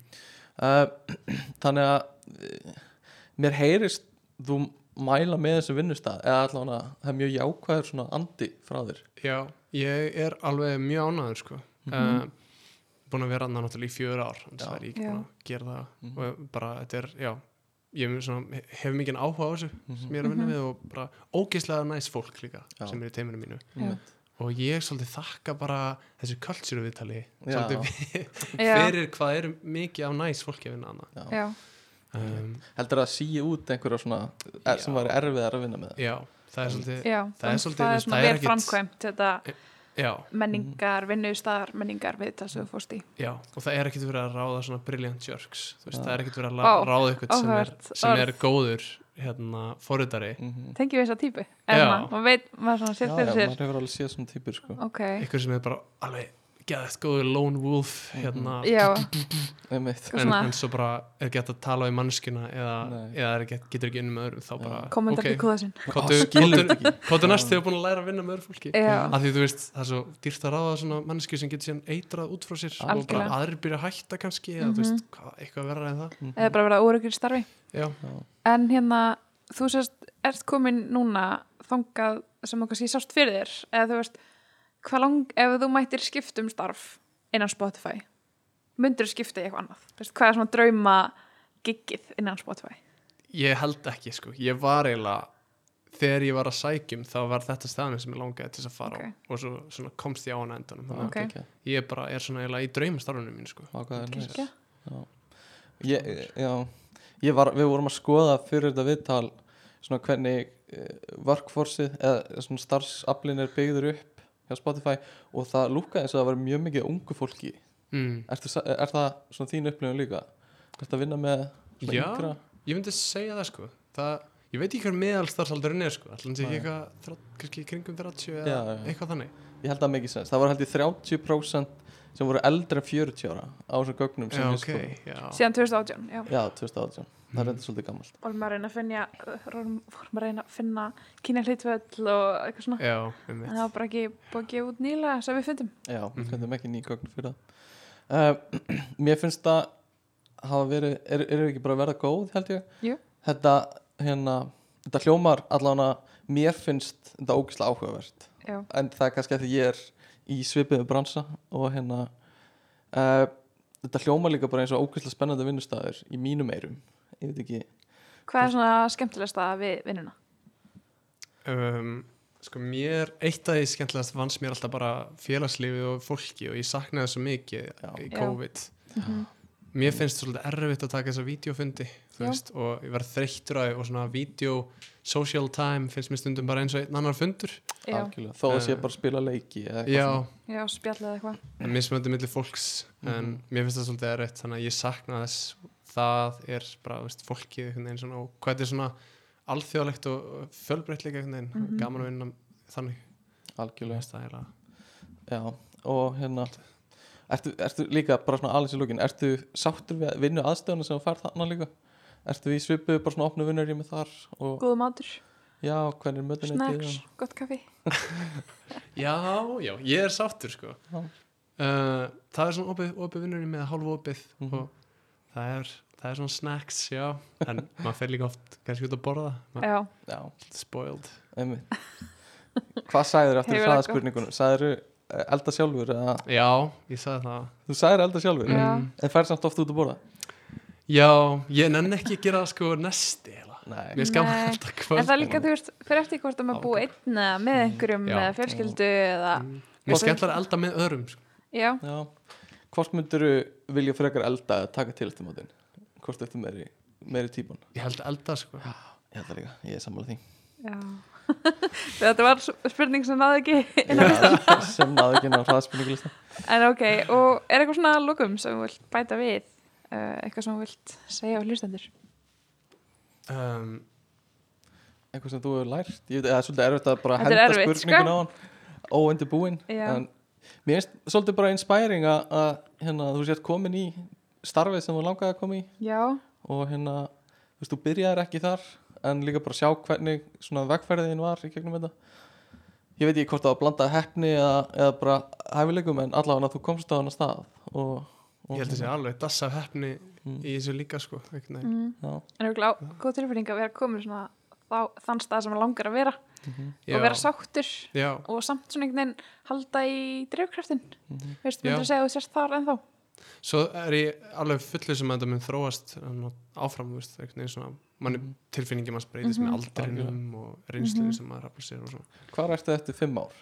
Speaker 2: uh, þannig að eh, mér heyrist þú mæla með þessu vinnustad eða allavega það er mjög jákvæður svona andi frá þér
Speaker 3: Já, ég er alveg mjög ánæður sko. mm
Speaker 4: Mhm.
Speaker 3: búin að vera annar náttúrulega í fjör ár en
Speaker 2: Já.
Speaker 3: það er ég ekki
Speaker 4: Já.
Speaker 3: búin að gera það
Speaker 2: Mhm.
Speaker 3: og bara, þetta er, já ég er svona, hef mikið áhuga á þessu sem ég er að vinna við og bara ógeðslega næs fólk líka
Speaker 2: Mhm. Já.
Speaker 3: sem er í teiminu mínu
Speaker 1: Já.
Speaker 3: og ég svolítið þakka bara þessu kultúru viðtali
Speaker 2: Já.
Speaker 3: svolítið
Speaker 4: Já.
Speaker 3: fyrir hvað er mikið af næs fólki að vinna hana
Speaker 4: já,
Speaker 3: um,
Speaker 2: heldur það að síu út einhverja svona er, sem
Speaker 3: Já.
Speaker 2: var erfiðar að vinna með
Speaker 3: já, það er svolítið
Speaker 4: já,
Speaker 3: það er svolítið, þú veist,
Speaker 4: svona
Speaker 3: það er
Speaker 4: vel
Speaker 3: ekkit-
Speaker 4: framkvæmt þetta
Speaker 3: já,
Speaker 2: Mm.
Speaker 4: menningar, vinnustaðar, menningar við þetta sem þú fórst í
Speaker 3: já, og það er ekkit verið að ráða svona brilliant jerks þú veist,
Speaker 2: Já.
Speaker 3: það er ekkit verið að
Speaker 4: Vá,
Speaker 3: la- ráða ykkur sem er,
Speaker 4: áhugavert
Speaker 3: sem
Speaker 4: orð.
Speaker 3: er góður hérna, forritari
Speaker 2: Mhm.
Speaker 4: tengi við þessa típu, er
Speaker 3: Já.
Speaker 4: maður, maður veit maður svona
Speaker 2: já,
Speaker 4: sér
Speaker 2: já,
Speaker 4: fyrir sér
Speaker 2: maður hefur alveg séð svona típur sko.
Speaker 4: ok,
Speaker 3: ykkur sem er bara alveg geðast góður lone wolf hérna,
Speaker 4: já,
Speaker 2: einmitt
Speaker 4: Eitthvað
Speaker 3: en,
Speaker 4: svona-
Speaker 3: en svo bara er gett að tala í mannskina eða,
Speaker 2: Nei.
Speaker 3: eða er get, getur ekki unni með öðrum þá bara,
Speaker 4: komenda
Speaker 3: ok,
Speaker 4: okay. ekki kúða sinn
Speaker 2: Ó,
Speaker 3: hvað
Speaker 2: skilur þetta ekki.
Speaker 3: er næst þegar búin að læra að vinna með öðru fólki
Speaker 4: Já.
Speaker 3: að því þú veist, það er svo dýrt að ráða svona mannski sem getur síðan eitrað út frá sér og bara
Speaker 4: Algjörlega. Mhm.
Speaker 3: aðrir byrja að hætta kannski eða þú veist, hvað, eitthvað verra en það
Speaker 4: eða bara verða óryggur í starfi
Speaker 3: já,
Speaker 4: en hérna, þú sérst ert komin núna þangað sem okkar sé sást fyrir þér eða þú veist, hvað lang, ef þú mættir skiptum starf innan Spotify myndir skipta í eitthvað annað Þú veist, hvað er svona drauma giggið innan Spotify
Speaker 3: ég held ekki sko, ég var eiginlega þegar ég var að sækjum þá var þetta staðan sem ég langaði til þess að fara
Speaker 4: Ok.
Speaker 3: á og svo svona komst ég á hana endanum þannig
Speaker 4: Ok.
Speaker 3: okay. ég bara er svona eiginlega í draumastarfunum mín sko.
Speaker 2: ákvæðin
Speaker 4: Kirkja?
Speaker 2: ég,
Speaker 4: sko.
Speaker 2: já, ég var, við vorum að skoða fyrir þetta viðtal svona hvernig uh, workforceið eða svona starfsaflin er byggður upp hjá Spotify og það lúkkaði eins og það var mjög mikið af ungu fólki
Speaker 3: mm.
Speaker 2: Ertu, sa- er það svona þín upplifun líka? Ertu að vinna með svona
Speaker 3: Já.
Speaker 2: yngra?
Speaker 3: Ég myndi segja það sko það, Ég veit ekki hver meðalstarfsaldurinn er sko Allans ekki
Speaker 2: Nei.
Speaker 3: eitthvað þrá- kannski í kringum 30 eða
Speaker 2: Já, já.
Speaker 3: eitthvað þannig
Speaker 2: Ég held það mikið sens, það var held ég 30% sem voru eldri en 40 ára á þessum gögnum sem sko.
Speaker 3: Já,
Speaker 2: við
Speaker 3: ok,
Speaker 2: skoðum.
Speaker 3: já
Speaker 4: síðan 2018, já
Speaker 2: Já, 2018, það
Speaker 3: Mhm.
Speaker 2: er enda svolítið gammalt
Speaker 4: vorum að reyna að finna vorum vorum að reyna að finna kynja hlutvöll og eitthvað svona
Speaker 3: Já,
Speaker 4: en
Speaker 3: einmitt
Speaker 4: það var bara ekki búið að gefa út nýlega sem við fundum
Speaker 2: Já, við
Speaker 3: Mhm.
Speaker 2: mm ekki ný gögn fyrir það uh, Mér finnst það hafa verið, eru er ekki bara að verða góð held ég?
Speaker 4: Jú.
Speaker 2: Þetta, hérna, þetta hljómar allavega mér finnst þetta ógislega áhugavert
Speaker 4: já,
Speaker 2: en það er kannski að því ég er í svipiðu bransa og hérna uh, þetta hljómar líka bara eins og ógislega spennandi vinnustæður í mínum eirum ég veit ekki,
Speaker 4: hvað er svona skemmtilegsta við vinnuna?
Speaker 3: um, Sko mér, eitt af því skemmtilegast vannst mér alltaf bara félagslífið og fólki og ég saknaði svo mikið
Speaker 2: Já.
Speaker 3: í
Speaker 4: Já.
Speaker 3: COVID
Speaker 4: Mhm.
Speaker 3: Mér finnst svolítið erfitt að taka þessa vídeofundi þú
Speaker 4: Já.
Speaker 3: veist, og ég verð þreyttur á því og svona vídeo, social time finnst mér stundum bara eins og einn annar fundur
Speaker 4: já,
Speaker 2: algjörlega þó að sé
Speaker 3: Eh.
Speaker 2: bara að spila leiki eða eitthvað
Speaker 3: Já,
Speaker 2: svona.
Speaker 4: já spjallið eitthvað
Speaker 3: mismöndi millir fólks en
Speaker 4: Mhm.
Speaker 3: mér finnst það svolítið erfitt þannig að ég sakna þess það er bara þú veist, fólkið einhvern veginn svona og hvað þetta er svona alþjóðlegt og fjölbreytt líka einhvern veginn
Speaker 4: Mhm.
Speaker 3: gaman að vinna þannig Mér
Speaker 2: algjörlega
Speaker 3: finnst það er að
Speaker 2: Já, og hérna ertu, ertu líka bara svona alveg sér lókin Ertu sáttur við vinnu aðstöðuna sem þú færð þarna líka? Ertu í svipu bara svona opnu vinnur ég með þar og
Speaker 4: góð matur,
Speaker 2: já, hvernig er mötunni
Speaker 4: Sko, snacks, gott kaffi
Speaker 3: já, já, ég er sáttur sko
Speaker 2: Já.
Speaker 3: uh, það er svona opið, opið vinnurinn með hálf opið
Speaker 2: Mhm.
Speaker 3: og það er, það er svona snacks, já en maður fer líka oft kannski út að borða maður er
Speaker 4: já,
Speaker 2: Já,
Speaker 3: spoiled
Speaker 2: einmitt Hvað sagðir aftur í
Speaker 4: Hefur það gott?
Speaker 2: hraðaspurningunum? Sagðir eh, elda sjálfur eða
Speaker 3: já, ég sagði það
Speaker 2: Þú sagðir elda
Speaker 3: Mm.
Speaker 2: sjálfur
Speaker 4: Já.
Speaker 2: En færð samt oft út að borða?
Speaker 3: já, ég nenni ekki að gera sko nesti eða
Speaker 2: Nei,
Speaker 3: Mér skamma
Speaker 4: Nei.
Speaker 3: alltaf kvöld
Speaker 4: en það er líka þú veist fyrir eftir hvort að maður búið einn eða með einhverjum
Speaker 3: Mm, Já. Mm.
Speaker 4: eða fjölskyldu eða
Speaker 3: Mér skemmtlar að elda með öðrum sko.
Speaker 4: já,
Speaker 2: já Hvort myndirðu vilja frekar elda eða taka til eftir mótin? Hvort eftir meiri, meiri típan?
Speaker 3: Ég held að elda sko.
Speaker 2: Ég held það líka, ég er sammála því
Speaker 4: já þetta var spurning sem náði ekki
Speaker 2: Já, sem náðu ekki ná hraðspurningulista
Speaker 4: en ok, og er eitthvað svona að lokum sem þú vilt bæta við uh, eitthvað sem þú vilt segja á hlustendur
Speaker 3: um,
Speaker 2: eitthvað sem þú hefur lært ég veit, það er svolítið erfitt að bara
Speaker 4: Þetta er
Speaker 2: henda
Speaker 4: erfitt,
Speaker 2: spurningun
Speaker 4: sko.
Speaker 2: á hann óundi búinn
Speaker 4: Já.
Speaker 2: en mér finnst svolítið bara inspiring að, að hérna, þú sért komin í starfið sem þú langaði að koma í
Speaker 4: já,
Speaker 2: og hérna, þú veist, þú byrjaðir ekki þar en líka bara sjá hvernig svona vegferðin var í gegnum þetta ég veit ekki hvort það var blandað hefni eða, eða bara hæfileikum en allavega þú komst á hana stað og, og
Speaker 3: Ég held að sé alveg dassa af hefni
Speaker 2: Mm.
Speaker 3: í þessu líka sko. einhvern veginn.
Speaker 4: mm.
Speaker 2: Já,
Speaker 4: en er glá, góð tilfinning að vera komin svona á þann stað sem maður langar að vera
Speaker 3: Já.
Speaker 4: og vera sáttur
Speaker 3: Já,
Speaker 4: og samt svona einhvern veginn halda í drefkraftin
Speaker 2: mhm.
Speaker 4: veist,
Speaker 3: Já.
Speaker 4: myndir að segja að þú sérst þar ennþá
Speaker 3: svo er ég alveg fullu sem að þetta mun þróast um, áfram, þú veist, einhvern veginn svona mann,
Speaker 2: Mhm.
Speaker 3: tilfinningi manns breytist
Speaker 4: Mhm.
Speaker 3: með aldrinum og reynslu
Speaker 4: Mhm.
Speaker 3: sem maður rafla sér og svona
Speaker 2: Hvar ertu eftir fimm ár?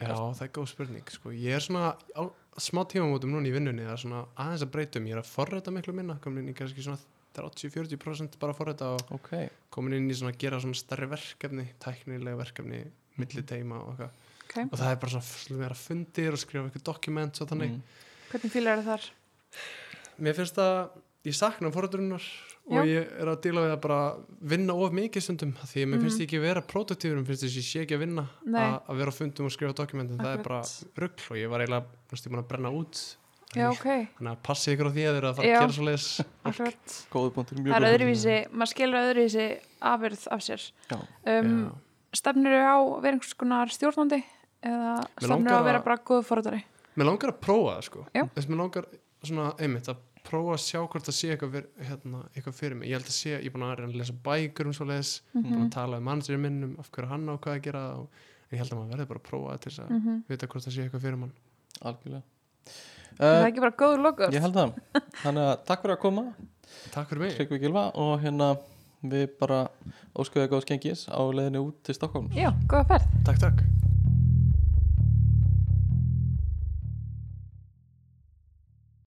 Speaker 3: Já, það er góð spurning, sko ég er svona á smá tímamótum núna í vinnunni það er svona aðeins að breytum, ég er að forræta miklu minna komin inn í kannski svona 30-40% bara að forræta og
Speaker 2: Ok,
Speaker 3: komin inn í svona að gera svona starri verkefni tæknilega verkefni, milli teima og, eitthvað.
Speaker 4: Ok.
Speaker 3: og það er bara svona fullt meira fundir og skrifa eitthvað dokument og þannig
Speaker 2: Mm.
Speaker 4: Hvernig fílar það þar?
Speaker 3: Mér finnst það, ég sakna forræturinnar og
Speaker 4: Já.
Speaker 3: ég er að díla við að bara vinna of mikið stundum af því að mér finnst
Speaker 4: Mhm.
Speaker 3: ég ekki vera produktífur, mér finnst þess að ég sé ekki að vinna
Speaker 4: Nei.
Speaker 3: að að vera á fundum og skrifa dokumentin það er bara
Speaker 4: Akkurat.
Speaker 3: rugg og ég var eiginlega næstum búin að brenna út
Speaker 4: Já,
Speaker 3: Þannig-
Speaker 4: ok,
Speaker 3: þannig að passið ykkur á því að þeir eru að fara
Speaker 4: Já.
Speaker 3: að gera svo leis
Speaker 4: akkurat
Speaker 2: góðu búntur mjög
Speaker 4: Það er
Speaker 2: góður.
Speaker 4: öðruvísi, maður skilur öðruvísi afyrð af sér
Speaker 2: Já.
Speaker 4: um, Stefnir á að vera einhvers konar stjórnandi eða stefnir
Speaker 3: langar
Speaker 4: á að vera
Speaker 3: að-
Speaker 4: bara góð fórhaldari
Speaker 3: Mér langar að prófa það sko
Speaker 4: Já.
Speaker 3: þess mér langar svona einmitt að prófa að sjá hvort það sé eitthvað, ver, hérna, eitthvað fyrir mig ég held að sé, ég er búin að reyna að lesa bækur um svo leis búin
Speaker 4: Mhm.
Speaker 3: að tala um mannstyrjum minnum af hverju hann á hvað að gera og, en ég held að maður verði bara að prófa það til þess að
Speaker 4: Mhm.
Speaker 3: vita hvort það sé eitthvað fyrir mann
Speaker 2: Algjörlega
Speaker 4: Það er
Speaker 2: uh,
Speaker 4: ekki bara góður lokur
Speaker 2: Ég held það Þannig að takk fyrir að koma
Speaker 3: Takk fyrir mig
Speaker 2: Tryggvi Gilva og hérna við bara óskuðu að góða skengis á leiðinu út til Stokkólms
Speaker 4: Já, góða ferð
Speaker 3: Takk, takk